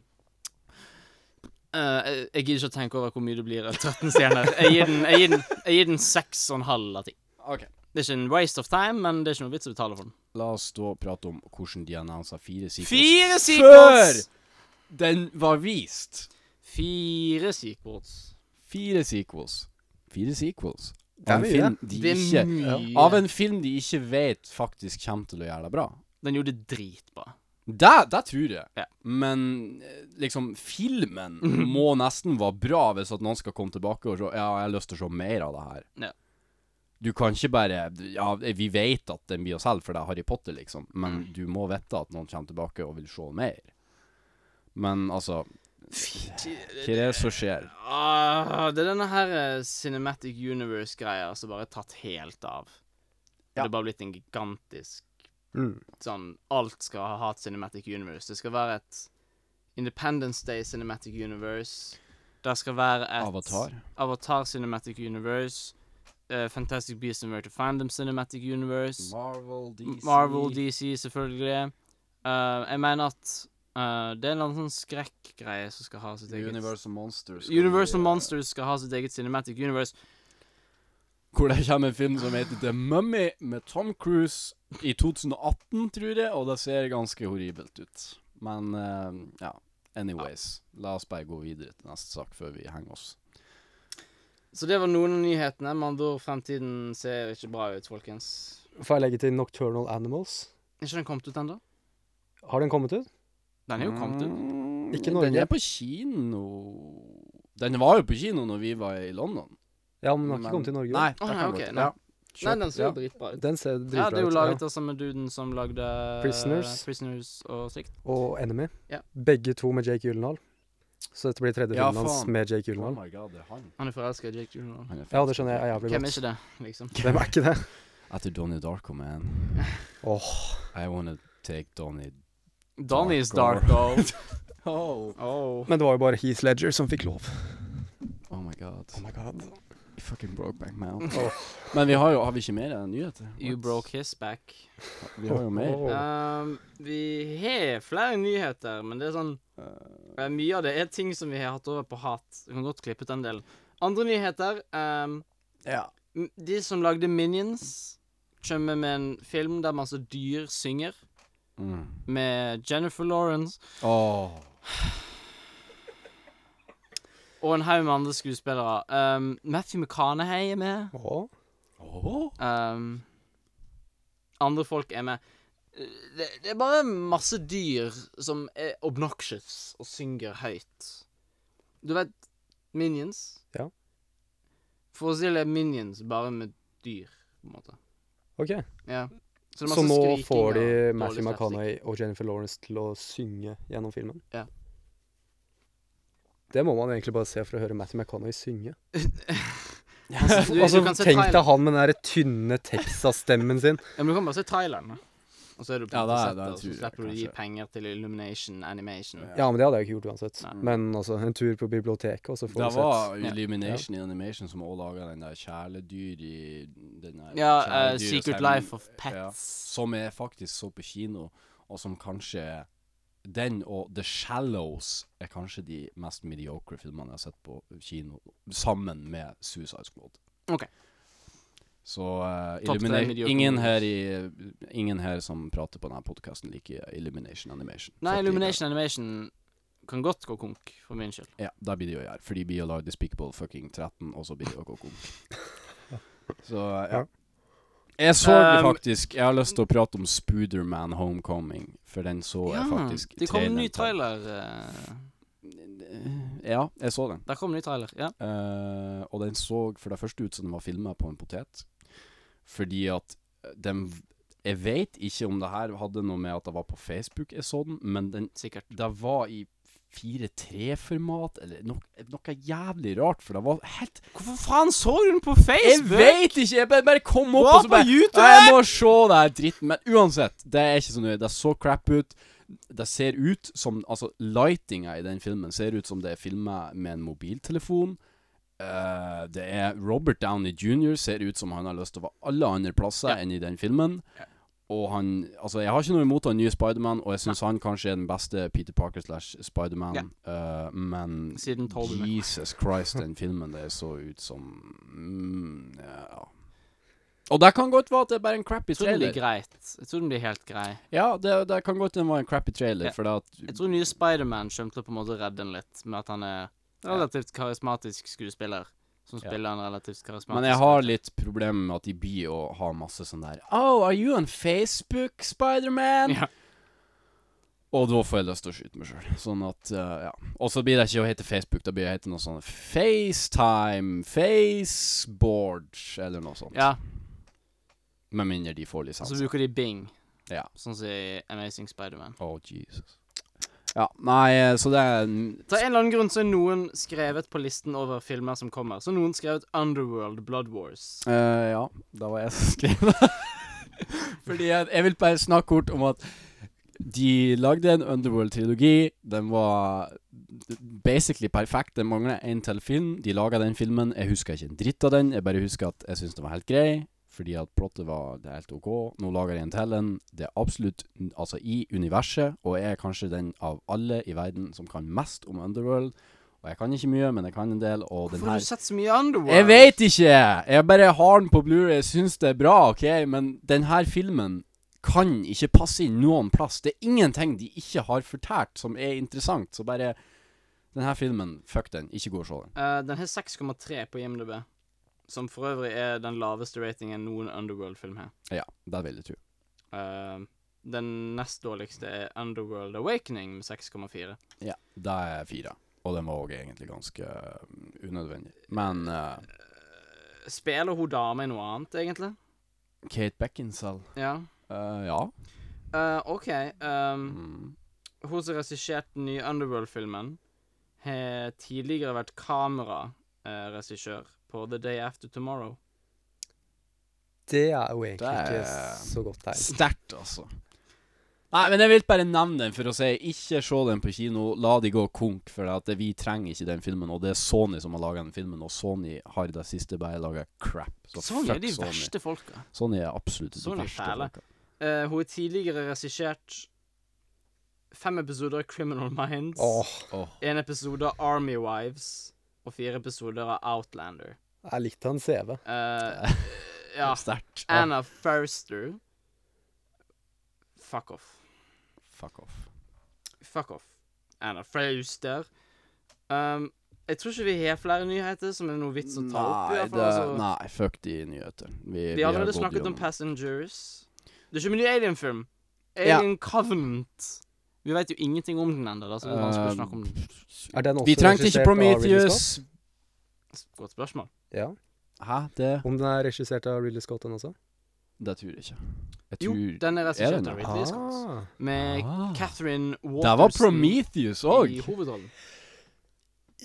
E: eh, jeg, jeg gidder ikke å tenke over hvor mye det blir av 13 stjerner. Jeg gir den, jeg gir den, jeg gir den 6,5 av 10.
D: Ok.
E: Det er ikke en waste of time, men det er ikke noe vits å betale for den.
D: La oss da prate om hvordan de annonsa fire sequels
E: Fire
D: før
E: sequels!
D: den var vist.
E: Fire sequels.
D: Fire sequels. Fire sequels.
C: Det
D: Av
C: er
D: en
C: mye.
D: film de
E: Det er
D: ikke,
E: mye.
D: Av en film de ikke vet faktisk kommer til å gjøre det bra.
E: Den gjorde det dritbra.
D: Det, det tror jeg.
E: Ja.
D: Men eh, liksom, <laughs> filmen må nesten være bra hvis at noen skal komme tilbake og se Ja, jeg har lyst til å se mer av det her.
E: Ja.
D: Du kan ikke bare Ja, vi vet at den blir å selge, for det er Harry Potter, liksom. Men du må vite at noen kommer tilbake og vil se mer. Men altså Hva er det som skjer?
E: Ah, det er denne her eh, Cinematic Universe-greia som bare er tatt helt av.
D: Ja.
E: Det er bare blitt en gigantisk
C: Mm.
E: sånn Alt skal ha et Cinematic Universe. Det skal være et Independence Day Cinematic Universe. Det skal være et
D: Avatar.
E: Avatar Cinematic Universe. eh, Fantastic Beasts and Where to Find Them Cinematic Universe.
D: Marvel, DC
E: Marvel, DC, selvfølgelig. Eh, jeg mener at eh, det er en eller annen sånn skrekkgreie som skal ha sitt eget
D: Universal Monsters. skal
E: Universal
D: bli, eh,
E: Monsters skal ha sitt eget Cinematic Universe.
D: Hvor det kommer en film som heter The Mummy med Tom Cruise i 2018, tror jeg, og det ser ganske horribelt ut. Men eh, ja, anyways. La oss bare gå videre til neste sak før vi henger oss.
E: Så det var noen av nyhetene. Med andre ord, fremtiden ser ikke bra ut, folkens.
C: Får jeg legge til Nocturnal Animals?
E: Er ikke den kommet ut ennå?
C: Har den kommet ut?
E: Den er jo kommet ut.
D: Mm,
C: Ikke Norge.
D: Den er på kino Den var jo på kino når vi var i London.
C: Ja, men den har ikke kommet til Norge.
D: Nei,
E: Å,
D: det
E: nei,
D: kan
E: ok,
D: godt-
E: nei.
D: ja.
E: Nei,
D: Kjøp-
E: den ser
D: ja.
E: jo dritbra ut.
C: Den ser
E: Ja,
C: dritbra
E: det er jo
C: ut.
E: laget av samme duden som lagde eh,
C: Prisoners.
E: Prisoners og slikt.
C: Og Enemy.
E: Ja.
C: Begge to med Jake Gyllenhaal. Så dette blir tredje
D: Ja,
C: filmen hans
D: faen.
C: med Jake
D: Oh
C: Gyllenhaal.
D: my god, det er han.
E: Han er forelska i Jake Gyllenhaal.
D: han er
C: Ja, det skjønner jeg er jævlig
E: Hvem er
C: godt.
E: ikke det, liksom?
C: <laughs> Hvem er ikke det?
D: Etter Donnie Darko, man.
C: Åh,
D: I wanna take Donnie
E: Donnie's
D: Darko.
E: Darko.
D: Oh.
E: Oh.
C: Men det var jo bare Heath Ledger som fikk lov.
D: oh my god.
C: my god.
D: Fucking broke back man.
E: Oh.
D: Men vi har jo Har vi ikke mer nyheter?
E: You broke his back.
D: Vi har jo mer.
C: Oh.
E: Um, vi har flere nyheter, men det er sånn eh, Mye av det er ting som vi har hatt over på hat. Vi kan godt klippe ut den delen. Andre nyheter um,
D: Ja.
E: m- De som lagde Minions, kommer med en film der masse dyr synger,
D: Mm.
E: med Jennifer Lawrence
D: Åh.
E: og en haug med andre skuespillere. Um, Matthew McConaughey er med.
C: Åh.
D: Åh.
E: Um, andre folk er med. Det, det er bare masse dyr som er obnoxious og synger høyt. Du vet Minions?
C: Ja.
E: Forestill deg Minions bare med dyr, på en måte.
C: Ok.
E: Ja. det er
C: Så
E: masse
C: nå
E: skriking og
C: får de
E: dårlig
C: Matthew
E: slapstick.
C: McConaughey og Jennifer Lawrence til å synge gjennom filmen?
E: Ja.
C: Det må man egentlig bare se for å høre Matthew McConaughey synge.
E: <laughs> Altså,
C: <laughs>
E: du,
C: altså,
E: du kan se
C: tenk deg
E: traileren.
C: han med den der tynne Texas-stemmen
E: <laughs>
C: sin.
E: Ja, men du kan bare se traileren. da. Og så er du på
D: Ja,
E: ja,
D: det er-
E: det,
D: det er
E: og så
D: tror jeg,
E: slipper du å gi
D: kanskje.
E: penger til Illumination Animation.
C: Ja, men det hadde jeg jo ikke gjort uansett.
E: Nei.
C: Men altså, en tur på biblioteket, og så får
D: Det
C: du sett.
D: var Illumination Animation som også laget den der kjæledyr i den der
E: Ja, eh,
D: kjæledyr-
E: Secret
D: stemmen-
E: Life of
D: Ja.
E: Pets.
D: Som jeg faktisk så på kino, og som kanskje Den og The Shallows er kanskje de mest mediocre filmene jeg har sett på kino, sammen med Suicide Squad.
E: Ok.
D: Så eh,
E: Topp tre
D: Illumina-
E: mediocre
D: ingen,
E: movies.
D: her i, ingen her som prater på denne podkasten, liker Illumination Animation.
E: Nei,
D: Fuck de
E: Illumination Animation kan godt gå konk, for min skyld.
D: der. Ja, det blir det å gjøre. For de blir å lage Despicable fucking 13, og så blir de å gå konk. Så eh, ja. Jeg så det
E: Um,
D: faktisk Jeg har lyst til å prate om Spooderman Homecoming, for den så jeg faktisk.
E: det kom en ny
D: traileren til.
E: trailer. eh,
D: Ja, jeg så den.
E: Der kom en ny trailer, ja.
D: Eh, og den så for det første ut som den var filma på en potet. Fordi at den Jeg vet ikke om det her hadde noe med at det var på Facebook jeg så den, men den
E: Sikkert.
D: det var i 4-3-format, eller noe, noe jævlig rart, for det var helt
E: Hvorfor faen så du den på
D: Jeg
E: Facebook?
D: veit ikke! Jeg bare, bare kom opp
E: Gå
D: og så
E: på
D: bare
E: YouTube!
D: «Nei, Jeg må se det her dritten. Men uansett, det er ikke så nøye. Det så crap ut. Det ser ut som Altså, lightinga i den filmen ser ut som det er filma med en mobiltelefon. Eh, det er Robert Downey jr. ser ut som han har lyst til å være alle andre plasser enn i den filmen. Og han Altså, jeg har ikke noe imot han nye Spiderman, og jeg syns han kanskje er den beste Peter Parker slash Spiderman, eh, men
E: Siden Tobey Maguire.
D: Jesus Christ, den filmen der så ut som mm, ja. Og det kan godt være at det er bare en crappy
E: Jeg tror den blir
D: trailer.
E: greit. Jeg tror den blir helt grei.
D: Ja, det, det kan godt den var en crappy trailer,
E: Ja.
D: for det at
E: Jeg tror nye Spiderman kommer til å på en måte redde den litt, med at han er relativt karismatisk skuespiller. Som
D: Ja.
E: spiller en relativt karismatisk
D: Men jeg har litt problemer med at de blir å ha masse sånn der Oh, are you on Facebook, Spiderman?
E: Ja.
D: Og da får jeg lyst til å skyte meg sjøl. Sånn at, eh, ja. Og så blir det ikke å hete Facebook, da blir det å hete noe sånn FaceTime, Faceboard, eller noe sånt.
E: Ja,
D: Med mindre de får
E: og
D: lisens.
E: så bruker de Bing,
D: Ja.
E: sånn som i Amazing Spiderman.
D: Oh, Jesus. Ja, nei, eh, så det er
E: Av en eller annen grunn så er noen skrevet på listen over filmer som kommer. Så har noen skrevet Underworld Blood Wars.
D: Eh, ja, da var jeg <laughs> som skrev det. Fordi jeg, jeg vil bare snakke kort om at de lagde en Underworld-trilogi. Den var basically perfekt. Den mangler en til film. De laga den filmen. Jeg husker ikke en dritt av den. Jeg bare husker at jeg syns den var helt grei. Fordi at plottet var det er helt OK. Nå lager de en til en. Det er absolutt n- altså i universet, og jeg er kanskje den av alle i verden som kan mest om Underworld. Og jeg kan ikke mye, men jeg kan en del. Og den
E: Hvorfor har
D: her
E: du sett så mye Underworld?
D: jeg vet ikke! Jeg bare har den på Blu-ray, jeg syns det er bra, OK? Men denne filmen kan ikke passe inn noen plass. Det er ingenting de ikke har fortalt som er interessant, så bare Denne filmen, fuck den. Ikke gå og se den.
E: Eh, den har 6,3 på IMDb. Som for øvrig er den laveste ratingen noen Underworld-film har.
D: Ja, det vil jeg tro.
E: Eh, den nest dårligste er Underworld Awakening med 6,4.
D: Ja, det er fire. Og den var òg egentlig ganske øh, unødvendig. Men øh,
E: Spiller hun dame i noe annet, egentlig?
D: Kate Beckinsale
E: Ja.
D: øh, Ja.
E: Eh, OK. ehm,
D: Mm.
E: hun som regisserte den nye Underworld-filmen, har tidligere vært kameraregissør på The Day After Tomorrow.
C: Det er jo egentlig
D: Det er-
C: ikke så godt tegn.
D: Sterkt, altså. Nei, men jeg vil bare nevne den for å si ikke se den på kino. La de gå konk, for at vi trenger ikke den filmen. Og det er Sony som har laga den filmen, og Sony har i det siste bare laga crap. Så
E: Sony er
D: fuck
E: de
D: Sony.
E: verste folka.
D: Sony er absolutt de
E: Sony er
D: verste.
E: fæle.
D: folka.
E: Eh, hun har tidligere regissert fem episoder av Criminal Minds,
C: Åh,
D: Åh.
E: en episode av Army Wives og fire episoder av Outlander.
C: jeg likte han CV.
E: <laughs> Eh, ja.
D: Sterkt.
E: Anna Forster Fuck off.
D: Fuck off.
E: Fuck off. Anna Forster. Um, jeg tror ikke vi har flere nyheter som er noe vits å ta opp. i
D: Nei, det,
E: hvert fall, altså.
D: nei, fuck de nyheter. Vi,
E: Vi har allerede snakket om Passengers. Det er ikke en ny Alien-film. Alien Covenant. Vi vet jo ingenting om den ennå, da, så det er vanskelig å
D: Um,
E: snakke om den.
C: Er den også
D: Vi trengte ikke
C: regissert av Ridley Scott?
D: Prometheus.
E: Godt spørsmål.
C: Ja.
D: Hæ, det
C: Om den er regissert av Ridley Scott, den også?
D: Det tror jeg ikke. Jeg
E: Jo,
D: tror
E: den er
D: den
E: regissert
D: det?
E: av Ridley Scott.
C: Ah.
E: Med
D: Ah.
E: Catherine
D: Det var
E: Waterson
D: Prometheus
E: i
D: òg.
E: hovedrollen.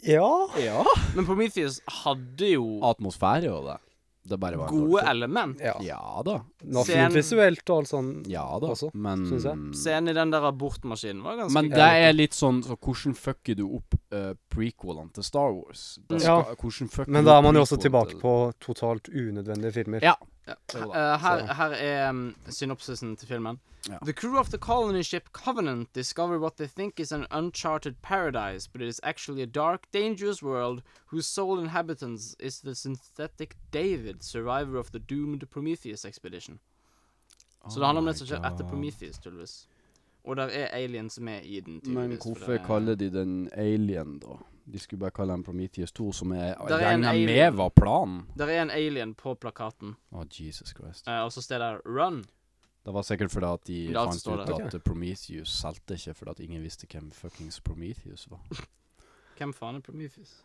C: Ja.
D: Ja.
E: Men Prometheus hadde jo
D: atmosfære og det. Det bare var en
E: gode
D: dårlig film.
E: element.
C: ja.
D: Ja da.
C: Nå,
E: Scenen-
C: fint visuelt og alt sånn.
D: Ja da.
C: Også,
D: men
C: synes jeg.
E: Scenen i den der abortmaskinen var ganske
D: Mm. men det er litt sånn så Hvordan fucker du opp eh, prequelene til Star Wars? Det
C: Ja.
D: skal- hvordan fucker
C: Men
D: du
C: da
D: opp
C: er man jo også
D: prequelen
C: tilbake
D: til-
C: på totalt unødvendige filmer.
D: Ja.
E: Ja.
D: Jo da.
E: Eh, her,
C: Så-
E: her er um, synopsisen til filmen.
D: Ja.
E: The crew of the colony ship Covenant discover what they think is an uncharted paradise, but it is actually a dark, dangerous world whose sole inhabitants is the synthetic David, survivor of the doomed Prometheus expedition. Så
D: Oh
E: det handler om det som skjer etter Prometheus, tydeligvis. Og der er aliens med i den, tydeligvis.
D: Men
E: for
D: hvorfor
E: det er-
D: kaller de den Alien, da? De skulle bare kalle den Prometheus 2, som jeg
E: Der er
D: regner
E: en
D: med
E: alien.
D: var planen.
E: Der er en alien på plakaten,
D: Å, Jesus Christ.
E: eh, og så står det 'Run'.
D: Det var sikkert fordi at de
E: Det er alt
D: fant
E: som står
D: ut
E: der.
D: at Prometheus solgte ikke fordi at ingen visste hvem fuckings Prometheus var.
E: Hvem faen er Prometheus?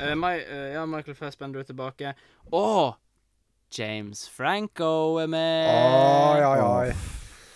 E: Eh, Mi- eh, ja, Michael Fassbender er tilbake. Å! James Franco er med!
C: Ai, ai, ai.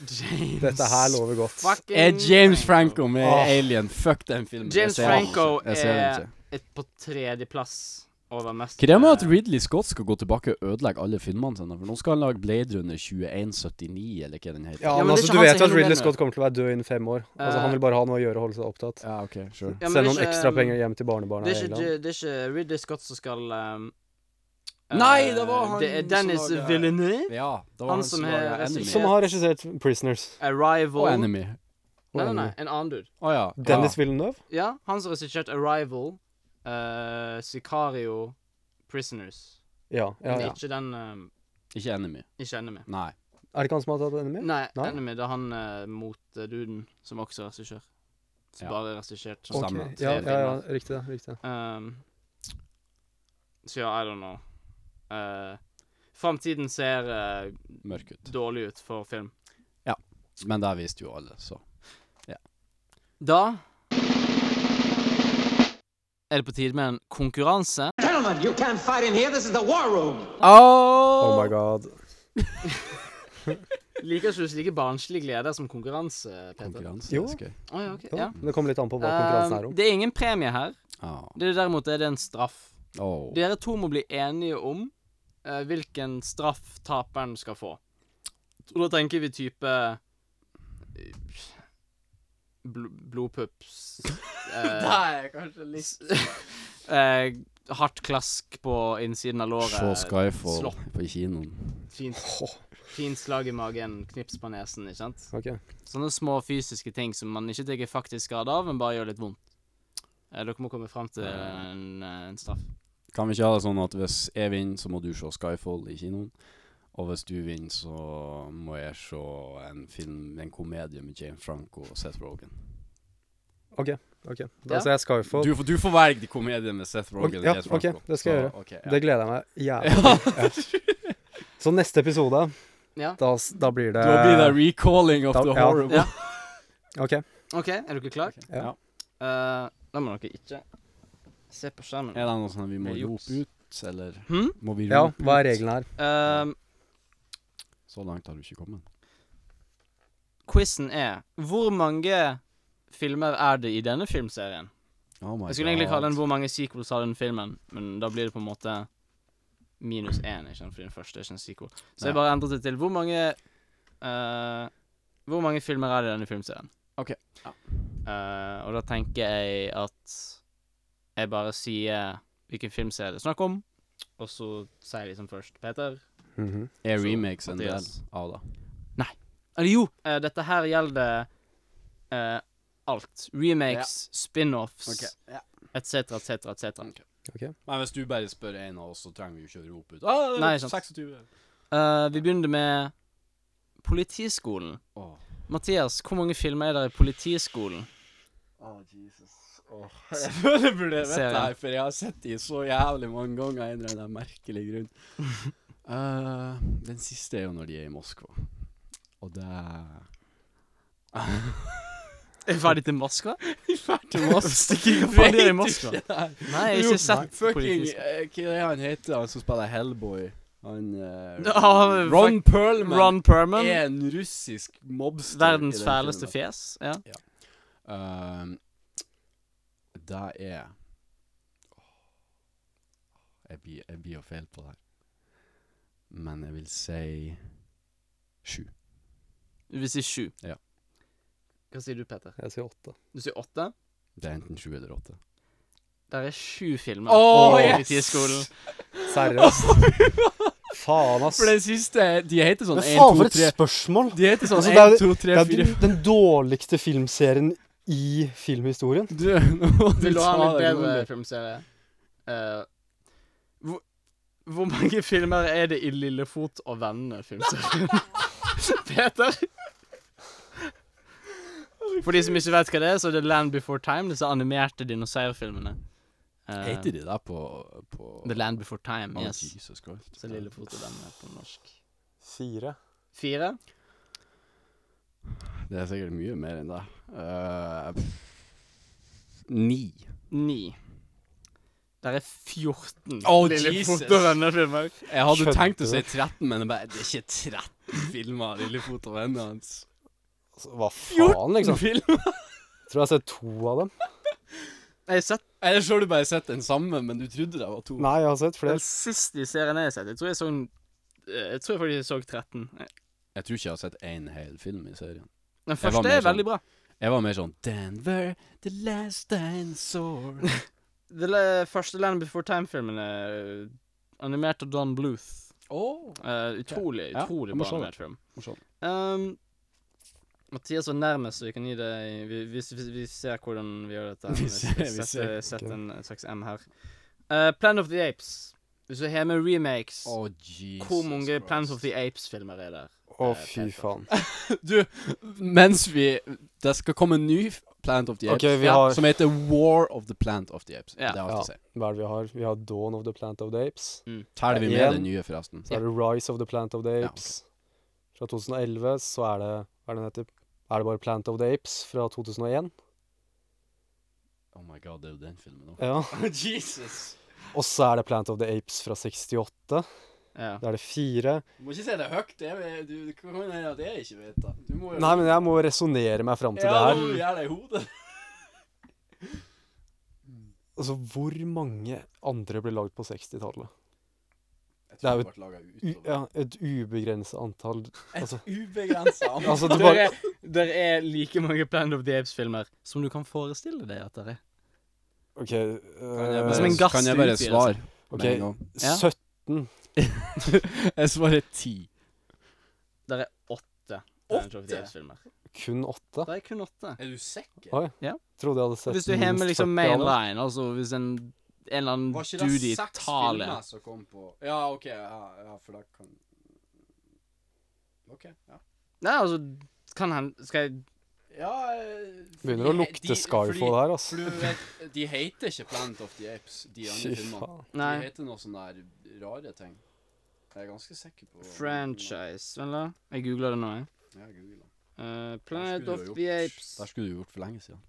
D: James
C: Dette her lover godt.
E: Fucking
D: Er James Franco med
C: Åh.
D: Alien? Fuck den filmen. Jeg
E: James
D: ser den
E: Franco
D: ikke. Jeg ser den
E: er-
D: ikke.
E: Et på tredjeplass over mest
D: Hva er det med at Ridley Scott skal gå tilbake og ødelegge alle filmene sine? For nå skal han lage Blade Runner 2179, eller hva den heter.
C: Ja,
E: men
C: men
E: det er ikke han
C: altså, du vet
E: som
C: jo at
E: heller
C: Ridley
E: mener.
C: Scott kommer til å være død innen fem år. Altså,
E: Eh.
C: han vil bare ha noe å gjøre og holde seg opptatt.
D: Ja, ok, sure.
E: Ja, men det
C: Send
E: er
C: noen
E: ikke- um,
C: ekstra penger hjem til barnebarna
E: det
C: i
E: er, ikke,
C: England.
E: det er ikke Ridley Scott som skal um,
D: Nei,
E: eh,
D: det var han
E: Det er
D: som
E: Dennis
D: laget-
E: Villeneuve.
D: Ja, det var
E: Han
D: han,
E: som
D: som
E: har
D: laget Enemy.
E: regissert-
C: Som har regissert Prisoners.
E: Arrival
D: Og Enemy.
C: Og
E: Nei, nei, nei,
C: Enemy.
E: en annen dude.
D: Å ja.
C: Dennis Villeneuve?
E: Ja, han som har regissert Arrival, eh, Sicario, Prisoners.
C: Ja. ja,
E: Det
C: ja.
E: er Ikke den um,
D: ja. Ikke Enemy.
E: ikke Enemy.
D: Nei.
C: Er det ikke han som har tatt Enemy?
E: Nei,
C: Nei?
E: Enemy, det er han eh, mot eh, duden, som også er regissør. Som
D: Ja.
E: bare er regissert.
D: Så
C: Ok,
D: stemmer det.
C: Ja,
E: Tre
C: ja, ja,
E: filmer.
C: riktig det. Riktig det.
E: Um, så ja, I don't know. Uh, Framtiden ser eh,
D: Mørk ut.
E: dårlig ut for film.
D: Men der viste jo alle, så.
E: Da er det på tide med en konkurranse.
H: Gentlemen, you can't fight in here. This is the war room.
C: Oh
E: Oh!
C: my god.
E: Liker ikke du slike barnslige gleder som konkurranse, Peter?
D: Konkurranse,
C: Jo.
D: det er så gøy.
E: Å ja, ok.
C: Ja.
E: Ja.
C: Det kommer litt an på hva konkurransen er
E: Um,
C: om.
E: det er ingen premie her.
D: Ah.
E: Det er Derimot er det en straff.
D: Oh.
E: Dere to må bli enige om eh, hvilken straff taperen skal få. Og da tenker vi type eh, bl Blodpups
C: <laughs>
E: eh,
D: Nei, kanskje
E: s- <laughs> eh, Hardt klask på innsiden av låret.
D: Se Skyfall
E: Slått.
D: på kinoen.
E: Fint, fint slag i magen, knips på nesen. ikke sant?
C: Ok.
E: Sånne små fysiske ting som man ikke tar faktisk skade av, men bare gjør litt vondt. Eh, dere må komme fram til en, eh, en straff.
D: Kan vi ikke ha det sånn at hvis jeg vinner, så må du se Skyfall i kinoen? Og hvis du vinner, så må jeg se en film, en komedie med James Franco og Seth Rogen.
C: ok, ok.
E: Ja.
C: Da ser jeg Skyfall.
D: Du, får- du får velge de komediene med Seth Rogen
C: Ok,
D: og
C: ja,
D: James Franco.
C: ok, det skal jeg
D: Så, ok, ja.
C: Det gleder jeg meg jævlig til. Ja. Så neste episode,
E: Ja.
C: da, s- da blir det
D: Da blir det recalling of
C: Da-
D: the
C: ja.
D: horrible.
E: Ja.
C: Ok.
E: OK, er dere klare?
C: Ja.
D: Ja.
E: Eh, da må dere ikke se på skjermen.
D: Er det noe sånn at vi må
E: Det er juks.
D: rope ut, eller
E: Hm?
D: må vi rope
C: Ja, hva er
D: ut?
C: reglene her?
E: Ehm,
D: Så langt har du ikke kommet.
E: quizen er Hvor mange filmer er det i denne filmserien?
D: Oh my
E: Jeg skulle egentlig
D: God.
E: kalle den Hvor mange sequels har den filmen, men da blir det på en måte minus én, ikke sant, fordi den første er ikke en sequel. Så jeg
D: Ja.
E: bare endret det til Hvor mange eh, Hvor mange filmer er det i denne filmserien?
D: Ok, ja.
E: Eh, og da tenker jeg at jeg bare sier hvilken filmserie det er snakk om, og så sier jeg liksom først Peter.
C: Mhm.
D: Er
E: Så,
D: remakes en del
E: Mathias.
D: av det?
E: Eller jo, eh, dette her gjelder eh, alt. Remakes, spin-offs, etc., etc., etc.
D: Ok.
C: Ok.
D: Men hvis du bare spør en av oss, så trenger vi jo ikke å rope ut. Ah,
E: Nei, sant.
D: 26.
E: Eh, Vi begynner med Politiskolen.
D: Åh.
E: Mathias, hvor mange filmer er det i Politiskolen? <laughs>
D: Selvfølgelig burde jeg
E: Ser
D: vite
E: jeg.
D: det her, for jeg har sett de så jævlig mange ganger av en eller annen merkelig
E: <laughs>
D: grunn. Eh, den siste er jo når de er i Moskva. Og det er
E: Er vi ferdig til <laughs> Moskva?
D: Vi drar til Moskva.
E: Stikker ikke fra de er i Moskva. Nei, jeg har
D: Jo,
E: ikke sett
D: Fucking
E: Politiskolen.
D: eh, Hva er det han heter, han som spiller Hellboy? Han eh,
E: Ah,
D: Ron Perlman
E: Ron Perman.
D: er en russisk mobster. i
E: Verdens
D: den
E: fæleste
D: filmen.
E: fjes. Ja.
D: Um, det er Jeg blir, jeg blir jo feil på det her. Men jeg vil si sju.
E: Du vil si sju.
D: Ja.
E: Hva sier du, Peter?
C: Jeg sier åtte.
E: Du sier åtte?
D: Det er enten sju eller åtte.
E: Der er sju filmer
D: Åh,
E: i
D: yes!
E: Politiskolen.
C: Seriøst? Faen, ass.
D: For den siste De heter sånn
C: Men
D: 1,
C: faen, for
D: 2,
C: et
D: 3
C: spørsmål!
D: De heter sånn
C: Altså, det
D: 1,
C: er jo-
D: 2,
C: Det
D: 3,
C: er
D: 4
C: den- den dårligste filmserien i filmhistorien.
D: <laughs> Du, nå må du
E: Vil du ha
D: ta
E: en litt
D: det
E: bedre
D: rolig.
E: filmserie? Eh, hvor, hvor mange filmer er det i Lillefot og
D: <laughs>
E: vennene-filmserien? Peter? For de som ikke vet hva det er, så er det Land Before Time, disse animerte dinosaurfilmene. Eh,
D: Heter de det på, på
E: The Land Before Time,
D: Oh,
E: yes.
D: Jesus Christ.
E: Så Lillefot og vennene på norsk.
C: Fire.
E: Fire?
D: Det er sikkert mye mer enn det. Eh, pff, Ni.
E: Ni. Der er 14
D: Oh, Jesus.
E: Lillefot og vennene-filmer.
D: Jeg hadde
C: Skjønte
D: tenkt å si
C: det.
D: 13, men det, er bare, det er ikke 13 filmer av Lillefot og vennene hans.
C: Altså, Hva faen, liksom?
D: Film?
C: Tror <laughs> jeg har sett to av dem.
E: Jeg har sett
D: Eller så har du bare sett den samme, men du trodde det var to.
C: Nei, jeg har sett flere.
E: den siste serien jeg har sett. Jeg tror jeg så en- eh, Jeg tror jeg faktisk jeg så 13.
D: Jeg tror ikke jeg har sett én hel film i serien.
E: Den
D: var sånn.
E: første
D: mer
E: er veldig bra.
D: Jeg var mer sånn Denver, the last dinosaur.
E: Den le- første Land Before Time-filmen er animert av Don Bluth.
D: oh.
E: Eh, utrolig
D: Ja, jeg
E: utrolig
D: må
E: bra
D: se den.
E: animert film.
D: må se den.
E: Um, Mathias var nærmest, så vi kan gi deg vi- Hvis vi, vi ser hvordan vi gjør dette. her,
D: <laughs> Vi
E: hvis
D: ser- vi ser.
E: setter- setter en, en slags M her. Eh, Planet of the Apes. Hvis du har med remakes
D: oh, Jesus
E: Hvor mange
D: Christ.
E: Planet of the Apes-filmer er der?
C: Å,
E: Eh,
C: fy
E: Peter.
C: faen.
D: Du, mens vi Det skal komme en ny f- Planet of the Apes
C: Ok, vi
D: ja,
C: har-
D: som heter War of the Planet of the Apes.
E: Ja.
D: Det har jeg
C: Ja.
D: alt å si.
C: Hva er det vi har? Vi har Dawn of the Plant of the Apes.
D: Teller vi med
C: Ja, igjen.
D: den nye, forresten?
C: Så er det Rise of the Plant of the
D: Ja,
C: Apes. Fra 2011 så er det Hva er det den heter? Er det bare Plant of the Apes fra 2001?
D: Oh my god, det er jo den filmen òg.
C: Ja.
D: Jesus!
C: Og så er det Plant of the Apes fra 68.
E: Ja.
C: Da er det fire.
D: Du må ikke si det høyt. Det er, du, du kan hende at jeg ikke vet det. Du må
C: Nei, men jeg må resonnere meg fram til det her.
D: gjør det i hodet.
C: Altså, hvor mange andre ble lagd på 60-tallet? Det er jo
D: ble laga
C: U- Ja, et ubegrenset antall. Altså, <laughs>
D: ubegrensa
C: altså
D: <laughs>
C: det
E: Der
C: bare
E: er, der er like mange Planet of the Apes-filmer som du kan forestille deg at det er.
C: OK.
E: Som en
C: eh,
E: gass
D: Kan jeg
E: til
D: bare
E: utvidelse.
D: svare?
C: Ok.
D: med en
C: <laughs>
D: gang?
E: Ja.
C: 17
D: Jeg svarer ti.
E: Der er åtte Planet of the Apes-filmer.
C: Kun åtte?
E: Det er kun åtte.
D: Er du sikker?
C: Oi.
E: Ja.
C: Trodde jeg hadde sett
E: Hvis du har med
C: minst
E: liksom
C: 40 av dem.
E: mainline, altså hvis en, en eller annen dude i Italia
D: som kom på Ja, OK, ja, ja for da kan OK, ja.
E: Nei, altså kan han, Skal jeg
D: ja eh,
C: Begynner å lukte Skyfall her, ass.
D: For du vet, de heter ikke Planet of the Apes, de
C: Fy
D: andre filmene.
C: faen.
E: Nei.
D: De heter noe sånn der rare ting. Jeg er ganske sikker på
E: Franchise, vel da? Jeg googler det nå, jeg.
D: Ja, Google.
E: Eh,
D: Der
E: Planet
D: skulle
E: of
D: du ha
E: the
D: gjort-
E: Apes.
D: Der skulle du gjort for lenge siden.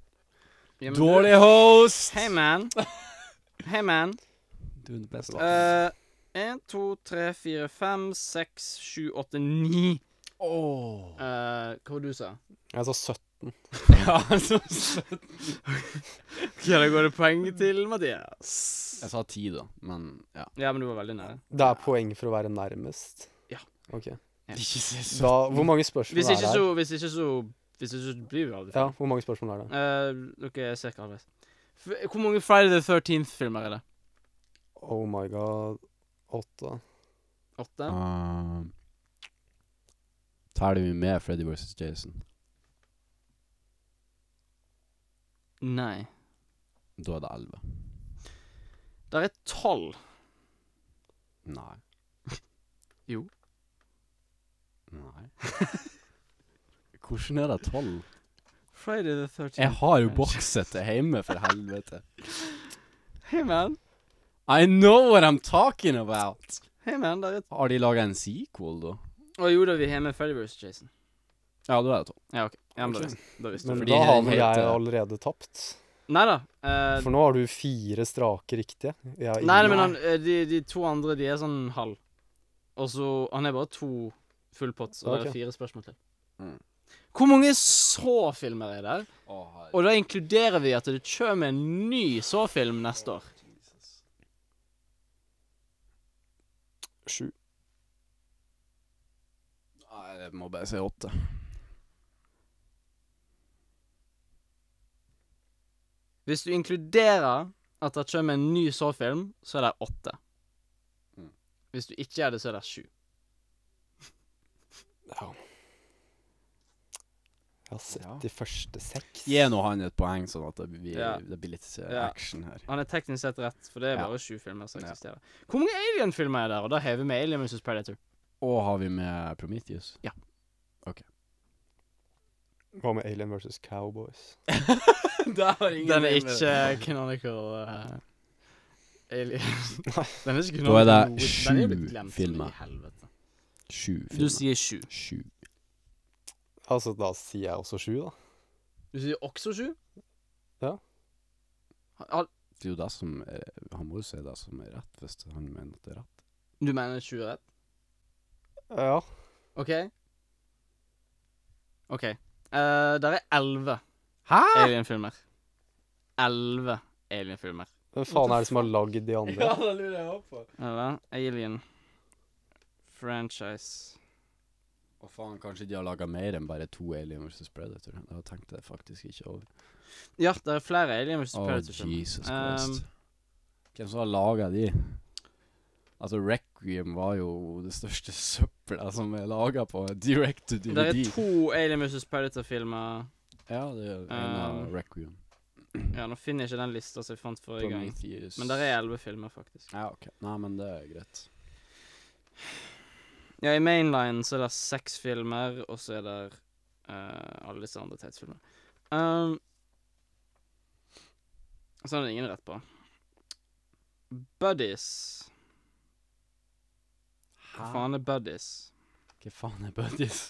E: Ja, men du-
D: Dårlig host!
E: Hey,
D: <laughs>
E: man. Hey, man.
D: Du er den beste.
E: Eh, En, to, tre, fire, fem, seks, sju, åtte, ni.
D: Åh.
E: Eh, hva var det du sa?
C: Jeg sa 17.
D: Ja, så søtt.
E: Ja, da går det poeng til Mathias.
D: Jeg sa ti, da, men ja.
E: Ja, men du var veldig nære.
C: Det er poeng for å være nærmest?
E: Ja.
C: Ok.
D: <laughs> Ikke se
C: Da, hvor mange spørsmål
E: Hvis ikke
C: er det her?
E: så Hvis ikke så Hvis ikke så blir vi aldri
C: Ja,
E: ferdig.
C: hvor mange spørsmål er det?
E: Eh, ok, jeg ser ikke halvveis. F- Hvor mange Friday the 13th-filmer er det?
C: Oh my god. Åtte.
E: Åtte?
D: Um, Teller vi med Freddy vs. Jason?
E: Nei.
D: Da er det 11.
E: Der er tolv.
D: Nei.
E: <laughs> Jo.
D: Nei. <laughs> Hvordan er det 12?
E: Friday the 13th.
D: Jeg har jo bokssettet hjemme, for helvete.
E: Hey man,
D: I know what I'm talking about!
E: hey man, der er
D: Har de laga en sequel, da?
E: Å jo da, vi har med Freddy vs. Jason.
D: Ja, da er det 12.
E: Ja, OK. Ja, men da visste, da visste
C: Men
E: du
D: Fordi
E: det.
C: da
D: det
C: har
D: er
C: vel
D: helt,
C: jeg
D: eh,
C: allerede tapt.
E: Nei da. eh,
C: For nå har du fire strake riktige. Jeg har
E: nei, nei,
C: ingen.
E: men han, eh, de, de to andre, de er sånn halv. Og så Han er bare to full pots, og det
C: Ok.
E: er fire spørsmål til.
D: Mm.
E: Hvor mange så-filmer er der?
D: Å, herregud.
E: Og da inkluderer vi at det kommer en ny så-film neste år.
C: Sju.
D: Nei, jeg må bare si 8.
E: Hvis du inkluderer at det kommer en ny så-film, så er det åtte.
D: Mm.
E: Hvis du ikke er det, så er det sju.
C: Ja. Jeg har sett
D: Ja.
C: de første seks.
D: Gi nå han et poeng, sånn at det blir,
E: Ja.
D: det blir litt eh,
E: Ja.
D: action her.
E: Han er teknisk sett rett, for det er
D: Ja.
E: bare sju filmer som
D: Ja.
E: eksisterer. Hvor mange Alien-filmer er der? Og da hever vi Alien vs. Predator.
D: Og har vi med <laughs> Prometheus?
E: Ja.
C: Hva med Alien versus Cowboys?
E: Den er ikke canonical eh, <laughs> Alien. Den er ikke
D: Da er det
E: canonical. noe- den er jo blitt
D: sju
E: glemt,
D: filmer.
E: men i helvete.
D: Sju
E: Du
D: filmer.
E: sier sju.
D: Sju.
C: Altså, da sier jeg også sju, da.
E: Du sier også sju?
C: Ja.
E: Ha- ha-
D: Det er jo det som er, Han må jo si det som er rett, hvis han mener at det er rett.
E: Du mener sju er rett?
C: Ja.
E: OK? OK. Uh, der er elleve
D: Hæ?!
E: Alien-filmer. Elleve Alien-filmer.
C: Hvem faen er det som har lagd de <laughs> andre?
D: det lurer jeg òg på.
E: Eller Alien franchise
D: Og faen, kanskje de har laga mer enn bare to Alien vs. Predator. Det har tenkte jeg faktisk ikke over.
E: Ja, det er flere Alien vs.
D: Å,
E: Predator-filmer.
D: Oh, Jesus
E: Um,
D: Christ. Hvem som har laga de? Altså, Requiem var jo det største <laughs> søpla som er laga på direct to
E: Det er
D: DVD.
E: to Alien vs. Predator-filmer.
D: Ja, det er en av
E: Um,
D: Requiem.
E: Ja, nå finner jeg ikke den lista som jeg fant forrige gang.
D: Prometheus.
E: Men der er elleve filmer, faktisk.
D: Ja, ok. Nei, men det er greit.
E: Ja, i Mainline så er det seks filmer, og så er det eh, alle disse andre tidsfilmene. Um, så har ingen rett på. Buddies. Hva faen er Buddies?
D: Hva faen er buddies?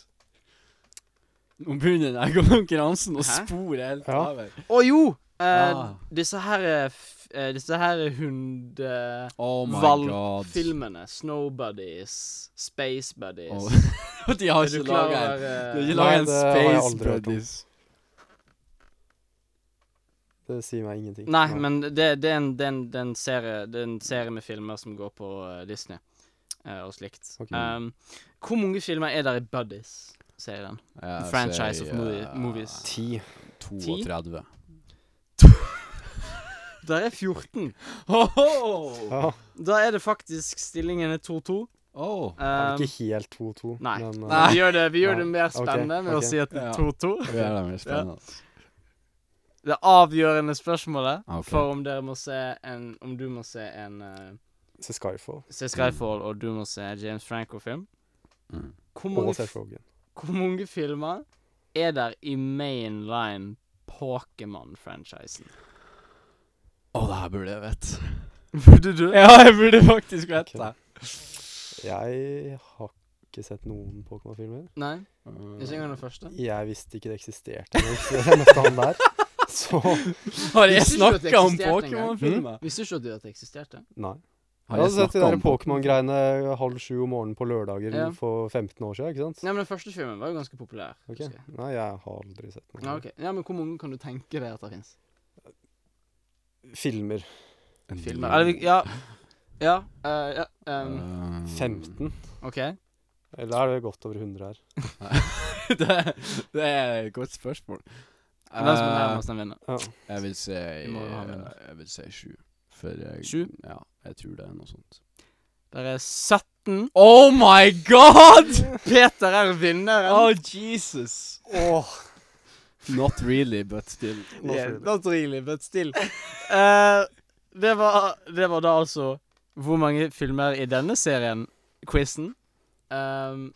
D: Nå begynner den her konkurransen å
E: Hæ?
D: spore helt
C: Ja.
D: over.
E: Å jo! Eh,
D: Ah.
E: Disse her er f- eh, Disse her er hundevalgfilmene.
D: Oh my god.
E: Snow Buddies. Space Buddies.
D: Oh. <laughs> De har
E: Er du
D: <laughs> ikke
E: klar
D: laga en
E: over, eh,
D: De har ikke
C: Nei,
D: laga en
C: det har jeg
D: Space
C: aldri hørt om.
D: Buddies.
C: Det sier meg ingenting.
E: Nei, men det, det, er en, det, er en, det, er en serie, det er en serie med filmer som går på eh, Disney eh, og slikt.
C: Ok.
E: Um, hvor mange filmer er der i Buddies-serien?
D: Ja,
C: Altså,
D: jeg
E: Franchise
D: sier,
E: of movie,
D: eh,
E: movies.
C: Ti.
D: 32.
E: Der er 14.
C: <laughs> Ja,
E: Da er det faktisk stillingen er 2-2.
D: Oh.
C: det er
E: Um,
C: ikke helt 2-2,
E: nei.
C: men
E: Nei, Ehm, vi gjør det, vi gjør
C: <laughs> Nei.
E: det mer
C: Ok,
E: spennende med
C: ok.
E: å si at det
D: Ja.
E: er 2-2.
D: Det er da mer spennende. altså.
E: Det avgjørende spørsmålet
D: Ok.
E: for om dere må se en Om du må se en eh,
C: eh, se Skyfall
E: Se Skyfall, og du må se James Franco-film.
D: Mm.
E: Hvor
C: og
E: mange
C: se Frogan.
E: Hvor mange filmer er der i mainline Pokémon-franchisen?
D: Å, det her burde jeg vett.
E: Burde du?
D: Ja, jeg burde faktisk vett
C: Ok.
D: det.
C: Jeg har ikke sett noen Pokémon-filmer.
E: Nei, ikke engang den første.
C: Jeg visste ikke det eksisterte engang, så jeg møtte han
E: <laughs>
C: der. Så
D: Har jeg
E: Visste ikke at det
D: snakka om
E: eksisterte engang.
D: Pokémon-filmer?
E: Visste ikke at det at det eksisterte.
C: nei. Jeg hadde sett de
D: snakket
C: der
D: om
C: Pokémon-greiene halv sju om morgenen på lørdager
E: Ja.
C: for 15 år siden, ikke sant?
E: Nei, men Den første filmen var jo ganske populær.
C: Ok.
E: husker jeg.
C: Nei, jeg har aldri sett noen.
E: Ja, ok. ja, Men hvor mange kan du tenke deg at det fins?
C: Filmer.
D: En
E: Filmer?
D: million.
E: Eller, vi- ja. Ja, eh, ja ehm,
D: Um,
C: 15?
E: OK.
C: Eller er det godt over 100 her?
D: <laughs> det, det er et godt spørsmål.
E: Men Den som er
D: Eh,
E: nærmest, den vinner.
C: Ja.
D: jeg vil si
E: Vi må ha med det.
D: Jeg vil si sju. For jeg,
E: Sju?
D: Ja, jeg tror det er noe sånt.
E: Der er 17.
D: Oh my god!
E: Peter er vinneren.
D: Oh Jesus.
C: Åh,
D: Not really, but still.
C: nå
E: Yeah,
C: tror jeg det.
E: not really, but still. Eh, det, var, det var da altså hvor mange filmer i denne serien, quizen. Um,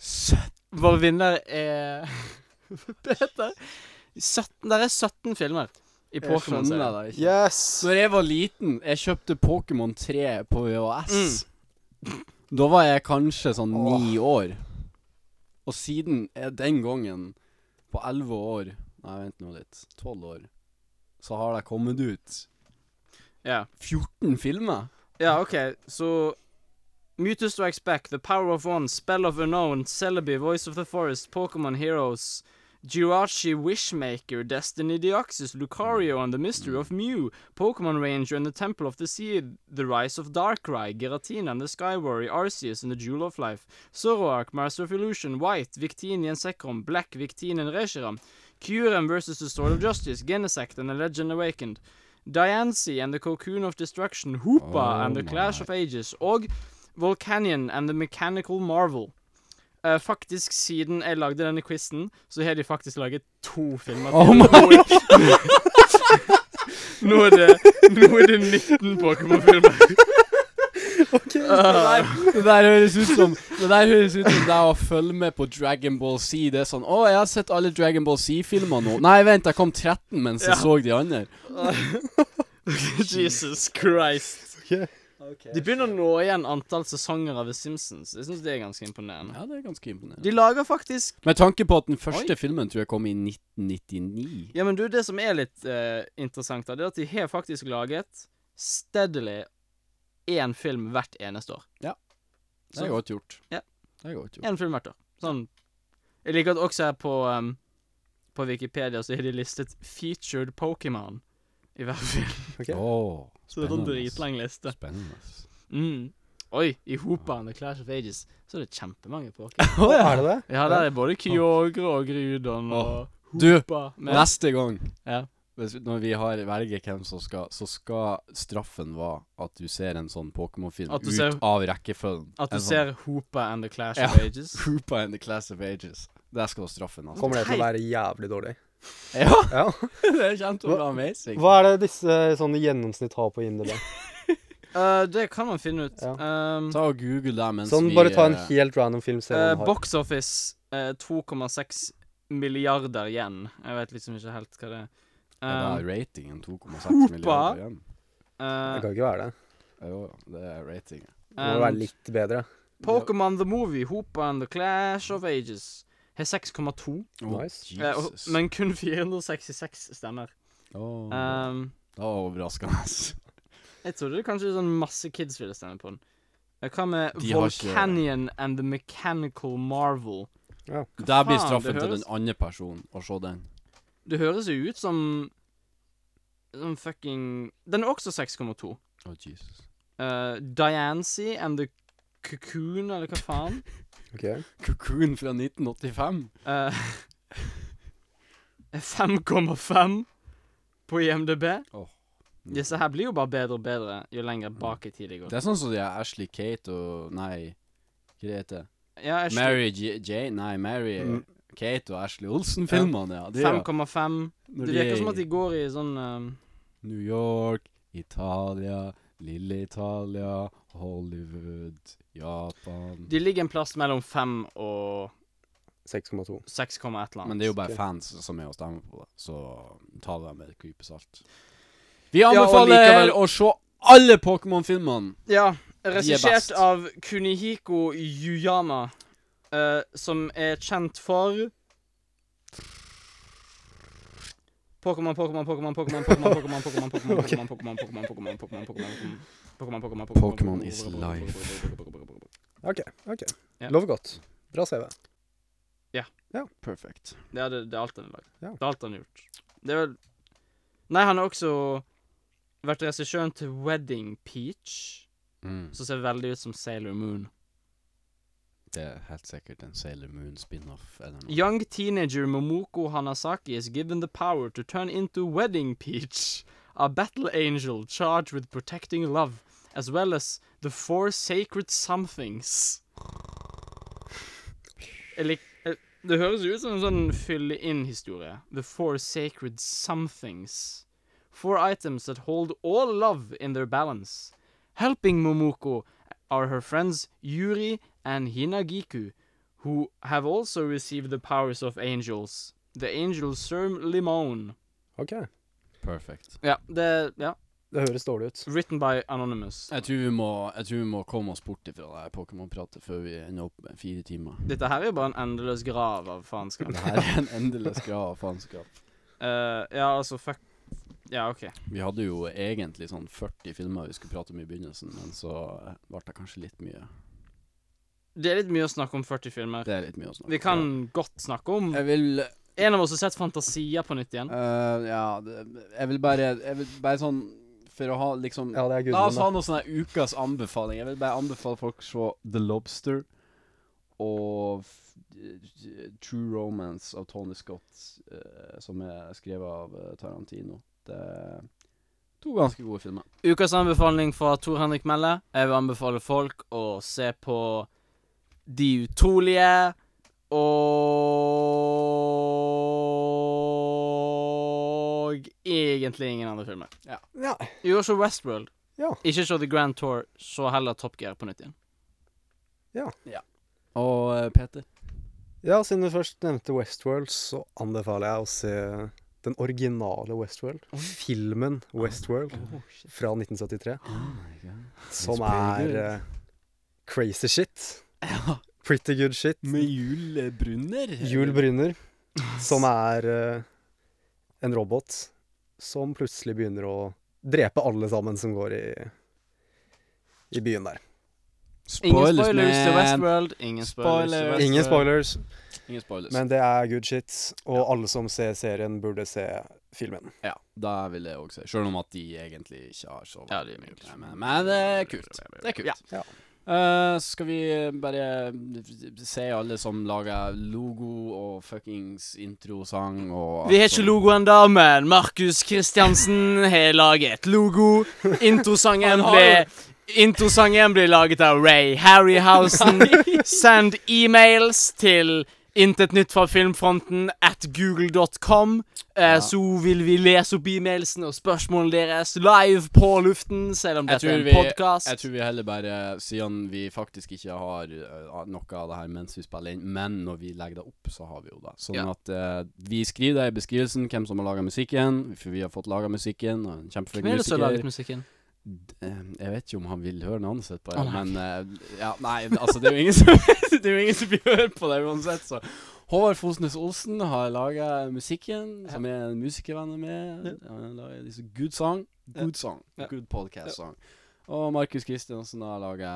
E: vår vinner er <laughs> Peter. 17, der er 17 filmer i
D: Jeg skjønner
E: Pokémon-serien.
D: deg ikke.
C: Yes!
D: Da jeg var liten, jeg kjøpte Pokémon 3 på VHS. Da var jeg kanskje sånn ni år. Og siden eh, den gangen, på elleve år Nei, vent nå litt. Tolv år. Så har det kommet ut
E: Ja.
D: 14 filmer.
E: ja, OK, så Mutus to expect, The Power of One, Spell of Unknown, Celebi, Voice of the Forest, Pokémon Heroes, Jirachi Wishmaker, Destiny Deoxys, Lucario and the Mystery of Mew, Pokemon Ranger and the Temple of the Sea, The Rise of Darkrai, Giratina and the Sky Warrior, Arceus and the Jewel of Life, Zoroark, Master of Illusion, White, Victini and Sekrom, Black, Victini and Reshiram, Kyurem versus the Sword of Justice, Genesect and the Legend Awakened, Diancie and the Cocoon of Destruction, Hoopa and the
D: Oh my.
E: Clash of Ages, og Volcanion and the Mechanical Marvel. Eh, faktisk, siden jeg lagde denne quizen, så har de faktisk laget to filmer til.
D: Oh my
E: <laughs> Nå er det, nå er det 19 Pokémon-filmer.
D: Det der- Det der høres ut som Det der høres ut som det er å følge med på Dragon Ball Z. Det er sånn 'Å, jeg har sett alle Dragon Ball Z-filmer nå.' Nei, vent, jeg kom 13 mens jeg
E: Ja.
D: så de andre.
E: <laughs> Jesus Christ.
C: Ok.
E: De begynner å nå igjen antall sesonger av The Simpsons. Jeg syns det er ganske imponerende.
D: Ja, det er ganske imponerende.
E: De lager faktisk
D: Med tanke på at den første filmen tror jeg kom i 1999.
E: Ja, men du, det som er litt eh, interessant, da, det er at de har faktisk laget steadily én film hvert eneste år.
D: Det er godt gjort.
E: Ja.
D: Det er godt gjort.
E: Én film hvert år. Sånn. Jeg liker at også her på um, på Wikipedia så er de listet 'featured Pokémon' i
D: <laughs>
E: hver film.
C: Ok?
D: Åh,
E: Så det er en
D: spennende, ass.
E: dritlang liste.
D: Spennende. ass.
E: Mm. Oi, i Hopaen og Clash of Ages så er det kjempemange Pokémon.
C: Er det det?
E: Ja, der er både Kyogre og Grudon og
D: Du,
E: Hopa med.
D: neste gang
E: Ja.
D: hvis, Når vi har velger hvem som skal Så skal straffen være at du ser en sånn Pokémon-film
E: At
D: ut
E: du ser-
D: av rekkefølgen. <laughs>
E: At du
D: En
E: ser Hopa and the Clash of
D: Ja.
E: Ages.
D: sånn Hoopa and the Class of Ages. Der skal straffen, altså.
C: Kommer det til å være jævlig dårlig?
D: Ja,
E: <laughs>
C: Ja.
D: det kommer til å bli amazing.
C: Hva er det disse sånne gjennomsnitt har på IMDb?
E: Eh, det kan man finne ut. Um,
D: Ta og google det mens
C: Sånn,
D: vi
C: bare ta en
D: eh,
C: helt random film, se hva
E: Eh,
C: den har.
E: box Office eh, 2,6 milliarder igjen. Jeg vet liksom ikke helt hva det er.
D: Er
E: Um,
D: det ratingen 2,6
E: Hoopa.
D: milliarder igjen?
C: Det
E: eh,
C: kan ikke være det.
D: Ja, Jo, det er ratingen.
C: Det må være
E: and
C: litt bedre.
E: Pokémon The Movie, Hopa and The Clash of Ages, har 6,2,
D: Å,
C: Nice.
E: eh, og-
D: Jesus.
E: men kun 466 stemmer.
D: Åh,
E: Um,
D: det var overraskende.
E: jeg trodde det kanskje sånn masse kids ville stemme på den. Eh, Hva med
D: De har ikke-
E: Volcanion and The Mechanical Marvel?
D: Der blir
E: faen,
D: straffen
E: det
D: til
E: høres-
D: den andre personen å se den.
E: Det høres jo ut som Som fucking Den er også 6,2.
D: Å, Jesus.
E: uh, Diancy and the Cocoon, eller hva faen?
C: Ok.
D: Cocoon fra 1985.
E: Uh, <laughs> 5,5 på IMDb.
D: Åh. Mm.
E: Disse her blir jo bare bedre og bedre jo lenger bak i tid det går.
D: Det er sånn som de er Ashley Kate og Nei, hva det heter
E: Ja, jeg skjønner.
D: Mary J... Jane? Nei, Mary Kate og Ashley Olsen-filmene, ja. De, ja.
E: 5,5.
D: Når
E: Det
D: de er
E: virker som
D: i
E: at de går i sånn um,
D: New York, Italia, lille Italia, Hollywood, Japan
E: De ligger en plass mellom 5 og
C: 6,2.
E: 6, komma et eller annet.
D: Men det er jo bare
C: Ok.
D: fans som er å stemme på, det, så ta det med et klype salt. Vi
E: og
D: anbefaler
E: likevel-
D: her å se alle Pokémon-filmene!
E: Ja.
D: er
E: Regissert
D: best.
E: av Kunihiko Yuyama, eh, som er kjent for Pokémon, Pokémon, Pokémon, Pokémon, Pokémon, Pokémon, Pokémon, Pokémon, Pokémon, Pokémon, Pokémon, Pokémon, Pokémon, Pokémon, Pokémon, Pokémon, Pokémon,
D: Pokémon is life.
C: Ok, ok.
E: Ja.
C: Lover godt. Bra CV.
D: Perfect.
E: Det er, det, det er alt han har lagd.
C: Ja.
E: Det er alt han har gjort. Det er vel Nei, han har også vært regissøren til Wedding Peach,
D: Mm.
E: som ser veldig ut som Sailor Moon.
D: Det er helt sikkert en Sailor Moon spin-off eller noe.
E: Young teenager Momoko Hanasaki is given the power to turn into Wedding Peach, a battle angel charged with protecting love, as well as the four sacred somethings. Jeg lik, eh, det høres jo ut som en sånn fylle-inn-historie. The four sacred somethings. Four items that hold all love in their balance. Helping Momoko are her friends Yuri and Hinagiku, who have also received the powers of angels. The angel Serm Limon.
C: Ok.
D: Perfect.
E: Ja, det ja.
C: Det høres dårlig ut.
E: Written by Anonymous.
D: Jeg tror vi må, jeg tror vi må komme oss bort ifra det her Pokémon-pratet før vi ender opp med fire timer.
E: Dette her er jo bare en endeløs grav av faenskap.
D: <laughs> Det her er en endeløs grad av faenskap.
E: <laughs> Eh, ja, altså, fuck Ja, OK.
D: Vi hadde jo egentlig sånn 40 filmer vi skulle prate om i begynnelsen, men så eh, ble det kanskje litt mye.
E: Det er litt mye å snakke om 40 filmer.
D: Det er litt mye å snakke om.
E: Vi kan godt snakke om
D: Jeg vil
E: En av oss har sett Fantasia på nytt igjen.
D: eh, Ja, det, jeg vil bare Jeg vil bare sånn For å ha liksom
C: Ja, det er
D: La oss ha
C: Gudmund, da.
D: noe sånn her ukas anbefaling. Jeg vil bare anbefale folk å se The Lobster og f- eh, True Romance av Tony Scott, eh, som er skrevet av eh, Tarantino. Det er to ganske gode filmer.
E: Ukas anbefaling fra Tor Henrik Melle. Jeg vil anbefale folk å se på De utrolige og egentlig ingen andre filmer.
C: Ja.
E: Jo, så Westworld.
C: Ja.
E: Ikke se The Grand Tour, så heller Top Gear på nytt igjen.
D: Og eh, Peter?
C: ja, siden du først nevnte Westworld, så anbefaler jeg å se den originale Westworld. Filmen Westworld fra 1973. Som
D: pretty
C: er eh, crazy shit. Pretty good shit.
D: Jul Brunner?
C: Jul Brynner, som er eh, en robot som plutselig begynner å drepe alle sammen som går i, i byen der.
E: <laughs> Ingen spoilers til
D: man.
E: Westworld. Ingen spoilers. til
D: Spoilers.
E: Westworld.
C: Ingen spoilers,
D: Ingen spoilers.
C: men det er good shit. Og alle som ser serien, burde se filmen.
D: ja, da vil jeg òg si. Selv om at de egentlig ikke har så
E: Ja, de
D: veldig
E: er
D: mye. Men, men det er kult. Det er kult.
E: Ja.
C: Ja.
D: Eh, skal vi bare se alle som lager logo og fuckings introsang og alt
E: Vi har ikke
D: sånt.
E: logoen da, men Markus Kristiansen har laget logo. Introsangen
D: Han har
E: ble Introsangen ble laget av Ray Harryhausen. Send e-mails til Intet nytt fra filmfronten at google.com. Eh, Så vil vi lese opp e-mailsene og spørsmålene deres live på luften, selv
D: Jeg
E: om dette
D: tror,
E: er
D: vi,
E: en podkast.
D: jeg tror vi heller bare, siden vi faktisk ikke har eh, noe av det her mens vi spiller inn, men når vi legger det opp, så har vi jo det. Sånn
E: Ja.
D: at eh, vi skriver det i beskrivelsen, hvem som har laga musikken, for vi har fått laga musikken, og en kjempeflink
E: Hvem er det som har
D: musiker.
E: laget musikken?
D: Eh, Jeg vet ikke om han vil høre navnet sitt på det,
E: Å, nei.
D: men eh, ja, Nei, altså, det er jo ingen som, <laughs> det er jo ingen som vil høre på det uansett, så Håvard Fosnes Olsen har laga musikken, som er en musikervenn av meg. Han har laget disse Good song, good song,
C: Ja.
D: good podcast song. Og Markus Kristiansen har laga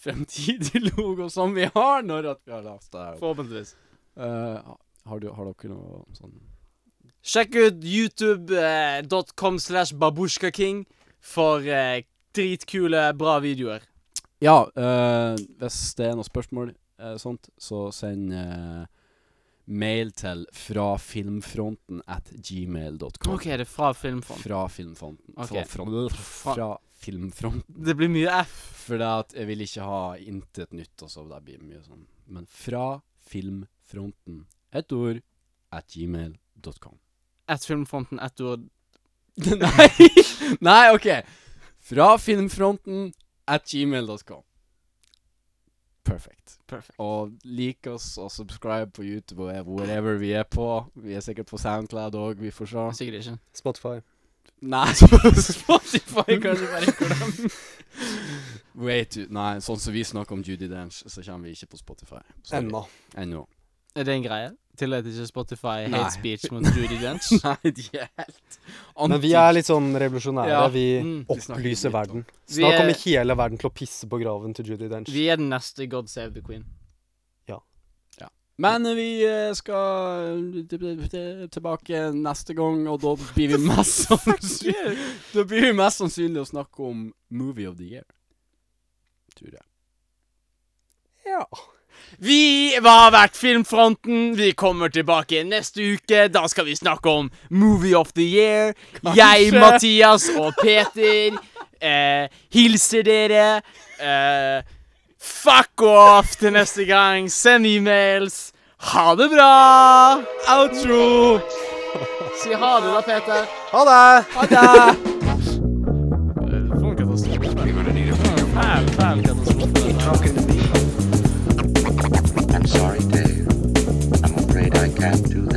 D: fremtidig logo, som vi har når at vi har lagt det her. opp.
E: Forhåpentligvis.
D: Eh, har, du, har dere noe sånn
E: Sjekk ut youtube.com slash babusjkaking for eh, dritkule, bra videoer.
D: Ja, eh, hvis det er noen spørsmål eh, sånt, så send eh, mail til fra filmfronten at gmail.com.
E: OK, det er fra Filmfond.
D: Fra filmfronten.
E: Ok.
D: Fra, front, fra filmfronten.
E: Det blir mye F.
D: For det at jeg vil ikke ha intet nytt og så, det blir mye sånn. Men fra filmfronten, ett ord, at gmail.com.
E: Ett Filmfronten, ett <laughs> ord.
D: Nei! Nei, ok. Fra filmfronten at gmail.com. Perfect.
E: Perfect.
D: Og lik oss og subscribe på YouTube og whatever vi er på. Vi er sikkert på SoundCloud òg, vi får se.
E: Sikkert ikke.
C: Spotify.
D: Nei, <laughs> Spotify kan du bare glemme. Way too Nei, sånn som vi snakker om Judy Dench, så kommer vi ikke på Spotify. Sorry.
C: Ennå.
D: Ennå.
E: <laughs> Er det en greie? Tillater ikke Spotify hate
D: Nei.
E: speech mot Judy <laughs> Dench?
D: Nei, de er helt
C: Men vi er litt sånn revolusjonære.
D: Ja,
C: Vi
E: mm,
D: vi snakker litt
C: opplyser
D: om-
C: verden.
E: Vi
C: Snart
E: er-
C: kommer hele verden til å pisse på graven til Judy Dench.
E: Vi er den neste God save the queen.
D: Men vi eh, skal eh, tilbake neste gang, og da blir <laughs> vi mest sannsynlig Da blir vi mest sannsynlig å snakke om Movie of the Year. Tror jeg.
C: Ja.
E: Vi har vært Filmfronten. Vi kommer tilbake neste uke. Da skal vi snakke om Movie of the Year. Jeg, Mathias og Peter eh, hilser dere. Eh, fuck off til neste gang. Send e-mails. Ha det bra! Outro! Si ha det, da, Peter.
C: Ha det!
E: Ha det! For en katastrofe. Fæl, fæl katastrofe. dette her.
I: I'm sorry, Dave. I'm afraid I can't do that.